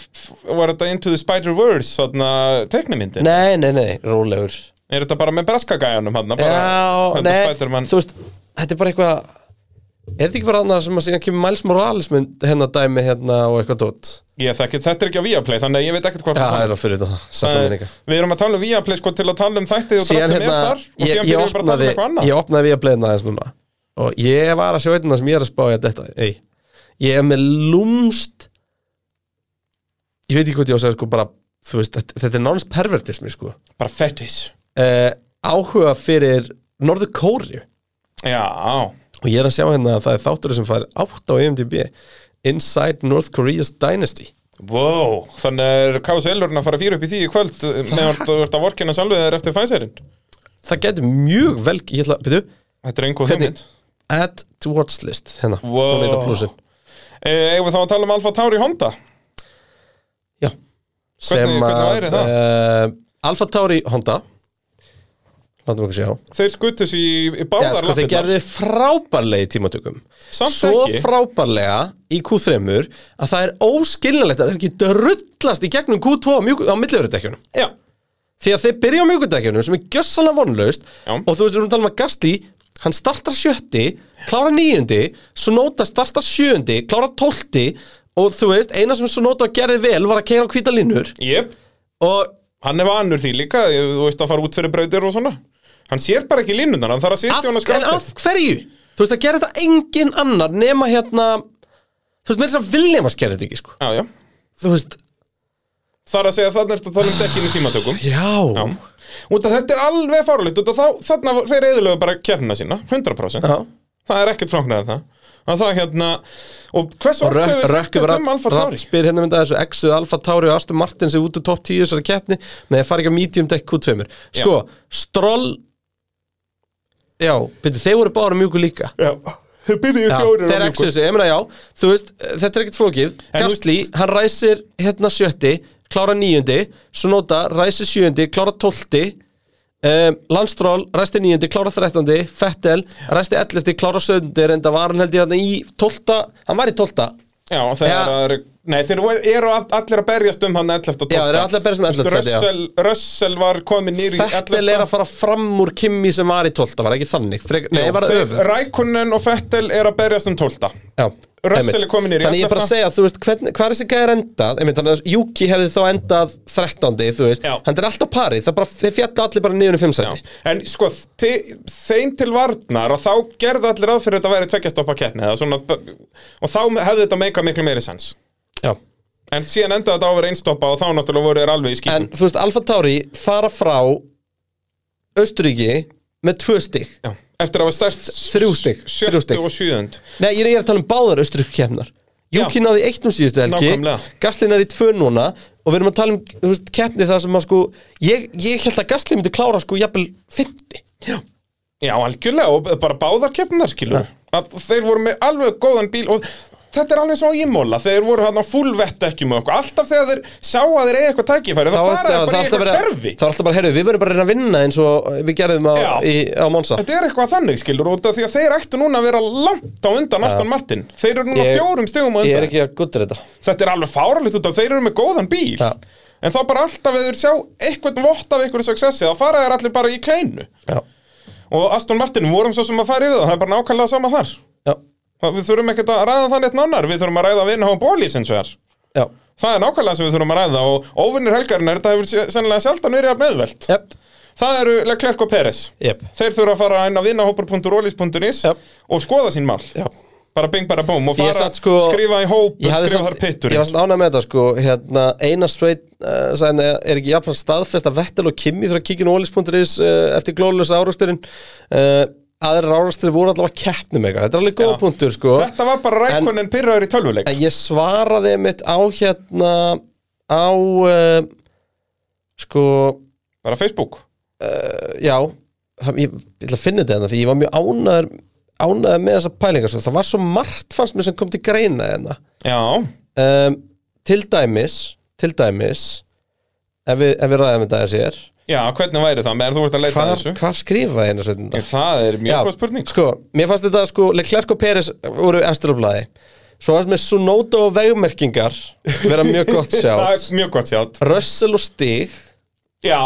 Speaker 2: var þetta Into the Spider-Verse Svona teknimyndin
Speaker 3: Nei, nei, nei, rólegur
Speaker 2: Er þetta bara með braskagæjanum hann
Speaker 3: Já, nei,
Speaker 2: Spider-Man
Speaker 3: þú veist, þetta er bara eitthvað er þetta ekki bara annað sem að síðan kemur Miles Morales mynd hennar dæmi hérna og eitthvað dót
Speaker 2: Ég þekki, þetta er ekki á Viaplay, þannig að ég veit ekkert hvað
Speaker 3: Já,
Speaker 2: það
Speaker 3: það
Speaker 2: er
Speaker 3: er að fyrir þetta, sætla
Speaker 2: Nei,
Speaker 3: minninga
Speaker 2: Við erum að tala um Viaplay sko til að tala um þættið og
Speaker 3: Síðan
Speaker 2: drastum
Speaker 3: hérna,
Speaker 2: er þar og
Speaker 3: ég,
Speaker 2: síðan
Speaker 3: ég
Speaker 2: byrjum við bara að tala um
Speaker 3: opnaði
Speaker 2: eitthvað annað
Speaker 3: ég opnaði við að bleina þess núna og ég var að sjá einna sem ég er að spá í að þetta ei, ég er með lúmst ég veit ekki hvað ég á að segja sko bara, þú veist, þetta, þetta er nánast pervertismi sko,
Speaker 2: Bara fetis
Speaker 3: uh, áhuga fyrir Norður Kóri
Speaker 2: Já,
Speaker 3: og ég er að sjá hérna að það er þáttur sem fær 8 á E IMDb Inside North Korea's Dynasty
Speaker 2: wow Þannig er KSL-urinn að fara fyrir upp í tíu í kvöld eh, meðan þú ert að vorkina sjálfið þér eftir Pfizerinn
Speaker 3: það getur mjög vel, ég ætla, byrju
Speaker 2: Þetta er einhver
Speaker 3: Hvernig-
Speaker 2: þumind
Speaker 3: add to watch list, hérna,
Speaker 2: Wow.
Speaker 3: donate a plusin
Speaker 2: Eigum við þá að tala um Alfa Tauri Honda
Speaker 3: Já sem
Speaker 2: hvernig væri
Speaker 3: að eh,
Speaker 2: það?
Speaker 3: uh, Alfa Tauri Honda látum okkur sjá
Speaker 2: Þeir skutu þessu í, í
Speaker 3: Já,
Speaker 2: báðar
Speaker 3: sko, þeir
Speaker 2: lappirnar.
Speaker 3: gerði frábærlega í tímatökum
Speaker 2: Samt
Speaker 3: Svo
Speaker 2: ekki.
Speaker 3: frábærlega í Q3 að það er óskiljanlegt að það ekki drullast í gegnum Q2 á, mjúk- á milliðurudekjunum
Speaker 2: Já,
Speaker 3: Því að þeir byrja á mjögundækjunum sem er gjössalega vonlaust
Speaker 2: Já.
Speaker 3: og þú veist, við erum að tala um að Gasti hann startar sjötti, klára níundi Sonota startar sjöundi, klára tólti og þú veist, eina sem Sonota gerði vel var að keira á hvíta línur
Speaker 2: jep
Speaker 3: og
Speaker 2: Hann er vanur því líka, þú veist að fara út fyrir brautir og svona Hann sér bara ekki línunar, hann þarf að sitja
Speaker 3: af,
Speaker 2: hann að
Speaker 3: en
Speaker 2: skála
Speaker 3: af hverju? Þú veist, það gerir þetta engin annar nema hérna þú veist, meira þess að Viljamas gerir þetta ekki, sko
Speaker 2: Já, já
Speaker 3: þú veist,
Speaker 2: Þar að segja að þarna ertu að tala um dekkinu tímatökum
Speaker 3: já, já.
Speaker 2: Út að þetta er alveg farulegt Út að þá, þarna var- þeir eðilögu bara keppna sína 100%
Speaker 3: Já.
Speaker 2: Það er ekkert fráknæðið það Og það hérna Og hversu oft
Speaker 3: Rökk
Speaker 2: hefur við sagt
Speaker 3: rökk
Speaker 2: þetta
Speaker 3: yfir
Speaker 2: um Alfa Tauri?
Speaker 3: spyr hérna mynda þessu Exuð Alfa Tauri og Aston Martin sem út úr topp 10 þessari keppni Nei, það fari ekki að medium deck Q2 Sko, Stroll Já, byrju, þeir voru bára mjúku líka
Speaker 2: Já, þeir byrjuðu
Speaker 3: Já,
Speaker 2: fjórir
Speaker 3: þeir
Speaker 2: á mjúku.
Speaker 3: Exuð þessu, ég meina já Þú veist, þetta er ekkert flókið
Speaker 2: En þú
Speaker 3: Gastli, hann ræsir hérna sjötti Klára níundi, Sonota ræsir sjöundi Klára tólti Um, Landstról, ræsti níundi, klára þrettandi Fettel, ræsti ellesti, klára söndir en það var hann held ég hann í tólta hann var í tólta
Speaker 2: Já, þeir
Speaker 3: Já.
Speaker 2: eru Nei, þeir voru- eru all- allir að berjast um hann 11.
Speaker 3: Já, þeir eru allir að berjast um 11. sæti, já.
Speaker 2: Russell, Russell var komin nýri
Speaker 3: Fettel er að fara fram úr Kimi sem var í 12, var það ekki þannig Frek, Nei, var það öfugt
Speaker 2: Rækunnen og Fettel er að berjast um 12.
Speaker 3: Já,
Speaker 2: Russell
Speaker 3: einmitt.
Speaker 2: er kominn í
Speaker 3: Þannig ég er bara að
Speaker 2: 11..
Speaker 3: segja, þú veist, hvern, hvað er þessi gæðir endað einmitt, þannig að Juki hefði þá endað 13, þú veist,
Speaker 2: Já.
Speaker 3: hann er alltaf parið það bara, þeir fjallu allir bara niður í 5
Speaker 2: Já.
Speaker 3: sæti
Speaker 2: En sko, te, þeim til varnar og þá gerði allir ráð fyrir að þetta væri tveggjastoppa keppni eða svona, og þá hefði þetta meika miklu meiri sens
Speaker 3: Já.
Speaker 2: En síðan endaði þetta á að vera einstoppa og þá náttúrulega voru þeir alveg í
Speaker 3: En
Speaker 2: skýtum
Speaker 3: þú veist, Alfa Tauri fara frá Östuríki með 2 stig
Speaker 2: Já. Eftir að hafa stærst
Speaker 3: Þrjú stig, þrjú
Speaker 2: Sjöttu
Speaker 3: stig.
Speaker 2: og sjöðund
Speaker 3: Nei, ég er ég er að tala um báðar Östuríki kemnar Juki náði eitt um síðustu helgi
Speaker 2: Nákvæmlega.
Speaker 3: Gaslin er í 2 núna og við erum að tala um, þú veist, keppni þar sem að sko ég, ég held að Gaslin myndi klára sko jafnvel 50
Speaker 2: Já, algjörlega, og bara báðar keppnar, skilur Að Þeir voru með alveg góðan bíl og þetta er alveg svo ímóla Þeir voru hann á fullvett ekki með okkur Alltaf þegar þeir sjá að þeir eiga eitthvað tækifæri þá
Speaker 3: þá
Speaker 2: fara
Speaker 3: ætti-
Speaker 2: þeir
Speaker 3: það
Speaker 2: bara í
Speaker 3: alltaf
Speaker 2: eitthvað
Speaker 3: verið að-
Speaker 2: kerfi
Speaker 3: það er alltaf bara, herru, við verðum bara að reyna að vinna eins og við gerðum á,
Speaker 2: Já.
Speaker 3: í, á Monsa
Speaker 2: Þetta er eitthvað þannig, skilur, út af því að þeir ættu núna að vera langt á undan Aston Martin Þeir eru núna
Speaker 3: Ég-
Speaker 2: fjórum stegum á
Speaker 3: Ég
Speaker 2: undan
Speaker 3: er ekki að guttur þetta
Speaker 2: Þetta er alveg fáralegt út af þeir eru með góðan bíl
Speaker 3: Já.
Speaker 2: En þá bara alltaf ef þeir sjá eitthvað vott af einhverju successi þá fara þeir allir bara í kleinu
Speaker 3: Já,
Speaker 2: Og Aston Martin vorum svo sem að fara yfir það, það er bara nákvæmlega sama þar
Speaker 3: já,
Speaker 2: Það- Við þurfum ekkert að ræða þannig eitt nánar, við þurfum að ræða vinna á bólís eins og þar
Speaker 3: já,
Speaker 2: Það er nákvæmlega sem við þurfum að ræða og óvinnir helgarinn er þetta hefur sé- sennilega sjaldan verið að meðvelt
Speaker 3: jep,
Speaker 2: Það eru Leclerc og Peres
Speaker 3: jep
Speaker 2: Þeir þurfa að fara inn á vinnahópur.rolis.is
Speaker 3: Jep.
Speaker 2: og skoða sín mál
Speaker 3: Já.
Speaker 2: bara bing bara bóm og
Speaker 3: Ég
Speaker 2: fara
Speaker 3: satt sko-
Speaker 2: skrifa í hóp
Speaker 3: Ég hafði
Speaker 2: skrifa þar
Speaker 3: samt-
Speaker 2: pittur
Speaker 3: ég var svona ánægð með þetta sko hérna, Einar Sveit uh, sagði, "Nei, er ekki jafnvægt staðfest að Vettel og Kimi þurfa að kíkja nólis.is uh, eftir glóðlösa árasturinn uh, aðra árastur voru allavega keppnum eitthvað þetta er alveg góð
Speaker 2: Já.
Speaker 3: punktur sko
Speaker 2: Þetta var bara rækonin pyrraður í tölvuleik
Speaker 3: En ég svaraði mitt á hérna á uh, sko
Speaker 2: bara Facebook
Speaker 3: já það, ég, ég ætla að finna þetta hérna því ég var mjög ánæður ánæður með þessa pælingar svo. það var svo margt fannst mér sem kom til greina hérna
Speaker 2: Já,
Speaker 3: um, til dæmis til dæmis ef við, ef við ræðum þetta þessi er
Speaker 2: já, hvernig væri það meðan þú ert að leita að
Speaker 3: hvar,
Speaker 2: þessu
Speaker 3: hvar skrifa hérna sveitin
Speaker 2: En Það er mjög góð spurning
Speaker 3: sko, mér fannst þetta sko Leclerc og Peres voru eftir á blaði svo fannst mér Sunoda og vegmerkingar vera mjög gott
Speaker 2: Það
Speaker 3: sjá
Speaker 2: er mjög gott sjátt
Speaker 3: Russell og Stig
Speaker 2: Já,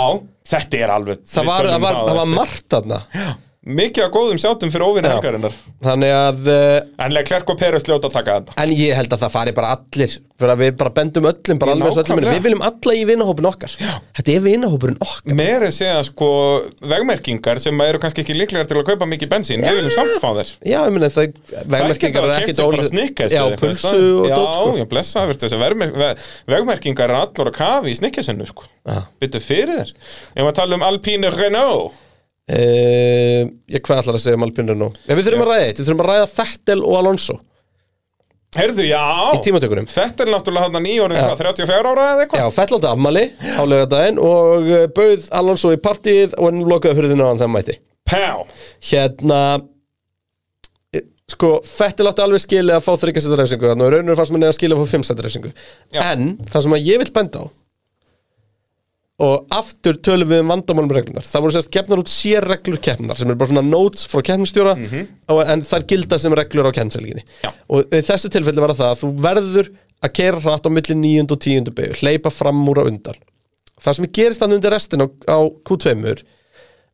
Speaker 2: þetta er alveg
Speaker 3: það
Speaker 2: við
Speaker 3: var,
Speaker 2: tölum
Speaker 3: það var,
Speaker 2: um
Speaker 3: það var
Speaker 2: eftir.
Speaker 3: margt þarna
Speaker 2: Mikið af góðum sjáttum fyrir óvinni helgarinnar
Speaker 3: þannig að uh,
Speaker 2: En Leclerc og Peres ljóta að taka þetta
Speaker 3: En ég held að það fari bara allir fyrir að við bara bendum öllum bara
Speaker 2: Ég
Speaker 3: alveg svo öllum er.
Speaker 2: nákvæmlega.
Speaker 3: Við viljum alla í vinahópin okkar Þetta er vinahópurinn okkar
Speaker 2: Meiri segja sko vegmerkingar sem eru kannski ekki líklegar til að kaupa mikið bensín Við viljum samt fá þér
Speaker 3: Já, ég meina það Vegmerkingar
Speaker 2: Verðmerkingar er
Speaker 3: er
Speaker 2: ekki
Speaker 3: ekkit
Speaker 2: bara
Speaker 3: ólíkt-
Speaker 2: snikkes
Speaker 3: Já, pulsu og dót sko
Speaker 2: Já, ég blessa, verður þessi verðmer- ve- vegmerkingar er allur að kafi í snikkesinu sko.
Speaker 3: Já.
Speaker 2: Byttu fyrir þér Ef maður tala um Alpine Renault
Speaker 3: Eh, Ég hvað ætlar að segja um Alpinur nú Já, við þurfum að ræða eitt Við þurfum að ræða Fettel og Alonso Í
Speaker 2: Heyrðu, já
Speaker 3: tímatökunum
Speaker 2: Þetta er náttúrulega hann að nýjórnum hvað, 34 ára eða eitthvað
Speaker 3: Já, Fettel átti afmali á laugardaginn og eh, bauð Alonso í partíið og hann lokaði hurðinu á hann þegar hann mætti
Speaker 2: Pá
Speaker 3: hérna eh, sko, Fettil átti alveg skilið að fá þryggjasetta refsingu þannig að raunur fannst mér neða skilið að fá fimmsetta refsingu
Speaker 2: Já.
Speaker 3: en það sem að ég vil benda á og aftur tölum við um vandamálum reglunar það voru sérst keppnar út sérreglur keppnar sem er bara svona notes frá keppnistjóra en þær gilda sem reglur á keppnselginni
Speaker 2: Já.
Speaker 3: og í þessu tilfelli var það að þú verður að keira hratt á milli 9. og 10. begu hleypa fram úr á undan það sem gerist þannig undir restin á, á Q2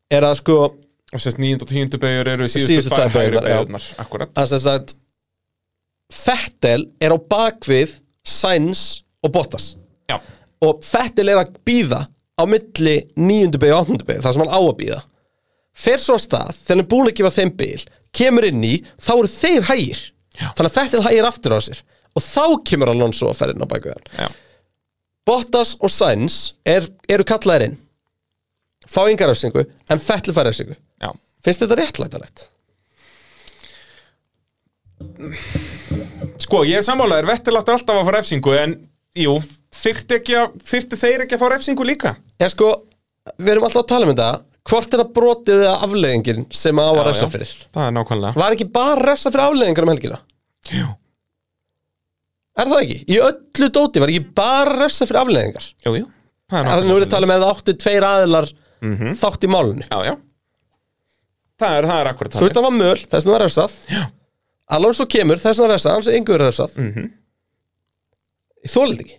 Speaker 3: er að sko
Speaker 2: Og sérst 9. og 10. beigur eru síðustu,
Speaker 3: Síðustu
Speaker 2: síðustu
Speaker 3: tvær
Speaker 2: tvær hægri
Speaker 3: beygurnar, já.
Speaker 2: beigurnar Akkurat
Speaker 3: að sem sagt Fettel er á bakvið Sainz og Bottas
Speaker 2: Já,
Speaker 3: og Fettil er að býða á milli 9. beig og 8. beig þar sem hann á að býða fer svo af stað, þegar hann er búin að gefa þeim bíl kemur inn í, þá eru þeir hægir
Speaker 2: Já.
Speaker 3: þannig að Fettil hægir aftur á sér og þá kemur Alonso að ferðin á bæku hann
Speaker 2: já,
Speaker 3: Bottas og Sainz er, eru kallaðir inn fá engar refsingu en Fettil fær refsingu
Speaker 2: já
Speaker 3: finnst þetta réttlætanlegt?
Speaker 2: Sko, ég er sammálaður, Vettel átti alltaf að fá refsingu En, jú, þyrfti, ekki að, þyrfti þeir ekki að fá refsingu líka
Speaker 3: Ég sko, við erum alltaf að tala um þetta hvort er það brotið eða afleiðingin sem á að
Speaker 2: Já,
Speaker 3: refsa
Speaker 2: já.
Speaker 3: fyrir
Speaker 2: Það er nákvæmlega
Speaker 3: var ekki bara refsa fyrir afleiðingar um helgina?
Speaker 2: Jú,
Speaker 3: Er það ekki? Í öllu dóti var ekki bara refsa fyrir afleiðingar
Speaker 2: jú, jú Það er
Speaker 3: Það er nú erum við að tala
Speaker 2: svoleiðis.
Speaker 3: með það áttu tveir aðilar
Speaker 2: Mhm.
Speaker 3: þátt í málunni
Speaker 2: Já, já Það er, það er akkurat
Speaker 3: Þú veist það var möl, þess vegna var refsað
Speaker 2: Já.
Speaker 3: Alonso kemur, þess vegna var refsað, hans er yngur refsað mm
Speaker 2: Mhm.
Speaker 3: -hmm. Ég þólið ekki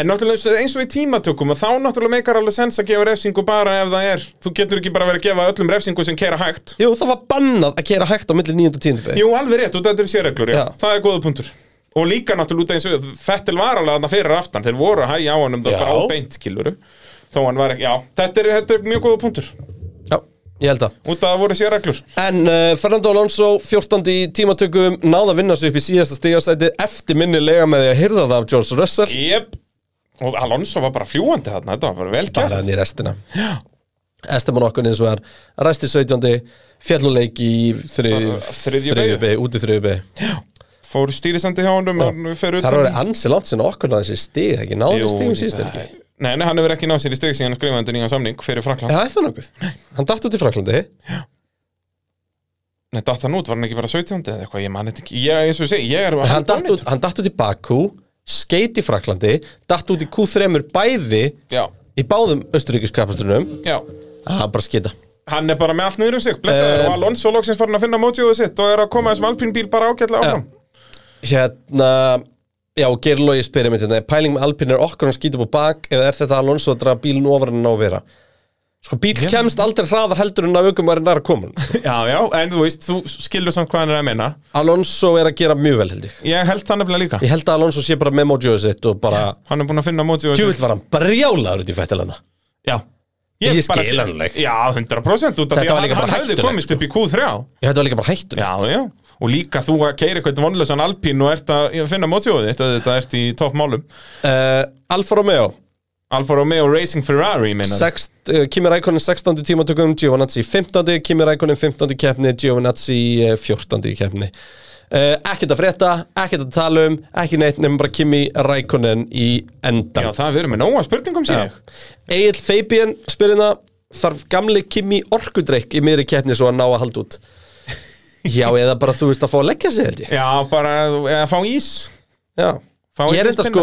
Speaker 2: En náttúrulega eins og- eins og í tímatökum að þá náttúrulega meikar alveg sens að gefa refsingu bara ef það er Þú getur ekki bara verið að gefa öllum refsingu sem kera hægt
Speaker 3: Jú, það var bannað að kera hægt á milli 9. og 10. beig
Speaker 2: Jú, alveg rétt, og þetta er sérreglur, já.
Speaker 3: Já.
Speaker 2: Það er góða punktur Og líka náttúrulega út af eins og Fettel var alveg þarna fyrir aftan Þeir voru að hægja á hann um það
Speaker 3: Já.
Speaker 2: bara óbeint, kiluru Þó hann var ekki, já, þetta er, þetta er mjög góða punktur
Speaker 3: Já, ég held að
Speaker 2: Út af að það voru sérreglur
Speaker 3: En uh, Fernando Alonso, 14. í tímatökum náða að vinna sig upp í síðasta stígasæti eftir minnilega með því að hyrða það af George Russell
Speaker 2: Jep Og Alonso var bara fljúandi þarna, þetta var bara vel gert
Speaker 3: bara hann í restina Esteban okkur eins og er ræsti 17. fjalluleik í þrið- þriðju
Speaker 2: Þriðju beygju.
Speaker 3: beygju, út í þriðju beig
Speaker 2: Fór stýrisendi hjá honum, hann fer
Speaker 3: Það
Speaker 2: utan.
Speaker 3: var ansi langt sinna okkur að þessi stig ekki náðu
Speaker 2: Jú,
Speaker 3: stigum síðust
Speaker 2: það-
Speaker 3: helgi
Speaker 2: Nei, nei, hann hefur ekki náð sér í stig síðan skrifandi nýjan samning fyrir Frankland
Speaker 3: Það er það nokkuð Hann datt út í Fraklandi
Speaker 2: Nei, datt hann út, var hann ekki bara 17 eða eitthvað, ég man þetta ekki Ég, eins og ég segi, ég er
Speaker 3: Hann datt
Speaker 2: dónýtur.
Speaker 3: út, hann datt út í Bakú skeit í Fraklandi datt út í Q3 bæði
Speaker 2: Já,
Speaker 3: í báðum Östuríkiskapasturunum
Speaker 2: já
Speaker 3: Það er bara skita
Speaker 2: Hann er bara með allt niður um sig, blessaður
Speaker 3: Eh,
Speaker 2: Og Alonso loksins farin að finna mótjóðu sitt Og er að koma þessum alpínbíl bara ágætlega áfram
Speaker 3: Hérna Já, Geirlógi spyrir mig þetta Pæling með Alpine hérna, er okkur hann skýtur på bak eða er þetta Alonso að draga bílinn ofar en hann á að vera Sko, bíl kemst aldrei hraðar heldur en að aukumærin er að koma
Speaker 2: já. já, en þú veist, þú skilur samt hvað hann er að minna
Speaker 3: Alonso er að gera mjög vel held ég
Speaker 2: Ég held það nefnilega líka
Speaker 3: Ég held að Alonso sé bara með mojóðu sitt og bara
Speaker 2: Hann er búin að finna mótjóðu
Speaker 3: Djúvill var hann brjálaður út í fættilanda
Speaker 2: Já
Speaker 3: Ég
Speaker 2: bara-
Speaker 3: skiljanleg.
Speaker 2: Já, 100% út
Speaker 3: Þetta
Speaker 2: af því
Speaker 3: var
Speaker 2: að
Speaker 3: líka bara
Speaker 2: hann, hann hefði
Speaker 3: hættulegt,
Speaker 2: komist
Speaker 3: sko.
Speaker 2: upp í Q3
Speaker 3: Ég hætti var líka bara hættur
Speaker 2: Já, já Og líka þú að keira eitthvað vonlösan alpín og ert að já, finna mótjóðu þitt að þetta ert í toppmálum
Speaker 3: Eh, Alfa Romeo
Speaker 2: Alfa Romeo Racing Ferrari, meinar
Speaker 3: sext, uh, Kimi Rækonin 16. tímatökum Giovinazzi 15. Kimi Rækonin 15. keppni Giovinazzi eh, 14. keppni uh, ekkert að frétta, ekkert að tala um ekki neitt nefnum bara Kimi Rækonin í
Speaker 2: Já,
Speaker 3: endan
Speaker 2: það verður með nóga spurningum sér ég.
Speaker 3: Egil Fabian spilina þarf gamli Kimi orkudreik í miðri keppni svo að ná að halda út já, eða bara þú veist að fá að leggja sig held ég
Speaker 2: Já, bara eða fá ís
Speaker 3: já
Speaker 2: Fá
Speaker 3: ég er enda
Speaker 2: einhvern
Speaker 3: sko,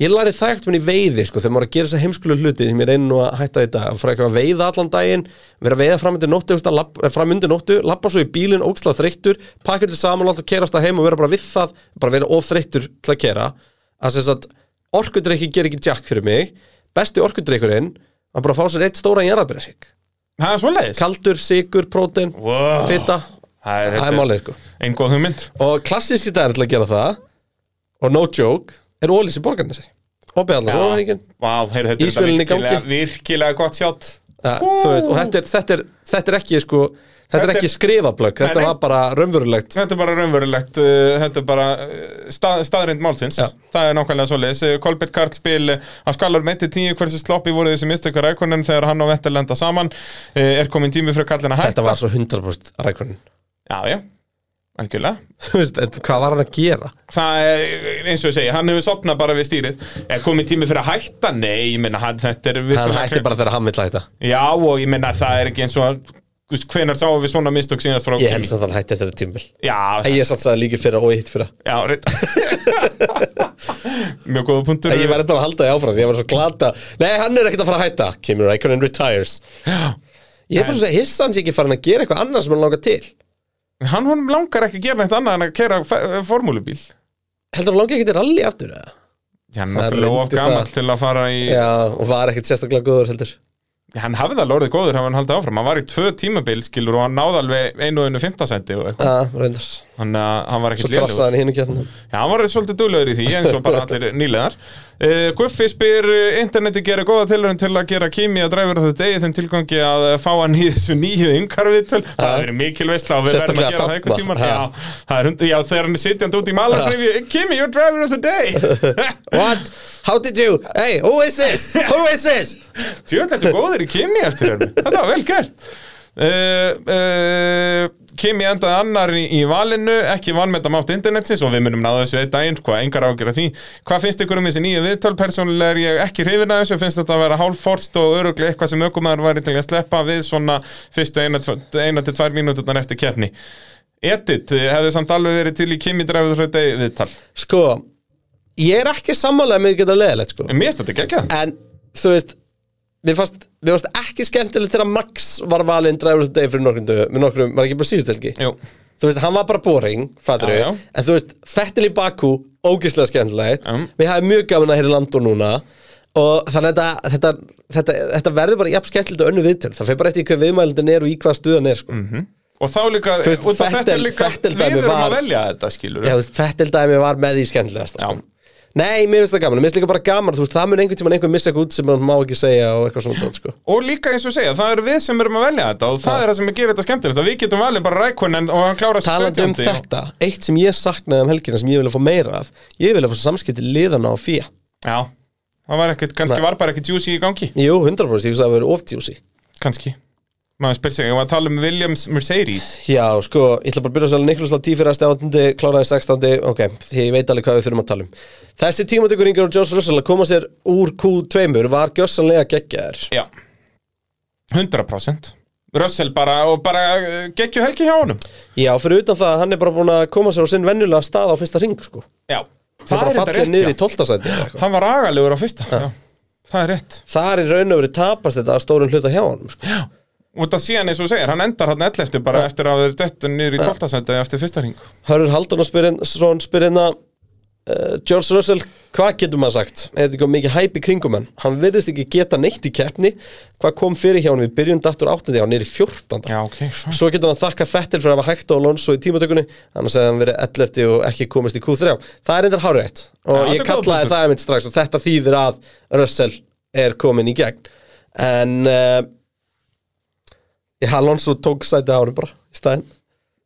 Speaker 3: ég lærið það ekkert minn í veiði sko, þegar maður er að gera þessa heimskulega hluti sem ég reyni nú að hætta þetta, að fara eitthvað að veiða allan daginn, vera að veiða fram undir nóttu, eitthvað, lapp, eh, fram undir nóttu, lappa svo í bílinn ógslað þreyttur, pakka til saman og alltaf kerast það heim og vera bara við það, bara vera of þreyttur til að kera, að sem sagt orkudrykki ger ekki jack fyrir mig besti orkudrykkurinn, að bara fá sér eitt stóra jarðabirasík,
Speaker 2: Það er svoleiðis
Speaker 3: kaldur, sigur, prótein
Speaker 2: Wow.
Speaker 3: fita,
Speaker 2: Það er,
Speaker 3: það er málið sko
Speaker 2: Einn góð hugmynd
Speaker 3: Og klassíski dagur til að gera það Og no joke Er ólís í borgarnesi Og beðalans óhæringin
Speaker 2: Vá, heyrðu, þetta er þetta
Speaker 3: Ísvélinni í gangi.
Speaker 2: virkilega, virkilega gott sjátt
Speaker 3: Þú veist Og þetta er, þetta er, þetta er ekki sko Þetta er
Speaker 2: Þetta er-
Speaker 3: ekki skrifablögg Þetta
Speaker 2: Nei, nei.
Speaker 3: var bara raunverulegt
Speaker 2: Þetta er bara raunverulegt, uh, þetta er bara uh, stað, staðrind málsins
Speaker 3: Já.
Speaker 2: Það er nákvæmlega svoleiðis Uh, Kolbett Karl spil uh, á skalar með til tíu hversu sloppi voru þessi mistökar ækonin þegar hann og Vettel lenda saman uh, Er komin tími fyrir kallin að hætta
Speaker 3: Þetta var svo 100% rækunin
Speaker 2: Já, já, algjörlega
Speaker 3: Þú veist þetta- Hvað var hann að gera?
Speaker 2: það er uh, eins og ég segi, hann hefur sopnað bara við stýrið er komið tími fyrir að hætta? Nei, ég minna hann, þetta er
Speaker 3: Hann
Speaker 2: vissulega-
Speaker 3: hætti bara þegar hann vill hætta
Speaker 2: Já, og ég minna það er ekki eins og að veist, hvenær sáum við svona mistök síðast frá
Speaker 3: Ég held
Speaker 2: Kimi?
Speaker 3: samt að hann hætti eftir þetta tímbil
Speaker 2: Já,
Speaker 3: Ég satsaði líka fyrra og ég hitt fyrra
Speaker 2: já, reynd Mjög góða punktur
Speaker 3: Ég var eitthvað að halda því áfram því ég var svo glata Nei, hann er ekkert að fara að hætta Kimi Rækonen retires Ég er bara svo að hissa hans ekki farin að gera eitthvað annað sem hann langar til
Speaker 2: Hann honum langar ekki að gera neitt annað en að kera formúlubíl
Speaker 3: Heldur hann langar ekki til rally aftur eða?
Speaker 2: Já, hann er náttúrulega of
Speaker 3: reyndi
Speaker 2: gammal
Speaker 3: það.
Speaker 2: til að fara í
Speaker 3: Já, og var ekkert sérstaklega góður heldur
Speaker 2: Hann hafði alveg orðið góður hafa hann haldið áfram Hann var í tvö tímabil skilur og hann náði alveg einu og einu fimmtasæti og eitthvað
Speaker 3: Já, reyndar Svo
Speaker 2: Þannig að hann var ekkert lélegur
Speaker 3: krossaði hann í hinu kjarnan
Speaker 2: Já, hann var svolítið duglegur í því eins og bara allir nýlegar uh, Guffi spyr eh, interneti gera góða tilhörin til að gera Kimi að dræfur þetta degi þeim tilgangi að eh, fá hann í þessu nýju yngarviðtöl Það
Speaker 3: Ha.
Speaker 2: verður mikil veistla og við verðum
Speaker 3: Sérstaklega
Speaker 2: að gera það
Speaker 3: þarna.
Speaker 2: einhvern tíman
Speaker 3: Ha.
Speaker 2: já, það er hund- já, þegar hann er sitjandi út í malarkrifju Kimi, you're driver of the day
Speaker 3: What? How did you? Hey, who is this? Who is this?
Speaker 2: Tjóðlega ertu góður í Kimi eftir hérna Þetta var vel gert uh, uh, Kimi endaði annar í, í valinu Ekki vannmeta mátt internetsins Og við munum náða þessu eitt daginn Hvað engar ágjör að því Hvað finnst ykkur um þessi nýju viðtöl Persónulega er ég ekki hrifin að þessu Finnst þetta að vera hálfforst og öruglega Eitthvað sem ökumæður væri til að sleppa við Svona fyrstu eina, tv- eina til tvær mínúturnar eftir keppni Edith eh, hefði samt alveg verið til í Kimi dræfið þetta viðtal
Speaker 3: Sko, ég er ekki sammálega með geta leðilegt sko
Speaker 2: En Mér finnst þetta ekki ekki
Speaker 3: En þú veist Mér fannst, mér fannst ekki skemmtilegt þegar Max var valinn driver of the day fyrir nokkrum dögum með nokkrum, var ekki bara síðust helgi
Speaker 2: Jú,
Speaker 3: þú veist, hann var bara boring, fattur
Speaker 2: Já, já.
Speaker 3: en þú veist, Fettil í Baku, ógislega skemmtilegt
Speaker 2: Já.
Speaker 3: við hafum mjög gaman að hér í landu núna og þannig að þetta, þetta, þetta, þetta verður bara jafn skemmtilegt og önnu viðtöl, það fer bara eftir í hver viðmælindin er og í hvað stuðan er sko.
Speaker 2: Mhm. og þá líka,
Speaker 3: Þú veist,
Speaker 2: og þetta er
Speaker 3: Vettel-
Speaker 2: líka
Speaker 3: Vettel
Speaker 2: Við
Speaker 3: dæmi
Speaker 2: erum
Speaker 3: var-
Speaker 2: að velja þetta skilur
Speaker 3: Já, þú veist, Fettil dæmi var með því skemmtilegast sko.
Speaker 2: Já.
Speaker 3: Nei, mér finnst það gaman, mér finnst líka bara gaman þú veist, það mun einhvern tímann einhver missa eitthvað út sem hann má ekki segja og eitthvað svona dót, sko.
Speaker 2: Og líka eins og segja, það eru við sem erum að velja þetta og það er það sem gerir þetta skemmtilegt að við getum valið bara rækunin og hann klára
Speaker 3: talandi um þetta, eitt sem ég saknaði um helgina sem ég vilja fá meira af ég vilja fá samskipti liðana á fía
Speaker 2: Já, það var ekkert, kannski
Speaker 3: Nei.
Speaker 2: var bara ekkert juicy í gangi
Speaker 3: Jú, 100% ég veist að það verið oftjúsi
Speaker 2: Kannski Maður spyr sig, ég var að tala um Williams Mercedes
Speaker 3: Já, sko, ég ætla bara að byrja að selja Niklas Latí fyrir aðstu áttundi, kláraði 16. Ok, því ég veit alveg hvað við þurfum að tala um Þessi tímatökur yngur og Jones Russell að koma sér úr Q2 var gjössanlega geggjaður
Speaker 2: Já 100% Russell bara, og bara uh, geggju helgi hjá honum
Speaker 3: Já, fyrir utan það, hann er bara búin að koma sér á sinn venjulega stað á fyrsta ring, sko
Speaker 2: Já,
Speaker 3: Það er bara
Speaker 2: þetta
Speaker 3: fallið niður í 12. sæti eða eitthvað.
Speaker 2: Hann var agalegur á fyrsta Já, það er rétt
Speaker 3: Þar er raun og verið tapast þetta að stórum hluta hjá honum, sko
Speaker 2: Og það síðan eins og þú segir, hann endar hann 11 eftir bara eftir að það er dettur niður í 12. sendi eftir fyrsta ring
Speaker 3: Hörður Haldunarsson spyr hérna uh, George Russell, hvað getur maður sagt? Er þetta ekki mikið hæp í kringum hann? Hann virðist ekki geta neitt í keppni Hvað kom fyrir hjá hann við byrjun dattur áttandi hann er í 14.
Speaker 2: Já, ok, svo
Speaker 3: Svo getur hann þakka Fettil fyrir að hafa hægt á Alonso í tímatökunni annars hefði hann verið 11 og ekki komist í Q3 Það er reyndar hárétt og
Speaker 2: Já, þetta
Speaker 3: ég
Speaker 2: er góð punktur.
Speaker 3: kallaði það einmitt strax og þetta þýðir að Russell er komin í gegn en uh, Alonso tók sæti árum bara í staðinn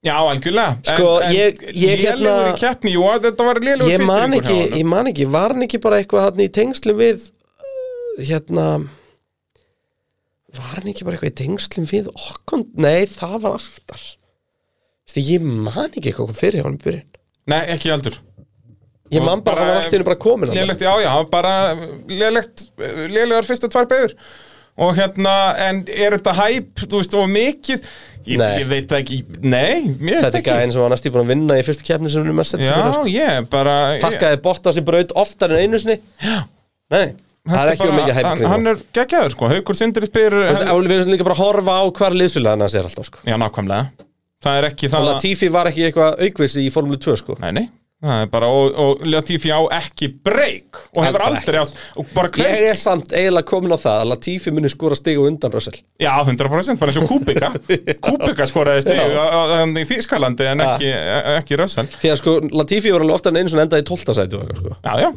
Speaker 2: Já, algjörlega
Speaker 3: Sko, ég- ég
Speaker 2: lélegur
Speaker 3: hérna-
Speaker 2: í keppni, jú, þetta var lélegur
Speaker 3: ég man
Speaker 2: fyrstiringur
Speaker 3: ekki, ég man ekki, var hann ekki bara eitthvað hann í tengslum við uh, hérna var hann ekki bara eitthvað í tengslum við okkon, nei það var aftar Veistu, ég man ekki eitthvað kom fyrir hjá hann í byrjun
Speaker 2: Nei, ekki aldur
Speaker 3: ég man bara, að hann var allt í henni bara komin hann
Speaker 2: Lélegt, já, já, bara lélegt Lélegar fyrstu tvær begur Og hérna, en er þetta hæp, þú veist, og mikið Ég,
Speaker 3: Nei.
Speaker 2: ég veit það ekki, nei, mér veist
Speaker 3: þetta er
Speaker 2: ekki
Speaker 3: gæðin sem var næst í búin að vinna í fyrstu keppni sem hann er mest sett
Speaker 2: Já,
Speaker 3: sko.
Speaker 2: ég, bara ég,
Speaker 3: parkaði Bottas í braut oftar en einu sinni nei, það er
Speaker 2: þetta
Speaker 3: ekki um
Speaker 2: bara-
Speaker 3: mikið hæpikring
Speaker 2: hann, hann er geggjaður, sko, Haukur Sindri spyr hann,
Speaker 3: Áli við erum líka bara að horfa á hvar liðsfélag hann er alltaf sko.
Speaker 2: Já, nákvæmlega Það er ekki
Speaker 3: og
Speaker 2: það
Speaker 3: Latifi var ekki eitthvað aukvisi í Formule 2 sko.
Speaker 2: Nei, nei, það er bara og, og Latifi á ekki breyk og hefur
Speaker 3: Bara
Speaker 2: aldrei átt og bara hver,
Speaker 3: Ég er samt eiginlega komin á það að Latifi muni skora stiga á undan Russell
Speaker 2: já 100% bara eins og Kúbika Kúbika skoraði stig
Speaker 3: Já.
Speaker 2: á- á- hann í Þýskalandi en
Speaker 3: Ja.
Speaker 2: ekki, e- ekki Rössal
Speaker 3: Því að sko, Latifi var alveg ofta en einu svona endað í 12. sæti og eitthvað, sko.
Speaker 2: Já, já,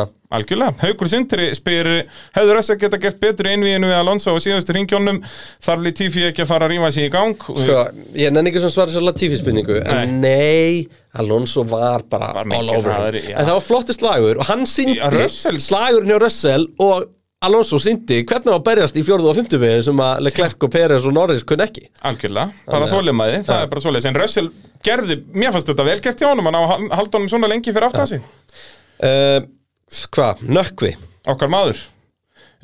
Speaker 3: ah.
Speaker 2: algjörlega Haukur Sindri spyr, hefur Rössal geta gert betur í einvíinu við Alonso á síðustu ringjónum þarf Latifi ekki að fara að rýma sér í gang
Speaker 3: Sko, ég nenni ekki sem svara sér Latifi spurningu En nei, Alonso var bara
Speaker 2: Var mikið
Speaker 3: all over
Speaker 2: hraðari,
Speaker 3: him.
Speaker 2: já.
Speaker 3: En það var flottur slagur og hann síndi
Speaker 2: Já, Russell-
Speaker 3: slagurinn hjá Russell og Alonso síndi hvernig hann var að berjast í 4. og 5. vegi sem að Leclerc og Perez og Norris kunn ekki
Speaker 2: Algjörlega, bara
Speaker 3: Þannig að-
Speaker 2: þólimaði, það er bara svoleiðis en Rössal gerði, mér fannst þetta vel gert hjá honum hann á haldunum svona lengi fyrir aftan sig
Speaker 3: uh, Hvað? Ehm, Nökkvi
Speaker 2: okkar maður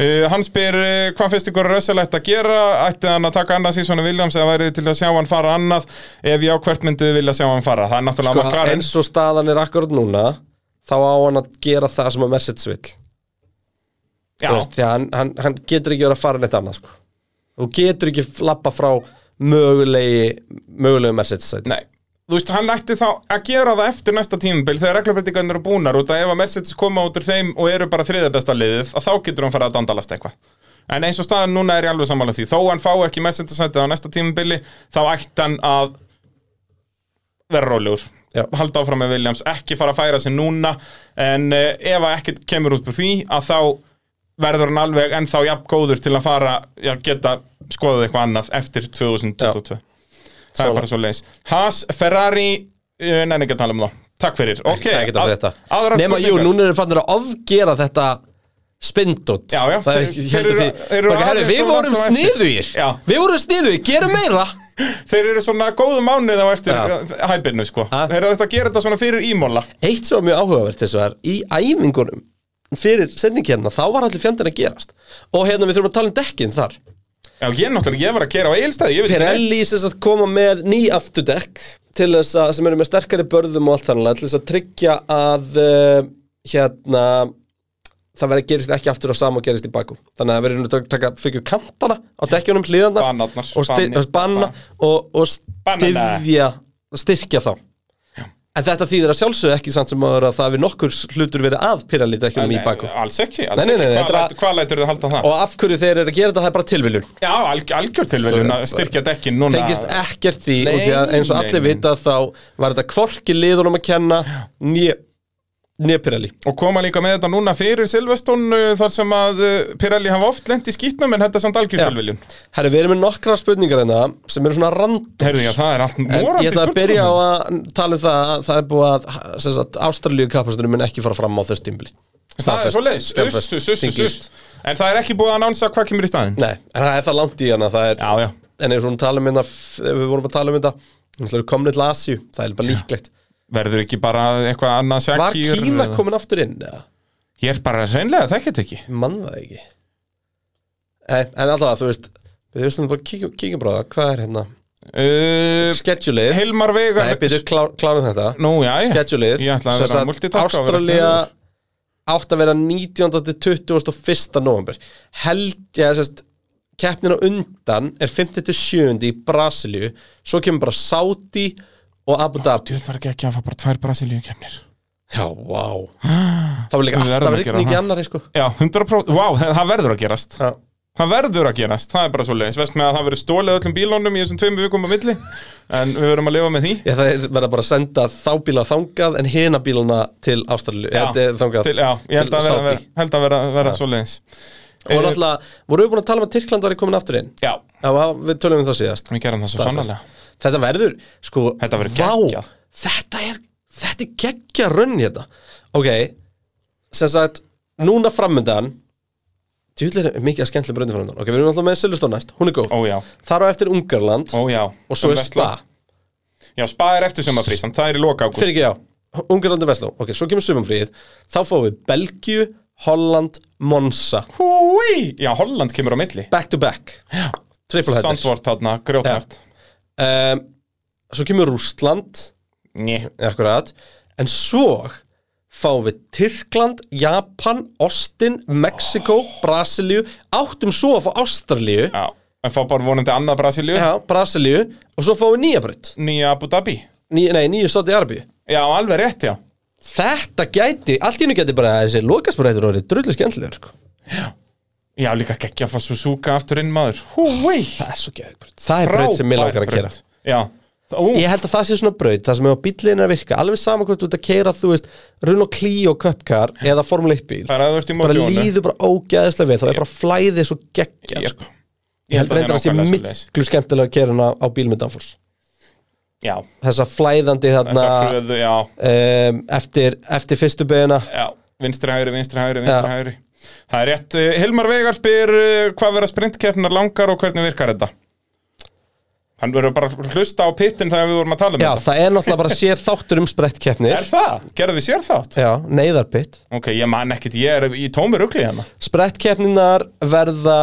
Speaker 2: Uh, hann spyr uh, hvað finnst ykkur Russell ætti að gera, ætti hann að taka annað sísona Williams eða væri til að sjá hann fara annað ef já, hvert myndu við vilja sjá hann fara það er náttúrulega
Speaker 3: sko,
Speaker 2: sko, McLaren
Speaker 3: eins og staðan er akkurat núna þá á hann að gera það sem að Mercedes vill
Speaker 2: já,
Speaker 3: Þú veist, því að hann, hann, hann getur ekki verið að fara neitt annað sko. þú getur ekki lappa frá mögulegi mögulegu Mercedes sæti.
Speaker 2: nei, þú veist, hann ætti þá að gera það eftir næsta tímabil þegar reglabreitingarnir eru búnar út að ef að Mercedes koma út úr þeim og eru bara þriða besta liðið að þá getur hann fara að dandalast eitthvað en eins og staðan núna er ég alveg sammála því þó hann fá ekki Mercedes sætið á næsta tímabili þá ætti hann að vera rólegur
Speaker 3: Já.
Speaker 2: halda áfram með Williams, ekki fara að færa sig núna en uh, ef að ekkert kemur út úr því að þá verður hann alveg ennþá jafn góður til að fara já, geta skoðað eitthvað annað eftir 2022 það er
Speaker 3: Sammála.
Speaker 2: bara svo leis Haas, Ferrari, uh, neina ekki að tala um það takk fyrir, ok
Speaker 3: það er ekki að frétta
Speaker 2: aðrar
Speaker 3: nema, jú,
Speaker 2: spurningar?
Speaker 3: núna eru fannir að ofgera þetta spindot
Speaker 2: Já, já,
Speaker 3: það er
Speaker 2: þeir-
Speaker 3: ekki,
Speaker 2: þeir
Speaker 3: heldur
Speaker 2: eru-
Speaker 3: því
Speaker 2: þeir eru
Speaker 3: bara, herri,
Speaker 2: aðeins
Speaker 3: við
Speaker 2: svo langt
Speaker 3: vorum
Speaker 2: á eftir.
Speaker 3: sniðugir
Speaker 2: Já.
Speaker 3: við vorum sniðugir, gerum meira
Speaker 2: þeir eru svona góðu mánuð á eftir
Speaker 3: Já.
Speaker 2: ja. hæpinu sko,
Speaker 3: Ha?
Speaker 2: þeir eru þetta að gera þetta svona fyrir ímóla
Speaker 3: eitt sem var mjög áhugavert þess að í æfingunum fyrir sendingi hérna, þá var allir fjandinn að gerast og hérna við þurfum að tala um dekkin þar
Speaker 2: já, ég náttúrulega, ég var að gera á eilstæði ég veit ekki neitt.
Speaker 3: Pirelli sem sagt koma með ný afturdekk til þess að, sem eru með sterkari börðum og allt þannig, til þess að tryggja að uh, hérna það verið gerist ekki aftur á sama og gerist í baku þannig að það verið nú að taka fyrir kantana á dekkjunum hliðana
Speaker 2: Banarnar,
Speaker 3: og, sti-
Speaker 2: banni-
Speaker 3: og banna
Speaker 2: ban-
Speaker 3: og, og
Speaker 2: Banana.
Speaker 3: styðja styrkja þá en þetta þýðir að sjálfsögðu ekki samt sem áður að það hefur nokkur hlutur verið að Pirelli dekkjunum í baku
Speaker 2: alls ekki,
Speaker 3: Nei,
Speaker 2: alls
Speaker 3: nei, nei,
Speaker 2: ekki.
Speaker 3: þetta
Speaker 2: Hvað
Speaker 3: er
Speaker 2: lætur- hvað lætur þið halda það?
Speaker 3: og af hverju þeir eru að gera þetta það er bara tilviljun
Speaker 2: Já, alg, algjör tilveljun að styrkja dekkin núna
Speaker 3: tengist ekkert því
Speaker 2: Nei,
Speaker 3: og því að eins og
Speaker 2: nei,
Speaker 3: allir
Speaker 2: nei.
Speaker 3: vita þá var þetta kvorki liðunum að kenna né né Pirelli
Speaker 2: Og koma líka með þetta núna fyrir Silveston Þar sem að uh, Pirelli hafa oft lent í skýtnum En þetta er samt algjör
Speaker 3: Já.
Speaker 2: tilveljun
Speaker 3: Herri, við erum með nokkra spurningar hérna sem eru svona random
Speaker 2: Herðu, já, það er allt
Speaker 3: En
Speaker 2: morandi
Speaker 3: ég ætla að
Speaker 2: spurning.
Speaker 3: byrja á að tala um það að það er búið að sem sagt, ástralíu kapastunum minn ekki fara fram á þess tímbli
Speaker 2: Það er svo leiðis,
Speaker 3: skjálfest,
Speaker 2: ussu, ussu,
Speaker 3: þinglýst.
Speaker 2: ussu En það er ekki búið að annánsa hvað kemur í staðinn
Speaker 3: Nei, en það er það langt í hana það er,
Speaker 2: Já, já
Speaker 3: En ef við, svona tala um hérna, f- ef við vorum að tala um þetta Það er komin til Asíu, það er bara líklegt
Speaker 2: Verður ekki bara eitthvað annað Shakir
Speaker 3: Var Kína
Speaker 2: eða-
Speaker 3: komin aftur inn? Ja?
Speaker 2: Ég er bara reynlega, það get ekki
Speaker 3: mann það ekki en, en alltaf þú veist við höfum bara kíkjum, kíkjum bara á það, hvað er hérna
Speaker 2: uh,
Speaker 3: schedule-ið
Speaker 2: Hilmar Vegar
Speaker 3: nei, byrju, klá, klárum þetta
Speaker 2: Nú, já, já
Speaker 3: schedule-ið
Speaker 2: Ég ætla að
Speaker 3: sem
Speaker 2: vera
Speaker 3: sagt,
Speaker 2: multitaska og vera
Speaker 3: Ástralía
Speaker 2: sniðugur.
Speaker 3: átt að vera 19. til 21. november helgja sérst keppnin á undan er 50. til 7. í Brasilíu svo kemur bara Saudi og Abu Dhabi
Speaker 2: Djúð var ekki ekki að fá bara tvær Brasilíu kemnir
Speaker 3: já, wow það var líka
Speaker 2: Við verðum
Speaker 3: alltaf
Speaker 2: að gera
Speaker 3: rigning í
Speaker 2: það.
Speaker 3: annari sko
Speaker 2: Já, 100% Vá, það það verður að gerast
Speaker 3: já
Speaker 2: Það verður að gerast, það er bara svo leiðis Vest með að það verður stólið öllum bílónum í þessum tveimu vikum á milli En við verðum að lifa með því
Speaker 3: Já, það er verða bara að senda þá bíla þangað en hina bíluna til Ástralju
Speaker 2: Já,
Speaker 3: eða þangað
Speaker 2: Til, já, ég held
Speaker 3: til
Speaker 2: að vera,
Speaker 3: Saudi.
Speaker 2: vera, held að vera, vera svo leiðis
Speaker 3: Og náttúrulega, vorum við búin að tala um að Tyrkland var komin aftur inn?
Speaker 2: Já,
Speaker 3: Já, já, við tölum um það síðast
Speaker 2: við gerum það svo
Speaker 3: Staðfest.
Speaker 2: sannlega
Speaker 3: Þetta verður, sko,
Speaker 2: Þetta verður
Speaker 3: vá,
Speaker 2: geggjað.
Speaker 3: Þetta er, þetta er geggja rönn hérna Ok, sem sagt, núna framöndan Tjúlega er mikið að skemmtilega bröndi framöndan Ok, við erum alltaf með Silveston næst, hún er góð
Speaker 2: Ó já,
Speaker 3: Þar á eftir Ungarland
Speaker 2: ó já
Speaker 3: og svo
Speaker 2: Um
Speaker 3: er
Speaker 2: Vestló.
Speaker 3: Spa
Speaker 2: Já, spa er eftir sumafrís, en það er í loka ágúst
Speaker 3: fyrir ekki já, Ungarland og Vestló ok, svo kemur sumumfríð, þá fáum við Belgíu, Holland, Monza
Speaker 2: Húi, já, Holland kemur á milli
Speaker 3: back to back, triple header
Speaker 2: Sandvort þarna, grjótnart
Speaker 3: um, svo kemur Rústland
Speaker 2: Ný,
Speaker 3: akkurat, en svo fáum við Tyrkland, Japan Austin, Mexiko, Brasilíu áttum svo að fá Ástralíu
Speaker 2: já En fá bara vonandi annað Brasilíu
Speaker 3: já, Brasilíu, og svo fáum við Nýjabrödd
Speaker 2: Nýja Abu Dhabi
Speaker 3: Ný, nei, nýju státti Arbíu
Speaker 2: Já, alveg rétt, já
Speaker 3: Þetta gæti, allt í hennu gæti bara þessi lokasprættur orðið drullu skemmtilegur sko.
Speaker 2: Já, líka geggja að fá Suzuka aftur inn maður Húi
Speaker 3: Það er svo geðugbröð Það er bröð sem mig langar að gera
Speaker 2: Já, ú,
Speaker 3: Ég held að það sé svona bröð, það sem hefur bíllinn að virka Alveg sama hvort þú ert að keira, þú veist Run og Clio köpkar eða Formule 1 bíl
Speaker 2: það er að þú ert í
Speaker 3: Bara
Speaker 2: mótjónu
Speaker 3: líður bara ógæðislega vel Það er bara flæðið svo geggja
Speaker 2: Jep.
Speaker 3: sko. Ég held að reynda að sé
Speaker 2: nákvæmlega svoleiðis.
Speaker 3: miklu skemmtilega að keira hana á bíl með Danfors
Speaker 2: Já,
Speaker 3: Þessa flæðandi þarna
Speaker 2: þessar fröðu, já,
Speaker 3: um, eftir, eftir fyrstu beina
Speaker 2: já Vinstri hægri, vinstri hægri,
Speaker 3: Já.
Speaker 2: vinstri hægri Það er rétt, eh, Hilmar Vegar spyr uh, hvað vera sprintkeppnar langar og hvernig virkar þetta Hann verður bara að hlusta á pittin þegar við vorum að tala um
Speaker 3: Já,
Speaker 2: þetta.
Speaker 3: það er náttúrulega bara sér þáttur um
Speaker 2: Er
Speaker 3: sprettkeppnir
Speaker 2: það? Gerðu við sér þátt?
Speaker 3: Já, neyðarpitt
Speaker 2: Ok, ég man ekkit, ég er í tómi rugli hérna.
Speaker 3: Sprettkeppninar verða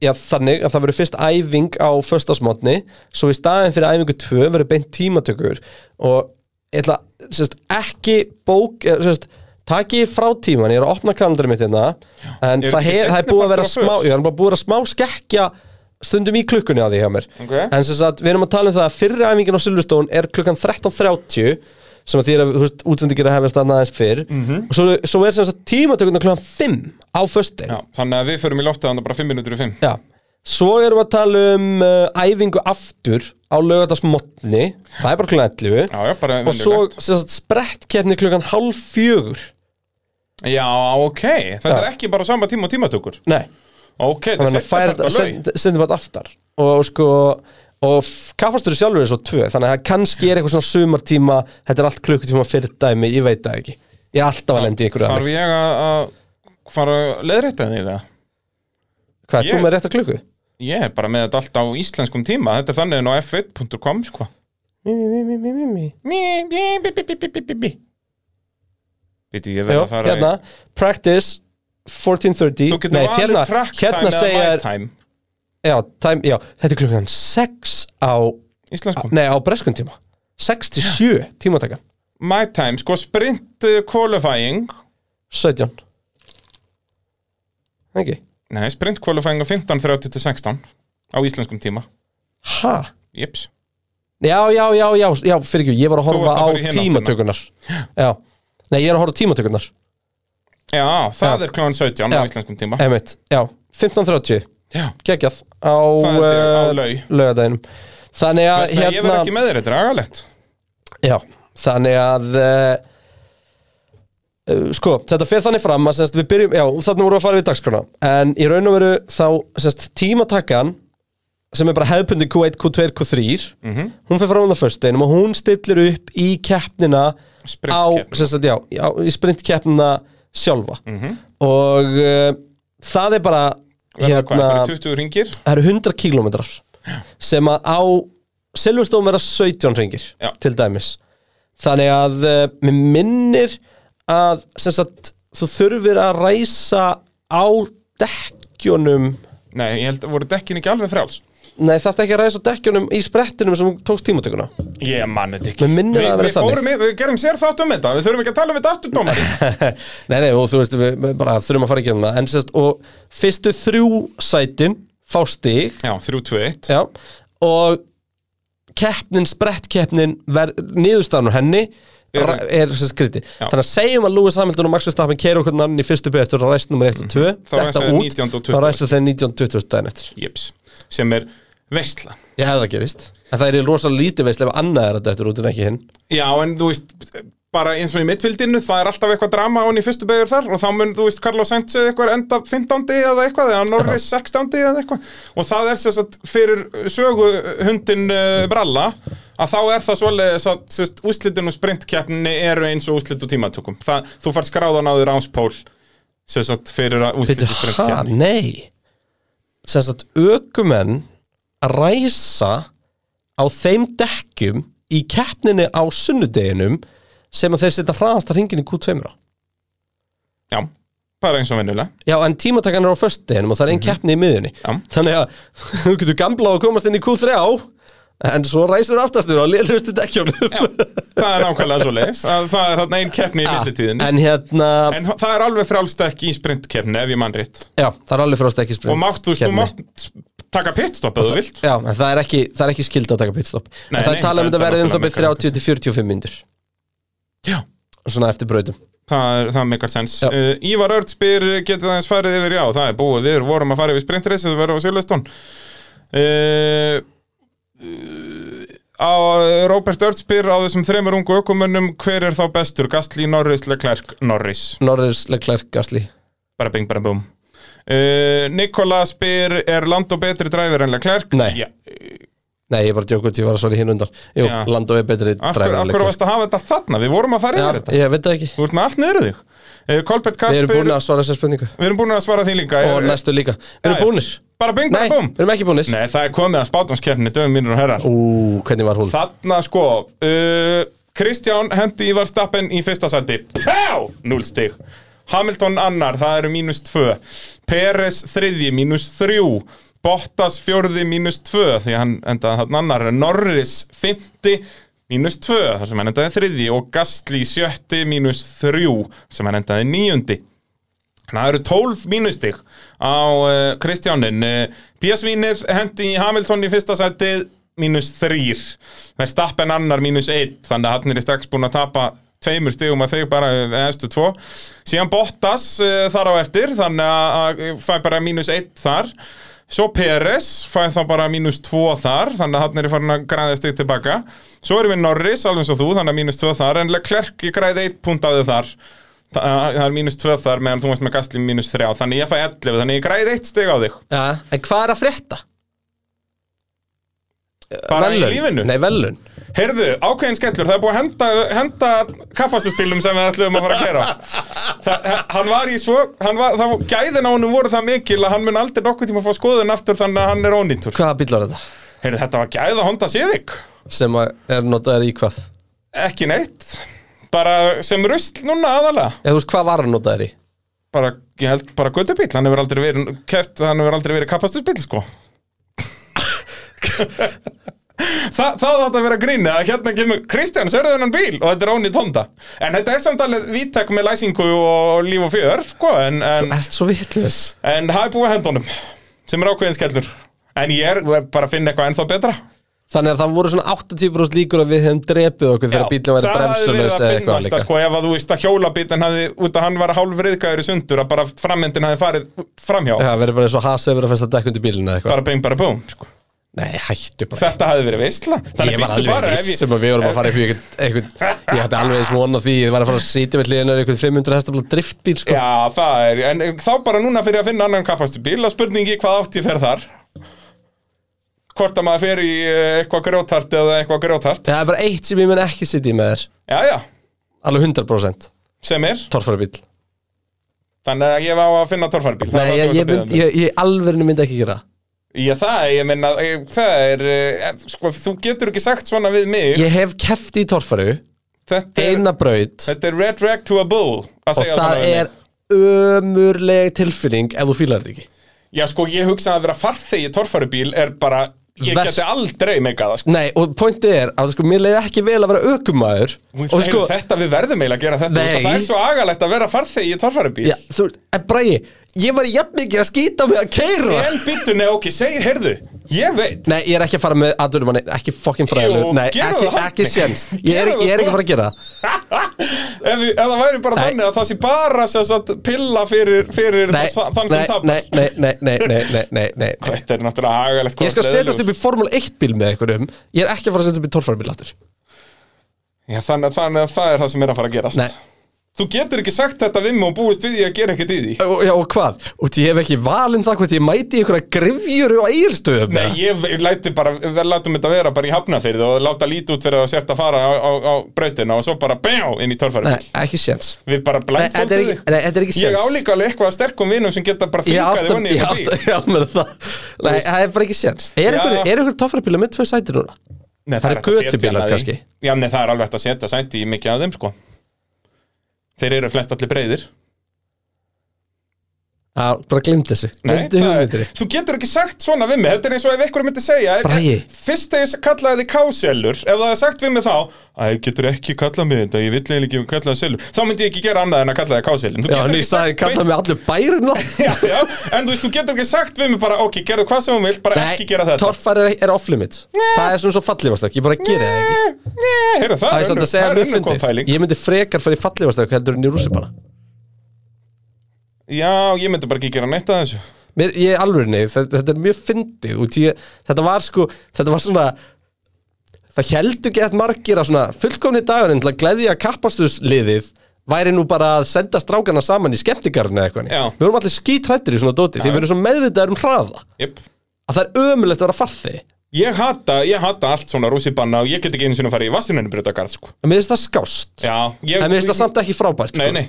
Speaker 3: já, þannig að það verður fyrst æfing á föstasmotni, svo í staðin fyrir æfingu 2 verður beint tímatökur og ég ætla sérst, ekki bók eh, sérst, taki frá tíman, ég er að opna kalendari mitt hérna en
Speaker 2: Eru
Speaker 3: það,
Speaker 2: ekki
Speaker 3: hef, það er
Speaker 2: seinni
Speaker 3: búið að vera
Speaker 2: partur á
Speaker 3: smá
Speaker 2: föst?
Speaker 3: ég er bara búið að smá skekkja stundum í klukkunni að því hjá mér
Speaker 2: Ok.
Speaker 3: en sem sagt, við erum að tala um það að fyrri æfingin á Silverstone er klukkan 13.30 sem að því er að þú veist, útsendingir að hefast annað aðeins fyrr
Speaker 2: Mhm.
Speaker 3: og svo, svo er sem sagt tímatökuna klukkan 5 á föstudegi
Speaker 2: Já, þannig að við förum í loftið hann bara 5 minútur í 5.
Speaker 3: Já, svo erum við að tala um uh, æfingu aftur á laugardagsmotni, það er bara klukkan 11
Speaker 2: Já, já, bara
Speaker 3: og svo
Speaker 2: venjulegt.
Speaker 3: sem sagt, sprettkeppni klukkan hálf fjögur
Speaker 2: Já, ok, þetta
Speaker 3: Já.
Speaker 2: er ekki bara sama tíma og tímatökur.
Speaker 3: Nei,
Speaker 2: Ok, þetta
Speaker 3: þannig að færa
Speaker 2: bara lög.
Speaker 3: þetta sendir bara aftar og sko og kappastur sjálfur er svo tvö þannig að það kannski er eitthvað svona sumartíma þetta er allt klukkutíma fyrir dæmi, ég veit það ekki ég er alltaf að lendi ykkur
Speaker 2: Þarf ég að að fara að leiðrétta því það?
Speaker 3: hvað,
Speaker 2: ég-
Speaker 3: þú með rétt að klukku?
Speaker 2: Ég er bara með þetta allt á íslenskum tíma Þetta er þannig en á f1.com sko
Speaker 3: Mí, mí, mí, mí, mí, mí.
Speaker 2: Býtu, ég verð
Speaker 3: Jó,
Speaker 2: að fara
Speaker 3: hérna,
Speaker 2: í
Speaker 3: practice
Speaker 2: Þú
Speaker 3: 14.30
Speaker 2: getur
Speaker 3: Nei,
Speaker 2: valið
Speaker 3: hérna,
Speaker 2: track time
Speaker 3: hérna
Speaker 2: eða
Speaker 3: segir
Speaker 2: my time
Speaker 3: já, time, já, þetta er klukkan 6 á,
Speaker 2: Íslenskum
Speaker 3: nei, á breskum tíma 6 til 7 tímatakan
Speaker 2: My time, sko sprint uh, qualifying
Speaker 3: 17 ekki,
Speaker 2: Nei, sprint qualifying á 15.30 til 16 Á íslenskum tíma
Speaker 3: ha
Speaker 2: Jips
Speaker 3: Já, já, já, já, já, fyrir ekki, ég var að
Speaker 2: Þú
Speaker 3: horfa
Speaker 2: varst að
Speaker 3: á
Speaker 2: fara í hina
Speaker 3: tímatökunar Já, nei, ég er að horfa á tímatökunar
Speaker 2: Já, það
Speaker 3: Já.
Speaker 2: er klón 17
Speaker 3: Já.
Speaker 2: á
Speaker 3: Eh,
Speaker 2: íslenskum tíma
Speaker 3: Einmitt, já, 15.30
Speaker 2: Já,
Speaker 3: Gekkjað á,
Speaker 2: Það er á
Speaker 3: eh,
Speaker 2: laug.
Speaker 3: laugardeginum Þannig að,
Speaker 2: Veist, hérna... ég verð ekki með þér, þetta er agalegt
Speaker 3: Já, þannig að uh, sko, þetta fer þannig fram að semst, við byrjum, já, þannig vorum við að fara við dagskrána en í raun og veru þá semst, tímatakkan sem er bara hefðbundi Q1, Q2, Q3
Speaker 2: Mm. Mhm.
Speaker 3: hún fer fram á föstudeginum og hún stillir upp í keppnina á,
Speaker 2: Sprintkeppnina.
Speaker 3: sem sagt, já, á, í sprintkeppnina sjálfa
Speaker 2: Mhm.
Speaker 3: og uh, það er bara hérna,
Speaker 2: Verða hvað, bara 20 ringir
Speaker 3: það eru 100 kílómetrar sem að á Silverstone verða 17 ringir
Speaker 2: Já.
Speaker 3: til dæmis þannig að uh, mér minnir að sem sagt, þú þurfir að ræsa á dekkjunum
Speaker 2: Nei, ég held að voru dekkin ekki alveg frjáls
Speaker 3: nei þetta ekki að ræsa á dekkjunum í sprettinum sem þú tókst tímatökuna
Speaker 2: Ég man þetta ekki
Speaker 3: Mér minnir
Speaker 2: Vi,
Speaker 3: að það
Speaker 2: Við
Speaker 3: vera þannig.
Speaker 2: fórum í, við gerum sér þátt um þetta Við þurfum ekki að tala um þetta aftur, Dómari
Speaker 3: nei nei og þú veist við við bara þurfum að fara ekki um það en sem sagt, og fyrstu þrjú sætin fá stig
Speaker 2: Já, 3-2-1
Speaker 3: Já, og keppnin, sprettkeppnin niðurstafnur henni
Speaker 2: Eru-
Speaker 3: ra- er sem skriti
Speaker 2: Já.
Speaker 3: þannig að segjum að Lewis Hamilton og Max Verstappen keira okkur annan í fyrstu beð eftir að ræst nummer 1 og 2
Speaker 2: Mm. Þá ræsa þeir 19 og 20.
Speaker 3: þá ræstu þeir 19 og 20 daginn eftir
Speaker 2: Jips Sem er veistla
Speaker 3: ég hefði það gerist en það er í rosalega lítið veist ef annað er þetta eftir út en ekki hinn
Speaker 2: Já, en þú veist Bara eins og í mittfildinu Það er alltaf eitthvað drama án í fyrstu beigur þar Og þá mun, þú veist, Carlos Sainz eða eitthvað enda 15. eða eitthvað Eða Norris 16. eða eitthvað Og það er sérst að fyrir söguhundin uh, Bralla að þá er það svoleiðis að sérst, úslitin og sprintkeppninni eru eins og úslit og tímatökum það, þú fært skráðan á þér áspól sérst, fyrir að úslit
Speaker 3: Bittu,
Speaker 2: og
Speaker 3: ha,
Speaker 2: sprintkeppni
Speaker 3: nei sem sagt ökumenn að ræsa á þeim dekkjum í keppninni á sunnudeginum sem að þeir setja hraðasta hringin í Q2 á
Speaker 2: Já, bara eins og venjulega
Speaker 3: Já, en tímatakan er á föstudeginum og það er einn keppni í miðunni
Speaker 2: Mhm. Já.
Speaker 3: Þannig að þú getur gamla á að komast inn í Q3 En svo ræsir aftastur á lélustu dekkjónum
Speaker 2: það er nákvæmlega svo leiðis það er þarna einn keppni í millitíðinni en,
Speaker 3: En hérna,
Speaker 2: það er alveg frálst ekki í sprintkeppni ef ég mann rétt
Speaker 3: já, það er alveg frá stekki sprint
Speaker 2: og mátt, þú, veist, þú mátt taka pitstopp ef þú vilt
Speaker 3: Já, en Hérna. það er ekki, það er ekki skilda að taka pitstop
Speaker 2: Nei,
Speaker 3: En það
Speaker 2: nei,
Speaker 3: er talað um
Speaker 2: það
Speaker 3: þetta
Speaker 2: er
Speaker 3: verðið um það
Speaker 2: náttúrulega
Speaker 3: byrð 30 til 45 myndur
Speaker 2: já
Speaker 3: Svona eftir brautum
Speaker 2: Það, er, það meikar sens
Speaker 3: Já.
Speaker 2: uh, Ívar Örd spyr, getið það eins farið yfir Já, það er búið, við vorum að fara yfir sprintreysi Það verður á Silvestón uh, á Róbert Örd spyr á þessum þremur ungu ökumönnum Hver er þá bestur? Gastli, Norris, Leclerc, Norris
Speaker 3: Norris, Leclerc, Gasly
Speaker 2: bara Eh, bing, bara búm uh, Nikola spyr, er Lando betri dræfur en Leclerc?
Speaker 3: Nei.
Speaker 2: ja,
Speaker 3: Nei, ég bara djókut, ég var að svara í hinn undan Jú,
Speaker 2: Já.
Speaker 3: Lando er betri
Speaker 2: Af hverju af hverju
Speaker 3: driverleikur.
Speaker 2: varst að hafa þetta allt þarna? Við vorum að fara yfir þetta
Speaker 3: Já, ég veit það ekki
Speaker 2: Þú ert með allt niður þig Eh, Kolbert Katz
Speaker 3: Við erum búin
Speaker 2: spyr-
Speaker 3: að svara þessar spurningu
Speaker 2: Við erum búin að svara því líka
Speaker 3: Og
Speaker 2: Er-
Speaker 3: næstu líka Við
Speaker 2: Já, já.
Speaker 3: erum búinir
Speaker 2: Bara bing,
Speaker 3: Nei,
Speaker 2: bara búm
Speaker 3: við erum ekki búinir
Speaker 2: Nei, það er komið að spátumskeppni Döfum mínur og herrar
Speaker 3: Ú, hvernig var hún?
Speaker 2: Þarna sko uh, Kristján hendi Ívar Stappen í fyrsta sæti Pjá! 0 stig Hamilton annar, það eru mínus 2 Peres þriðji, mínus 3 Bottas fjórði, mínus 2 Því að hann endaði hann annar Norris fymti, mínus 2 Þar sem hann endaði þriðji Og Gastli sjötti, mínus 3 Sem hann endaði níundi Þannig að það eru 12 mínustig á uh, Kristjánin. Uh, Píasvínið hendi í Hamilton í fyrsta sætið mínus 3. Verstappen annar mínus 1. Þannig að hann er strax búin að tapa tveimur stigum að þau bara eðstu tvo. Síðan Bottas uh, þar á eftir, þannig að að fæ bara mínus 1 þar. Svo Peres fæði þá bara mínus 2 þar, þannig að hann er í farin að græða stig tilbaka. Svo erum við Norris, alveg eins og þú, þannig að mínus 2 þar, en Leclerc ég græði 1 punkt af þau þar. Þa- Það er mínus 2 þar meðan þú varst með gasli mínus 3 Þannig ég fæ 11, þannig ég græði eitt stig á þig
Speaker 3: Já, en hvað er að frétta?
Speaker 2: Bara
Speaker 3: velun.
Speaker 2: í lífinu
Speaker 3: Nei, velun
Speaker 2: Heyrðu, ákveðin skellur, það er búið að henda, henda kappastuspilum sem við ætluðum að fara að gera það, Hann var í svo hann var, það, Gæðin á honum voru það mikil að hann mun aldrei nokkuð tíma að fá skoðun aftur þannig að hann er ónýtur
Speaker 3: Hvaða bíl var þetta?
Speaker 2: Heyrðu, þetta var gæða Honda Civic
Speaker 3: Sem að er notaður í hvað?
Speaker 2: Ekki neitt Bara sem rusl núna aðalega
Speaker 3: Eða þú veist, hvað var hann notaður í?
Speaker 2: Bara, ég held bara göttubíl, hann hefur aldrei verið keft, hann hefur aldrei verið kappastuspíl sko Þa, það þátt að vera gríni að hérna kemur Kristján, sverðu hennan bíl og þetta er ónýtt Honda en þetta er samt alveg vítek með læsingu og líf og fjör sko, en, en,
Speaker 3: Ert svo vitlis
Speaker 2: en það er búið að henda honum sem er ákveðin skellur en ég er er bara að finna eitthvað ennþá betra
Speaker 3: Þannig að það voru svona 80% líkur að við hefum drepið okkur þegar bílum væri
Speaker 2: það hefði verið
Speaker 3: bremsulegs
Speaker 2: að
Speaker 3: eða eitthvað
Speaker 2: finnast
Speaker 3: líka
Speaker 2: að sko ef að þú veist að hjólabítin hafði, út að hann var hálfriðgæður í sundur að bara framhendin hafði farið framhjá
Speaker 3: Já, verið bara eins og hasa yfir að festa dekk undir bílinu eða eitthvað
Speaker 2: bara bing bara búm sko.
Speaker 3: Nei, hættu bara
Speaker 2: þetta hafði verið veistla
Speaker 3: Ég var alveg viss um að við vorum að fara upp í eitthvað, eitthvað Ég hætti alveg eins vona því Ég var að fara að sitja með hliðinu eitthvað 500 hestafla driftbíl sko
Speaker 2: Já, það er, en þá bara núna fyrir að finna annan kapastu bíl að spurningi hvað átt ég fer þar Hvort að maður fer í eh, eitthvað grjóthart eða eitthvað grjóthart
Speaker 3: Það er bara eitt sem ég mun ekki sitja í með þér
Speaker 2: Já, já,
Speaker 3: Alveg 100%
Speaker 2: sem er,
Speaker 3: Torfara bíl
Speaker 2: þannig að ég var að finna torfarbíl það
Speaker 3: Nei,
Speaker 2: var
Speaker 3: ég,
Speaker 2: það sem
Speaker 3: ég,
Speaker 2: þú
Speaker 3: mynd,
Speaker 2: biðjaðir mig.
Speaker 3: ég, ég alverinu myndi ekki gera það.
Speaker 2: um. Ég það, ég minna, ég, það er, eh, sko, þú getur ekki sagt svona við mig
Speaker 3: Ég hef kefti í torfaru
Speaker 2: þetta, er,
Speaker 3: Eina braut
Speaker 2: þetta er red rag to a bull að
Speaker 3: Og
Speaker 2: segja
Speaker 3: það
Speaker 2: svona við
Speaker 3: er
Speaker 2: mig
Speaker 3: ömurleg tilfinning Ef þú fílar þetta ekki
Speaker 2: Já, sko, ég hugsa að vera farþegi torfarbíl er bara, ég
Speaker 3: Verst.
Speaker 2: geti aldrei meika það, sko
Speaker 3: Nei, og pointið er að sko, mér leiði ekki vel að vera ökumæður
Speaker 2: Og
Speaker 3: Og sko,
Speaker 2: þetta við verðum eiginlega að gera þetta
Speaker 3: Nei.
Speaker 2: út af Það er svo agalegt að vera farþegi í torfarubíl
Speaker 3: já, þú, en bræði Ég var jafn mikið að skýta mig að keira
Speaker 2: En byttu, nei, ok, segi, heyrðu Ég veit
Speaker 3: Nei, ég er ekki að fara með aðdurum manni, ekki fokkin fræðilegur
Speaker 2: Jú,
Speaker 3: Nei,
Speaker 2: gerðu
Speaker 3: ekki,
Speaker 2: það.
Speaker 3: ekki séns Ég er,
Speaker 2: Gerðu það,
Speaker 3: ég er ekki
Speaker 2: sko.
Speaker 3: að fara að gera það
Speaker 2: ef, við- ef það væri bara
Speaker 3: Nei.
Speaker 2: þannig að það sé bara sem sagt, pilla fyrir, fyrir
Speaker 3: Nei,
Speaker 2: þa- þann sem
Speaker 3: nei,
Speaker 2: tapar
Speaker 3: nei, nei, nei, nei, nei, nei, nei, nei, nei
Speaker 2: Þetta er náttúrulega agalegt
Speaker 3: Ég skal setjast upp í Formule 1 bíl með einhverjum Ég er ekki að fara að setjast upp í torfærabíl aftur
Speaker 2: Já, þannig, að- þannig að það er það sem er að fara að gerast
Speaker 3: Nei,
Speaker 2: Þú getur ekki sagt þetta við mig og búist við því að gera ekkert í því
Speaker 3: og, já, og hvað? Og því ég hef ekki valin það hvort ég mæti í einhverja grifjur og eigilstöðum
Speaker 2: Nei, ég ve- læti bara, við látum þetta vera bara í hafnafyrð og láta lít út fyrir að sérst að fara á, á, á brautina og svo bara bjá inn í torfarubíl
Speaker 3: nei ekki séns
Speaker 2: Við bara
Speaker 3: þetta er
Speaker 2: blindfoldið
Speaker 3: ekki-
Speaker 2: þig
Speaker 3: nei, þetta er ekki
Speaker 2: Ég
Speaker 3: séns.
Speaker 2: álíka alveg eitthvað að sterkum vinum sem geta bara
Speaker 3: Ég
Speaker 2: þingað
Speaker 3: átta
Speaker 2: þig onni í
Speaker 3: ég
Speaker 2: þetta bíl
Speaker 3: átta- já, mér er það Nei, það er bara ekki séns Er
Speaker 2: Já.
Speaker 3: einhver- er einhver torfærabíl með tvö sæti núna?
Speaker 2: Nei,
Speaker 3: það eru
Speaker 2: er hægt að setja
Speaker 3: götubílar
Speaker 2: hana í.
Speaker 3: kannski.
Speaker 2: Já, nei, það er alveg hægt að setja sæti í mikið af þeim sko Þeir eru flest allir breyðir
Speaker 3: Já, bara glimt þessu
Speaker 2: Nei,
Speaker 3: Glimti
Speaker 2: það er-
Speaker 3: hugmyndinni
Speaker 2: Þú getur ekki sagt svona við mig Þetta er eins og ef einhverjum myndi segja ef-
Speaker 3: Bragi.
Speaker 2: Fyrst þegar ég kallaði þið káselur Ef það er sagt við mig þá Æ, getur ekki kallað mig þetta, ég vill eiginlega ekki kallað selur Þá myndi ég ekki gera annað en að kalla þið káselur Þú
Speaker 3: Já,
Speaker 2: getur
Speaker 3: en í
Speaker 2: ekki
Speaker 3: staðin
Speaker 2: sagt
Speaker 3: kalla mig allir bærin og
Speaker 2: Já, já, en þú veist, þú getur ekki sagt við mig bara Ok, gerðu hvað sem þú vilt, bara ekki gera þetta
Speaker 3: torfar er, er off-limit Það er svona svo fallivastak, ég bara gera það ekki
Speaker 2: Nei, heyrðu, það,
Speaker 3: Það
Speaker 2: er
Speaker 3: er samt
Speaker 2: önnur-
Speaker 3: að segja
Speaker 2: það er
Speaker 3: mjög
Speaker 2: önnur góð
Speaker 3: fyndið
Speaker 2: pæling
Speaker 3: Ég myndi frekar fyrir fallivastak heldur en í rússi bara
Speaker 2: Já, ég myndi bara ekki gera neitt að þessu
Speaker 3: Mér, Ég er alveg nefn, þetta er mjög fyndið út í ég- Þetta var sko, þetta var svona Það heldur gett margir að svona fullkomni dagurinn til að gleðja kappastusliðið væri nú bara að senda strákana saman í skemmtikarinn eða eitthvað
Speaker 2: Já.
Speaker 3: Við vorum allir skítrættir í svona dóti því við erum svo meðvitaður um hraða
Speaker 2: Jep,
Speaker 3: að það er ömulegt að vera farþi
Speaker 2: Ég hata, ég hata allt svona rússibanna og ég get ekki einu sinni að fara í vassinunni breytagarð, sko.
Speaker 3: En mér finnst það skást
Speaker 2: Já, ég...
Speaker 3: En mér finnst það samt ekki frábært
Speaker 2: Nei,
Speaker 3: sko.
Speaker 2: nei.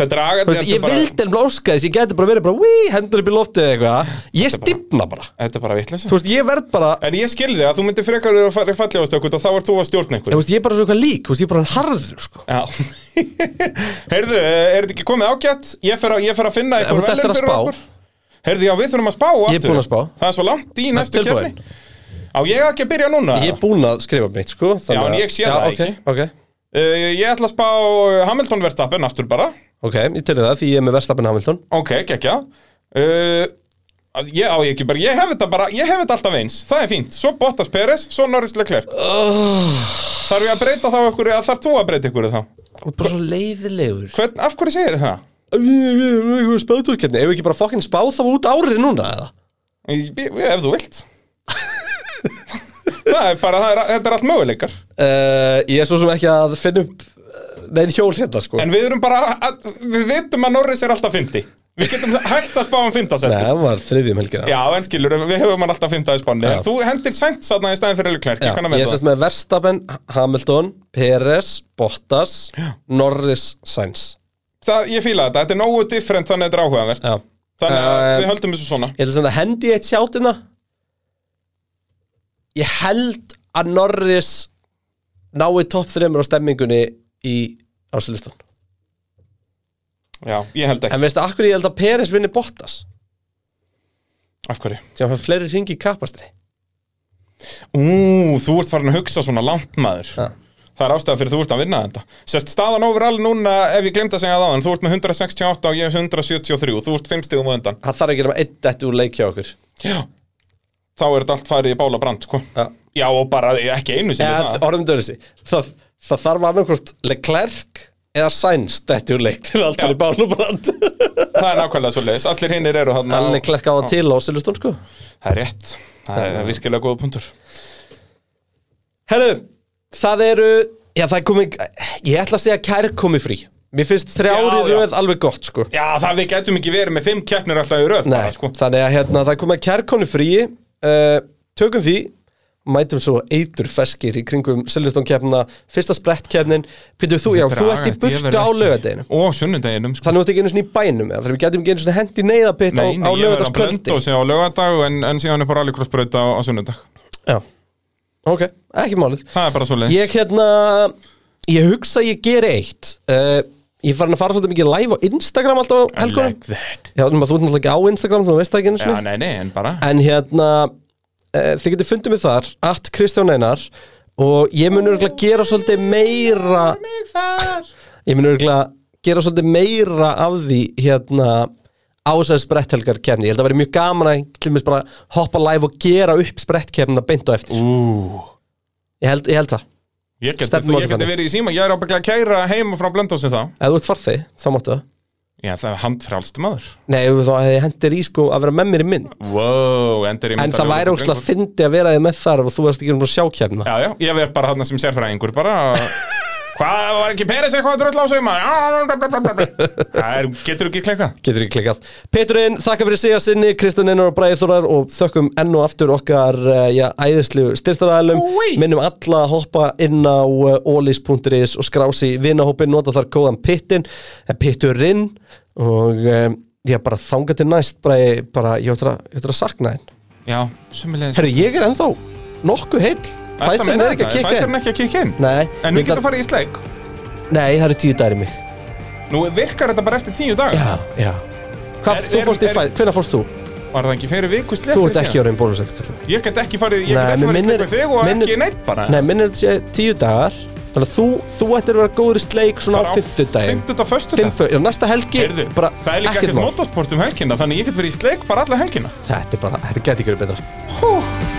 Speaker 2: Þetta er agandi.
Speaker 3: Þú veist, ég vildi en blóska þess, ég geti bara verið bara Wii, hendur upp í loftið eða eitthvað Ég stipna bara
Speaker 2: Þetta er bara vitleisa.
Speaker 3: Þú veist, ég verð bara
Speaker 2: En ég skilði að þú myndir frekar að fara í falljáðastökut og þá ert þú að
Speaker 3: Ég,
Speaker 2: stjórna einhverju.
Speaker 3: veist, ég er bara svo eitthvað lík, þú veist, ég er bara hann harður sko.
Speaker 2: Já. Heyrðu, eh, er þetta ekki komið ágætt? Ég fer að, ég fer að finna
Speaker 3: Þú
Speaker 2: einhver
Speaker 3: ert eftir að spá.
Speaker 2: Heyrðu, já, við þurfum að spá aftur.
Speaker 3: er búinn að spá.
Speaker 2: Það er svo langt í næstu
Speaker 3: tilbúinn.
Speaker 2: kefni. Á ég ekki að byrja núna?
Speaker 3: Ég er búinn að skrifa mitt sko, þannig
Speaker 2: Já, en
Speaker 3: að-
Speaker 2: ég sé
Speaker 3: Já,
Speaker 2: það
Speaker 3: ok, okay.
Speaker 2: Uh, ég ætla að spá Hamilton-verstappen aftur bara.
Speaker 3: ok, ég telli það því ég er með verstafinn Hamilton
Speaker 2: Ok, gekkja uh, Ég á ég ekki bara Ég hef þetta bara, ég hef þetta alltaf eins Það er fínt, svo Bottas Peres, svo Norris Leclerc oh. Þarf ég að breyta þá ykkur eða þarf þú að breyta ykkur þá
Speaker 3: Þú er bara svo leiðilegur
Speaker 2: Hvern, Af hverju segir þið það?
Speaker 3: Spáðtúrkjarni, ef við ekki bara fokkin spáð þá út árið núna eða?
Speaker 2: Ég- ég- Ef þú vilt Það er bara, það er, þetta er allt möguleikar
Speaker 3: Uh, ég er svo sem ekki að finna upp neðin hjól hérna sko
Speaker 2: En við erum bara, að, við vitum að Norris er alltaf 50 Við getum hægt að spá um 50
Speaker 3: Nei,
Speaker 2: seti
Speaker 3: það var þriðjum helgina
Speaker 2: Já, en skilur, við hefum hann alltaf 50 í spanni En þú hendir sænt satna í staðin fyrir Leclerc Ég kann
Speaker 3: ég
Speaker 2: að með
Speaker 3: er
Speaker 2: það
Speaker 3: sérst með Verstappen, Hamilton, Peres, Bottas, Norris, Sainz
Speaker 2: það, ég fíla þetta, þetta er nógu different þannig að þetta er áhugavert
Speaker 3: Já.
Speaker 2: þannig að
Speaker 3: Eh,
Speaker 2: við höldum þessu svona
Speaker 3: Ég ætla sem það hendi í eitt sjátina Ég held að Norris nái topp þreymur á stemmingunni í Áslustan
Speaker 2: já, ég held ekki,
Speaker 3: En veistu, akkur ég held að Peres vinni Bottas
Speaker 2: af hverju
Speaker 3: sem hann fær fleiri ringi í kapastri
Speaker 2: ú, þú ert farin að hugsa svona langt maður
Speaker 3: Já.
Speaker 2: það er ástæða fyrir þú ert að vinna þetta sérst staðan overall núna, ef ég glemt að segja það þú ert með 168 og ég er 173 þú ert 50 um undan
Speaker 3: Hann þarf ekki nema einn dætti úr leik hjá okkur
Speaker 2: já. þá er þetta allt farið í bála brand sko.
Speaker 3: Já.
Speaker 2: já, og bara ekki einu sinni
Speaker 3: Eða,
Speaker 2: það
Speaker 3: orðum dörrisi það, það þarf annarkvort Leclerc eða Sainz dætti úr leik til allt
Speaker 2: Já.
Speaker 3: fyrir bán og brand
Speaker 2: það er nákvæmlega svo leiðis, allir hinnir eru þarna
Speaker 3: Hann
Speaker 2: og-
Speaker 3: Leclerc á það til á Silveston sko
Speaker 2: það er rétt, það er virkilega góða punktur
Speaker 3: Herru, það eru Já, það er komið Ég ætla að segja kær komið frí Mér finnst
Speaker 2: Já,
Speaker 3: þrjári
Speaker 2: já.
Speaker 3: röð alveg gott sko
Speaker 2: já, það við getum ekki verið með 5 keppnir alltaf í röð
Speaker 3: Nei,
Speaker 2: bara, sko.
Speaker 3: þannig að hérna, það er komið kær komið frí uh, Tökum því Mætum svo eitur feskir í kringum Silveston keppna, fyrsta sprett keppnin Pítur þú, já, þú
Speaker 2: Draga
Speaker 3: ert í
Speaker 2: þetta, ég verð
Speaker 3: burtu á
Speaker 2: ekki-
Speaker 3: lögadeginu
Speaker 2: Og sunnudeginum sko.
Speaker 3: Þannig að þú ert ekki einu svona í bænum eða þannig að við getum ekki einu svona hendi neyðapitt á,
Speaker 2: Nei, nei,
Speaker 3: á
Speaker 2: ég verður að blönda
Speaker 3: lögadagskvöldi
Speaker 2: og segja á lögadag en, en síðan er bara rallycrossbrauta á, á sunnudag
Speaker 3: Já, ok, ekki málið
Speaker 2: Það er bara svo leið
Speaker 3: Ég hérna Ég hugsa að ég geri eitt uh, Ég er farin að fara svolítið mikið live á Instagram alltaf á helgunum
Speaker 2: like that
Speaker 3: Já, nema, þú ert náttúrulega ekki á Instagram, þú veist það ekki einu
Speaker 2: Já,
Speaker 3: sinni
Speaker 2: nei, nei, en bara
Speaker 3: En hérna uh, Þið getið fundið mig þar, at Kristján Einar Og ég mun örgulega gera svolítið meira Ég mun örgulega gera svolítið meira af því hérna á þessari spretthelgar kemni, ég held að vera mjög gaman að til dæmis bara hoppa live og gera upp sprettkemna beint á
Speaker 2: Mm.
Speaker 3: eftir
Speaker 2: Ú,
Speaker 3: ég held, ég held það,
Speaker 2: Ég geti
Speaker 3: Stefnum
Speaker 2: ég
Speaker 3: orðið
Speaker 2: geti
Speaker 3: þannig.
Speaker 2: verið í síma Ég er ábygglega að kæra heima frá blöndósi þá
Speaker 3: ef þú ert farþið, þá máttu það
Speaker 2: Já, það er handfrálst maður
Speaker 3: Nei, þá hefði ég hendir í sko að vera með mér í mynd
Speaker 2: Wow, endur ég
Speaker 3: En það væri ógslag fyndi að vera þið með þar og þú varst ekki um að sjá kemna
Speaker 2: Já, já, ég verð bara þarna sem sérfræðingur bara Hvað, var ekki Peres eitthvað dröll á sig maður Það er, getur ekki klekað
Speaker 3: Getur ekki klikkað Peturinn, þakka fyrir sig að sinni, Kristján Einar og Bræði Þórar og þökkum enn og aftur okkar eh, já, æðislu styrtaræðalum
Speaker 2: Úi.
Speaker 3: Minnum alla að hoppa inn á eh, olis.is og skrási vinahópin nota þar kóðan pittin Peturinn og eh, já, bara þanga til næst Bræði, bara ég ætla að, ég ætla að sakna þinn
Speaker 2: Já, sumilegis
Speaker 3: Herru, ég er ennþá nokkuð heill Fæsirinn er ekki að kikka
Speaker 2: Fæsarinn
Speaker 3: inn.
Speaker 2: er ekki að kikka inn
Speaker 3: Nei,
Speaker 2: En við
Speaker 3: ég ætla-
Speaker 2: getum farið í sleik
Speaker 3: Nei, það eru tíu dagar í mig
Speaker 2: Nú virkar þetta bara eftir tíu dag
Speaker 3: Já, já Hvað,
Speaker 2: Er-
Speaker 3: þú
Speaker 2: er-
Speaker 3: fórst í
Speaker 2: er-
Speaker 3: færi, hvenær fórst þú?
Speaker 2: Var það ekki fyrir viku sleik
Speaker 3: Þú ert ekki á raun bólusett Nei,
Speaker 2: Ég get ekki farið, ég get ekki farið í sleik með þig og ekki í neitt bara
Speaker 3: Nei, minn er þetta sé tíu dagar Þannig að þú, þú ættir að vera góður í sleik svona á fimmtudaginn
Speaker 2: Fymtudag, föstudag
Speaker 3: Fimmtu, já, næsta helgi
Speaker 2: Heyrðu,
Speaker 3: bara
Speaker 2: það er líka
Speaker 3: ekkert
Speaker 2: ekkert
Speaker 3: mál.
Speaker 2: motorsport um helgina Þannig ég get verið í sleik bara alla helgina
Speaker 3: Þetta er bara, þetta geti ekki verið betra
Speaker 2: Hú